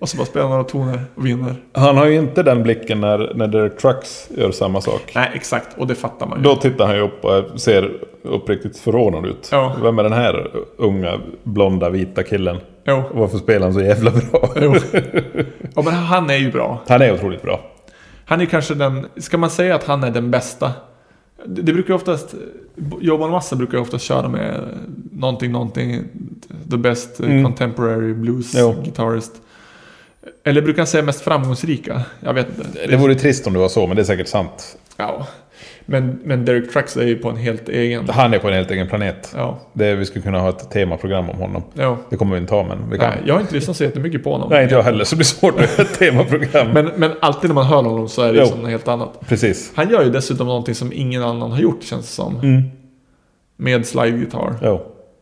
och så bara spelar några toner och vinner.
Han har ju inte den blicken när, när Derek Trucks gör samma sak.
Nej, exakt. Och det fattar man ju.
Då tittar han ju upp och ser uppriktigt förvånad ut.
Ja.
Vem är den här unga, blonda, vita killen?
Jo.
Och varför spelar han så jävla bra?
jo. ja, men han är ju bra.
Han är otroligt bra.
Han är kanske den, ska man säga att han är den bästa? Det, det brukar ju oftast, Joe Massa brukar ju oftast köra med eh, någonting, någonting, the best eh,
Mm.
contemporary blues
Jo.
guitarist. Eller brukar han säga mest framgångsrika? Jag vet inte.
Det vore trist om det var så, men det är säkert sant.
Ja. Men, men Derek Trucks är ju på en helt egen.
Han är på en helt egen planet.
Ja.
Det, vi skulle kunna ha ett temaprogram om honom.
ja.
Det kommer vi inte ha, men vi kan.
Nej,
Nej,
jag har inte lyssnat så jättemycket på honom.
inte jag heller, så det blir svårt att göra ett temaprogram.
Men, men alltid när man hör honom så är det
Jo.
som något helt annat.
Precis.
Han gör ju dessutom någonting som ingen annan har gjort känns det som.
Mm.
Med slide-gitarr.
Jo.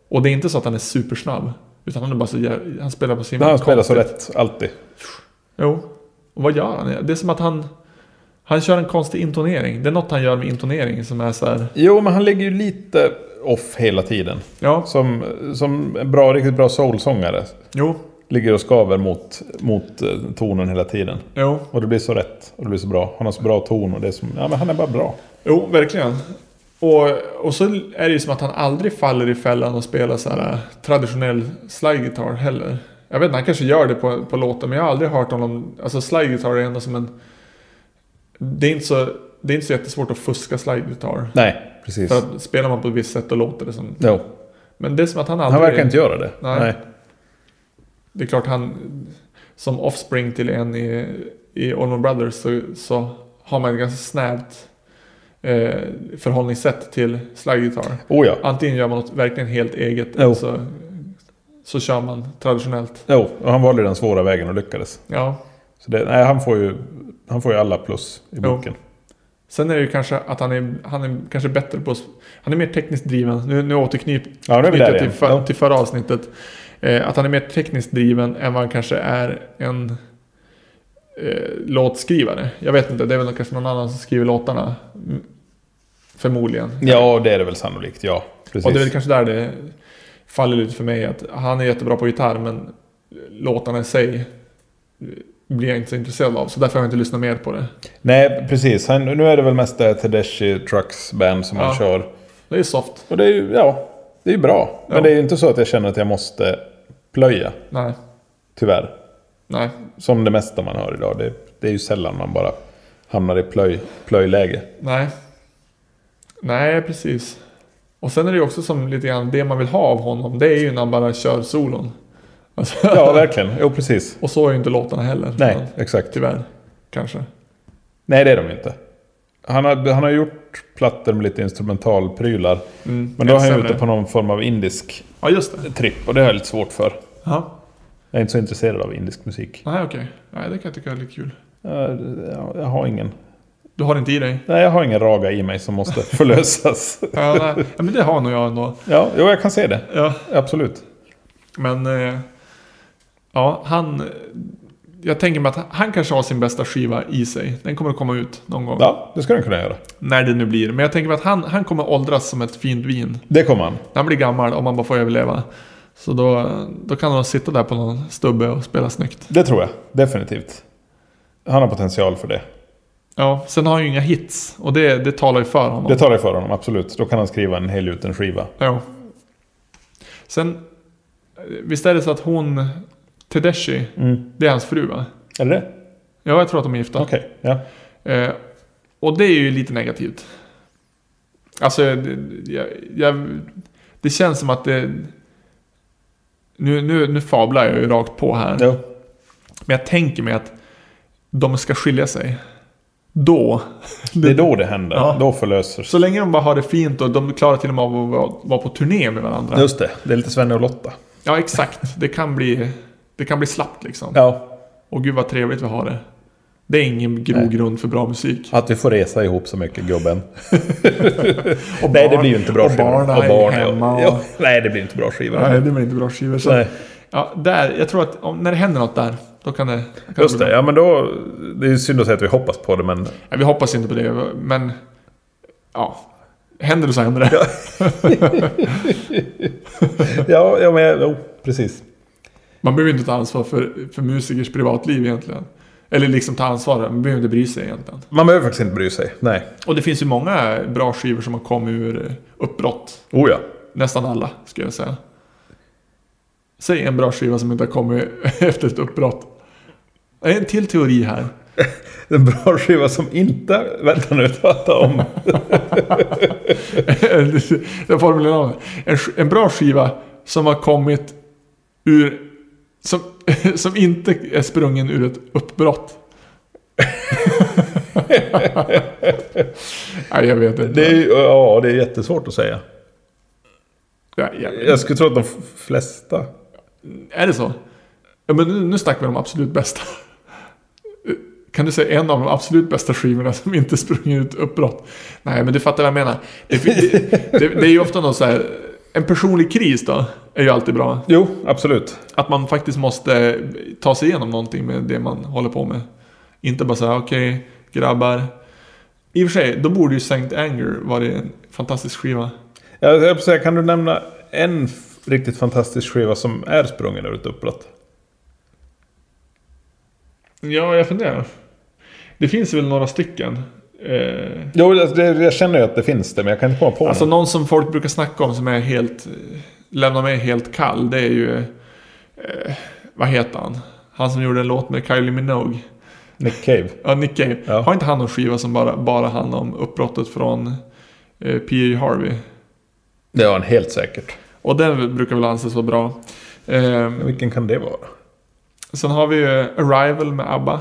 Och det är inte så att han är supersnabb. Utan han är bara så jä- Han spelar på sin...
Han spelar så
konstigt.
rätt, alltid.
Jo. Och vad gör han? Det är som att han... Han kör en konstig intonering. Det är något han gör med intonering som är så här...
Jo, men han ligger ju lite off hela tiden.
Ja,
Som, som en bra, riktigt bra soulsångare.
jo,
Ligger och skaver mot, mot eh, tonen hela tiden.
jo.
Och det blir så rätt och det blir så bra. Han har så bra ton och det är som... Ja, men han är bara bra.
Jo, verkligen. Och, och så är det ju som att han aldrig faller i fällan och spelar så här eh, traditionell slide-gitarr heller. Jag vet inte, han kanske gör det på, på låten men jag har aldrig hört honom... Alltså slide-gitarr är ändå som en... Det är inte så, det är inte så jättesvårt att fuska slide-gitarr.
Nej, precis.
För att spelar man på ett visst sätt då låter det som...
Jo.
Men det är som att han
Han
aldrig...
verkar inte göra det.
Nej. Det är klart han... Som offspring till en i, i Allman Brothers så, så har man ett ganska snävt eh, förhållningssätt till slaggitarr.
Oh ja.
Antingen gör man något verkligen helt eget
Jo.
eller så, så kör man traditionellt.
Jo, och han valde den svåra vägen och lyckades.
Ja.
Så det, nej, han, får ju, han får ju alla plus i boken.
Sen är det ju kanske att han är, han är kanske bättre på... Han är mer tekniskt driven. Nu, nu återknyter
Ja, nu är vi där
jag typ till,
igen.
för,
Ja.
till förra avsnittet. Eh, att han är mer tekniskt driven än vad han kanske är en eh, låtskrivare. Jag vet inte, det är väl kanske någon annan som skriver låtarna. Mm. Förmodligen.
ja, det är det väl sannolikt. Ja, precis.
Och det är väl kanske där det faller lite för mig. Att han är jättebra på gitarr men låtarna i sig eh, blir jag inte så intresserad av. Så därför har jag inte lyssnat mer på det.
Nej, precis. Han, nu är det väl mest det Tedeschi Trucks Band som han
Ja.
kör.
Det är soft.
Och det är ju, ja, det är ju bra. Men
Ja.
det är ju inte så att jag känner att jag måste plöja,
Nej.
tyvärr.
Nej.
Som det mesta man hör idag. Det, det är ju sällan man bara hamnar i plöj, plöjläge.
Nej. Nej, precis. Och sen är det ju också som lite grann det man vill ha av honom. Det är ju när han bara kör solon. Alltså,
Ja, verkligen. Jo, precis.
och så är ju inte låtarna heller. Men,
Nej, Mm. exakt.
tyvärr. Kanske.
Nej, det är de inte. Han har, han har gjort plattor med lite instrumentalprylar.
Mm,
Men då är han ju
sämre.
ute på någon form av indisk
Ja, just det.
tripp. Och det har jag lite svårt för.
Ja.
Jag är inte så intresserad av indisk musik.
Nej, okej. Nej, det kan jag tycka är lite kul.
Jag, jag har ingen...
Du har det inte i dig?
Nej, jag har ingen raga i mig som måste förlösas.
Ja, nej. ja men det har nog jag ändå.
Ja, jo, jag kan se det.
Ja.
Absolut.
Men... Eh, ja, han... Jag tänker mig att han kanske har sin bästa skiva i sig. Den kommer att komma ut någon gång.
Ja, det ska den kunna göra.
När det nu blir. Men jag tänker mig att han, han kommer åldras som ett fint vin.
Det kommer han.
När han blir gammal, om han bara får överleva. Så då, då kan han sitta där på någon stubbe och spela snyggt.
Det tror jag. Definitivt. Han har potential för det.
Ja, sen har han ju inga hits. Och det, det talar ju för honom.
Det tar jag för honom, absolut. Då kan han skriva en helgjuten skiva.
Ja. Sen, visst är det så att hon, Tedeschi,
Mm.
det är hans fru va?
Är det det?
Ja, jag tror att de är gifta.
Okej. Ja.
Eh, och det är ju lite negativt. Alltså, det- jag, jag, det känns som att det... Nu, nu, nu fablar jag ju rakt på här.
Jo.
Men jag tänker mig att de ska skilja sig. Då.
Det är då det händer.
Ja.
Då förlöser
Så länge de bara har det fint och de klarar till och med av att vara- vara på turné med varandra.
Just det. Det är lite Svenne och Lotta.
Ja, exakt. Det kan bli, det kan bli slappt liksom.
Ja.
Och gud vad trevligt vi har det. Det är ingen grogrund för bra musik.
Att vi får resa ihop så mycket, gubben.
Och
Nej, det
barn-
blir ju inte bra
och
skivor.
barn är
ja.
hemma och-
Ja. Nej, det blir inte bra skivor.
Nej, det blir inte bra skivor. Så,
Nej.
ja, där, jag tror att om, när det händer något där, då kan det... Kan bli
Just
bra.
det. Ja, men då... Det är ju synd att säga att vi hoppas på det, men...
Ja, vi hoppas inte på det, men... Ja. Händer det så händer det.
Ja, ja men... jag- Jo, precis.
Man behöver inte ta ansvar för, för musikers privatliv egentligen. Eller liksom ta ansvar, man behöver inte bry sig egentligen.
Man behöver faktiskt inte bry sig. Nej.
Och det finns ju många bra skivor som har kommit ur eh, uppbrott.
Oh ja.
Nästan alla, skulle jag säga. Säg en bra skiva som inte har kommit efter ett uppbrott. Det är En till teori här.
En bra skiva som inte... Vänta nu, prata om.
jag formulerar om det. En, sk- en bra skiva som har kommit ur... Som, som inte är sprungen ur ett uppbrott. Nej, jag vet inte.
Det är ju... Ja, det är jättesvårt att säga.
Ja, ja.
Jag skulle tro att de f- flesta...
Är det så? Ja, men nu, nu snackar vi om de absolut bästa. Kan du säga en av de absolut bästa skivorna som inte sprungit ut uppbrott? Nej, men du fattar vad jag menar. Det, det, det, det är ju ofta någon så här... En personlig kris då, är ju alltid bra.
Jo, absolut.
Att man faktiskt måste ta sig igenom någonting med det man håller på med. Inte bara säga okej, grabbar. I och för sig, då borde ju Saint Anger varit en fantastisk skiva.
Jag höll på att säga, kan du nämna en f- riktigt fantastisk skiva som är sprungen ur ett uppbrott?
Ja, jag funderar. Det finns väl några stycken. Eh,
Jo, jag, det, jag känner ju att det finns det, men jag kan inte komma på
Alltså
någon.
någon som folk brukar snacka om som är helt... eh, Lämnar mig helt kall. Det är ju... Eh, vad heter han? Han som gjorde en låt med Kylie Minogue.
Nick Cave.
Ja, Nick Cave.
Ja.
Har inte han någon skiva som bara, bara handlar om uppbrottet från eh, P.E. Harvey?
Det har han helt säkert.
Och den brukar väl anses vara bra. Eh,
Men Vilken kan det vara?
sen har vi ju Arrival med ABBA.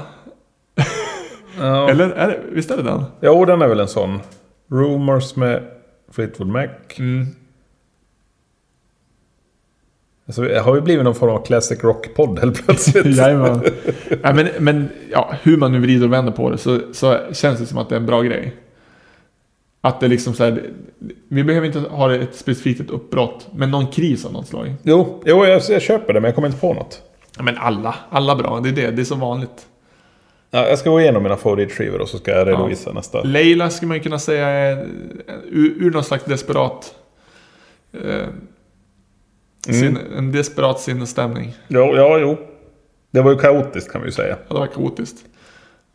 Ja.
Eller är det, visst är det den?
Jo, den är väl en sån. Rumors med Fleetwood Mac.
Mm.
Alltså, det har ju blivit någon form av classic rock-podd helt plötsligt.
Jajamän. Nej, men, men ja, hur man nu vrider och vänder på det så, så känns det som att det är en bra grej. Att det liksom så här, vi behöver inte ha ett specifikt ett uppbrott, men någon kris av något slag.
jo, jo jag, jag köper det men jag kommer inte på något.
Ja, men alla, alla bra, det är det, det är som vanligt.
Ja, jag ska gå igenom mina favoritskivor och så ska jag redovisa nästa.
Leila skulle man ju kunna säga är ur, ur någon slags desperat... Eh, sin, en desperat sinnesstämning.
Jo, ja, jo. Det var ju kaotiskt kan vi ju säga.
Ja, det var kaotiskt.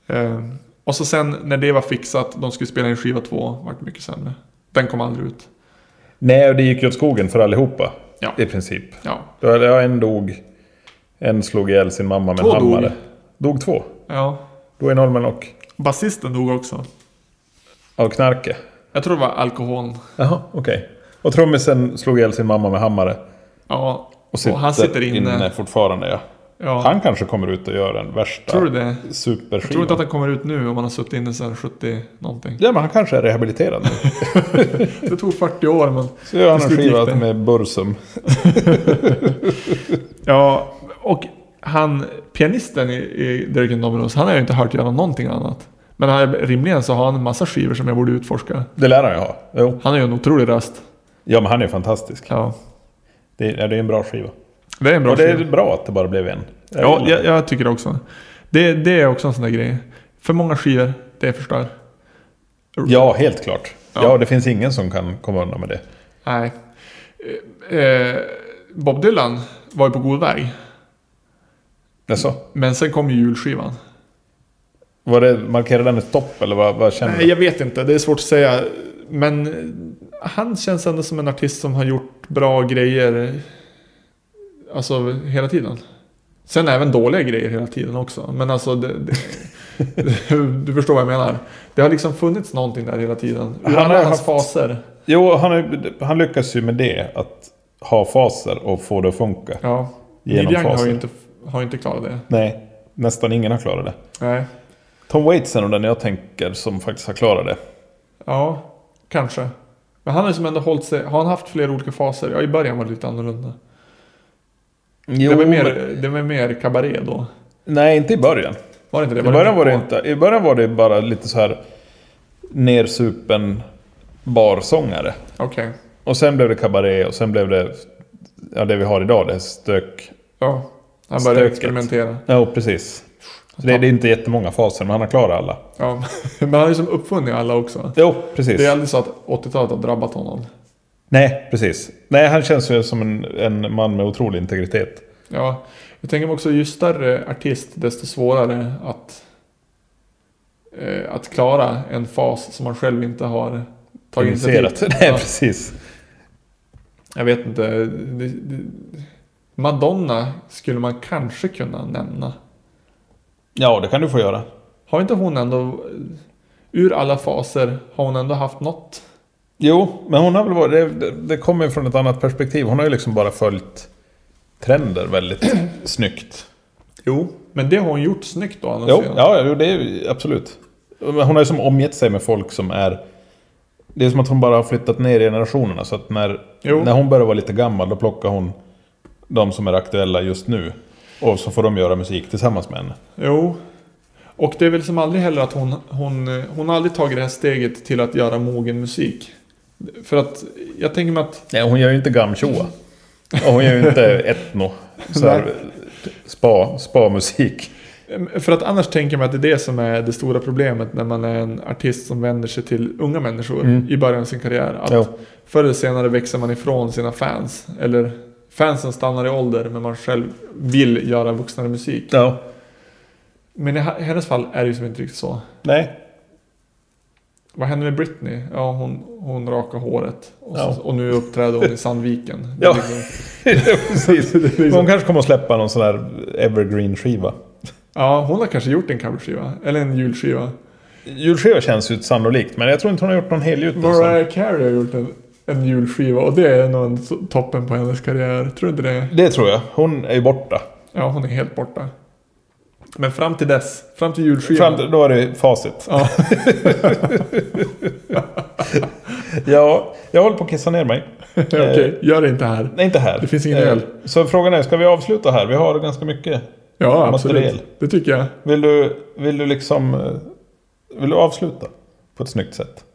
Eh, och så sen när det var fixat, de skulle spela in skiva två, vart mycket sämre. Den kom aldrig ut.
Nej, och det gick ju åt skogen för allihopa.
Ja.
I princip.
Ja,
Det var- Ja, en dog. En slog ihjäl sin mamma med
Två
en hammare.
dog.
Dog två.
ja.
Då är normen och
Basisten dog också.
av knarke.
Jag tror det var alkoholen.
Jaha, okej. Och trummisen slog ihjäl sin mamma med hammare.
Ja, och, han sitter inne.
fortfarande ja.
Ja.
Han kanske kommer ut och gör den värsta
Tror du det? Jag tror
superskivan.
inte att han kommer ut nu om han har suttit inne sedan 70 någonting.
Ja, men han kanske är rehabiliterad nu.
Det tog 40 år men...
Så gör han
Till
en
slut gick
skiva
det.
med Bursum.
Ja, och han, pianisten i, i Derek and Dominos, han har jag ju inte hört göra någonting annat. Men han, rimligen så har han en massa skivor som jag borde utforska.
Det lär han ju ha. Jo.
Han har ju en otrolig röst.
Ja, men han är ju fantastisk.
Ja,
Det är, ja, det är en bra skiva.
det är en bra
och det
skiva.
är bra att det bara blev en. Eh,
Ja,
gillar
jag,
det.
jag tycker det också. Det, det är också en sån där grej. För många skivor, det förstör.
ja, helt klart.
Ja.
Ja. det finns ingen som kan komma undan med det.
Nej. Eh, Bob Dylan var ju på god väg.
Jaså?
Men sen kom ju julskivan.
Var det, markerade den ett stopp eller vad, vad känner
Nej,
du?
jag vet inte. Det är svårt att säga. Men eh, han känns ändå som en artist som har gjort bra grejer. eh, Alltså hela tiden. Sen även dåliga grejer hela tiden också. Men alltså, det, det, du förstår vad jag menar. Det har liksom funnits någonting där hela tiden. Ur
Han har
alla hans
haft-
faser.
Jo, han, är- han lyckas ju med det. Att ha faser och få det att funka.
Ja. Neil
Genom
Young har
faser.
ju inte, har ju inte klarat det.
Nej, nästan ingen har klarat det.
Nej.
Tom Waits är nog den jag tänker som faktiskt har klarat det.
Ja, kanske. Men han har ju som ändå hållit sig. Har han haft flera olika faser? Ja, i början var det lite annorlunda.
Jo,
det, var mer, det var mer kabaré då.
Nej, inte i början.
Var det inte det?
I början var det
på?
inte. I början var det bara lite så här nersupen barsångare.
Okej.
Och sen blev det kabaré och sen blev det ja, det vi har idag, det är stök.
Ja. Han började
Stökigt.
experimentera.
Ja, precis. Så det, det är inte jättemånga faser, men han har klarat alla.
Ja. Men han har ju som uppfunnit alla också.
Jo, precis.
Det är aldrig så att 80-talet har drabbat honom.
Nej, precis. Nej, han känns ju som en, en man med otrolig integritet.
Ja. Jag tänker mig också ju större artist desto svårare att, eh, att klara en fas som man själv inte har tagit initiativ
Initierat. Nej,
Ja.
precis.
Jag vet inte. Det, det, Madonna skulle man kanske kunna nämna.
Ja, det kan du få göra.
Har inte hon ändå... Ur alla faser har hon ändå haft något?
Jo, men hon har väl varit... Det, det, det kommer ju från ett annat perspektiv. Hon har ju liksom bara följt trender väldigt snyggt.
Jo. Men det har hon gjort snyggt då annars.
Jo, ja, jo, det är ju absolut. Men hon har ju som omgett sig med folk som är... Det är som att hon bara har flyttat ner i generationerna. Så att när,
Jo.
när hon börjar vara lite gammal, då plockar hon de som är aktuella just nu. Och så får de göra musik tillsammans med henne.
Jo. Och det är väl som aldrig heller att hon, hon, hon har aldrig tagit det här steget till att göra mogen musik. För att jag tänker mig att...
Nej, hon gör ju inte gamtjoa. Och hon gör ju inte etno. Så här, spa, spa-musik.
För att annars tänker man att det är det som är det stora problemet när man är en artist som vänder sig till unga människor
Mm.
i början av sin karriär. Att
Jo.
Förr eller senare växer man ifrån sina fans. Eller fansen stannar i ålder men man själv vill göra vuxnare musik.
Ja.
Men i h- hennes fall är det ju som inte riktigt så.
Nej.
Vad hände med Britney? Ja, hon, hon rakade håret. Och, så,
Ja.
och nu uppträder hon i Sandviken. Det är
Ja.
liksom-
Precis.
det är
Men Hon
liksom,
kanske kommer att släppa någon sån här evergreen-skiva.
ja, hon har kanske gjort en coverskiva. Eller en julskiva.
Julskiva känns ju sannolikt, men jag tror inte hon har gjort någon helgjuten sån.
Mariah Carey har gjort en, en julskiva och det är nog en so- toppen på hennes karriär. Tror du inte det?
Det tror jag. Hon är ju borta.
Ja, hon är helt borta. Men fram till dess, fram till julskivan.
Fram, till- då är det facit.
Ja.
ja, jag håller på att kissa ner mig.
Okej,
Eh.
gör det inte här.
Nej, inte här.
Det finns ingen
Eh,
öl.
Så frågan är, ska vi avsluta här? Vi har ganska mycket.
Ja,
Material.
absolut. Det tycker jag.
Vill du, vill du liksom... eh, Vill du avsluta? På ett snyggt sätt.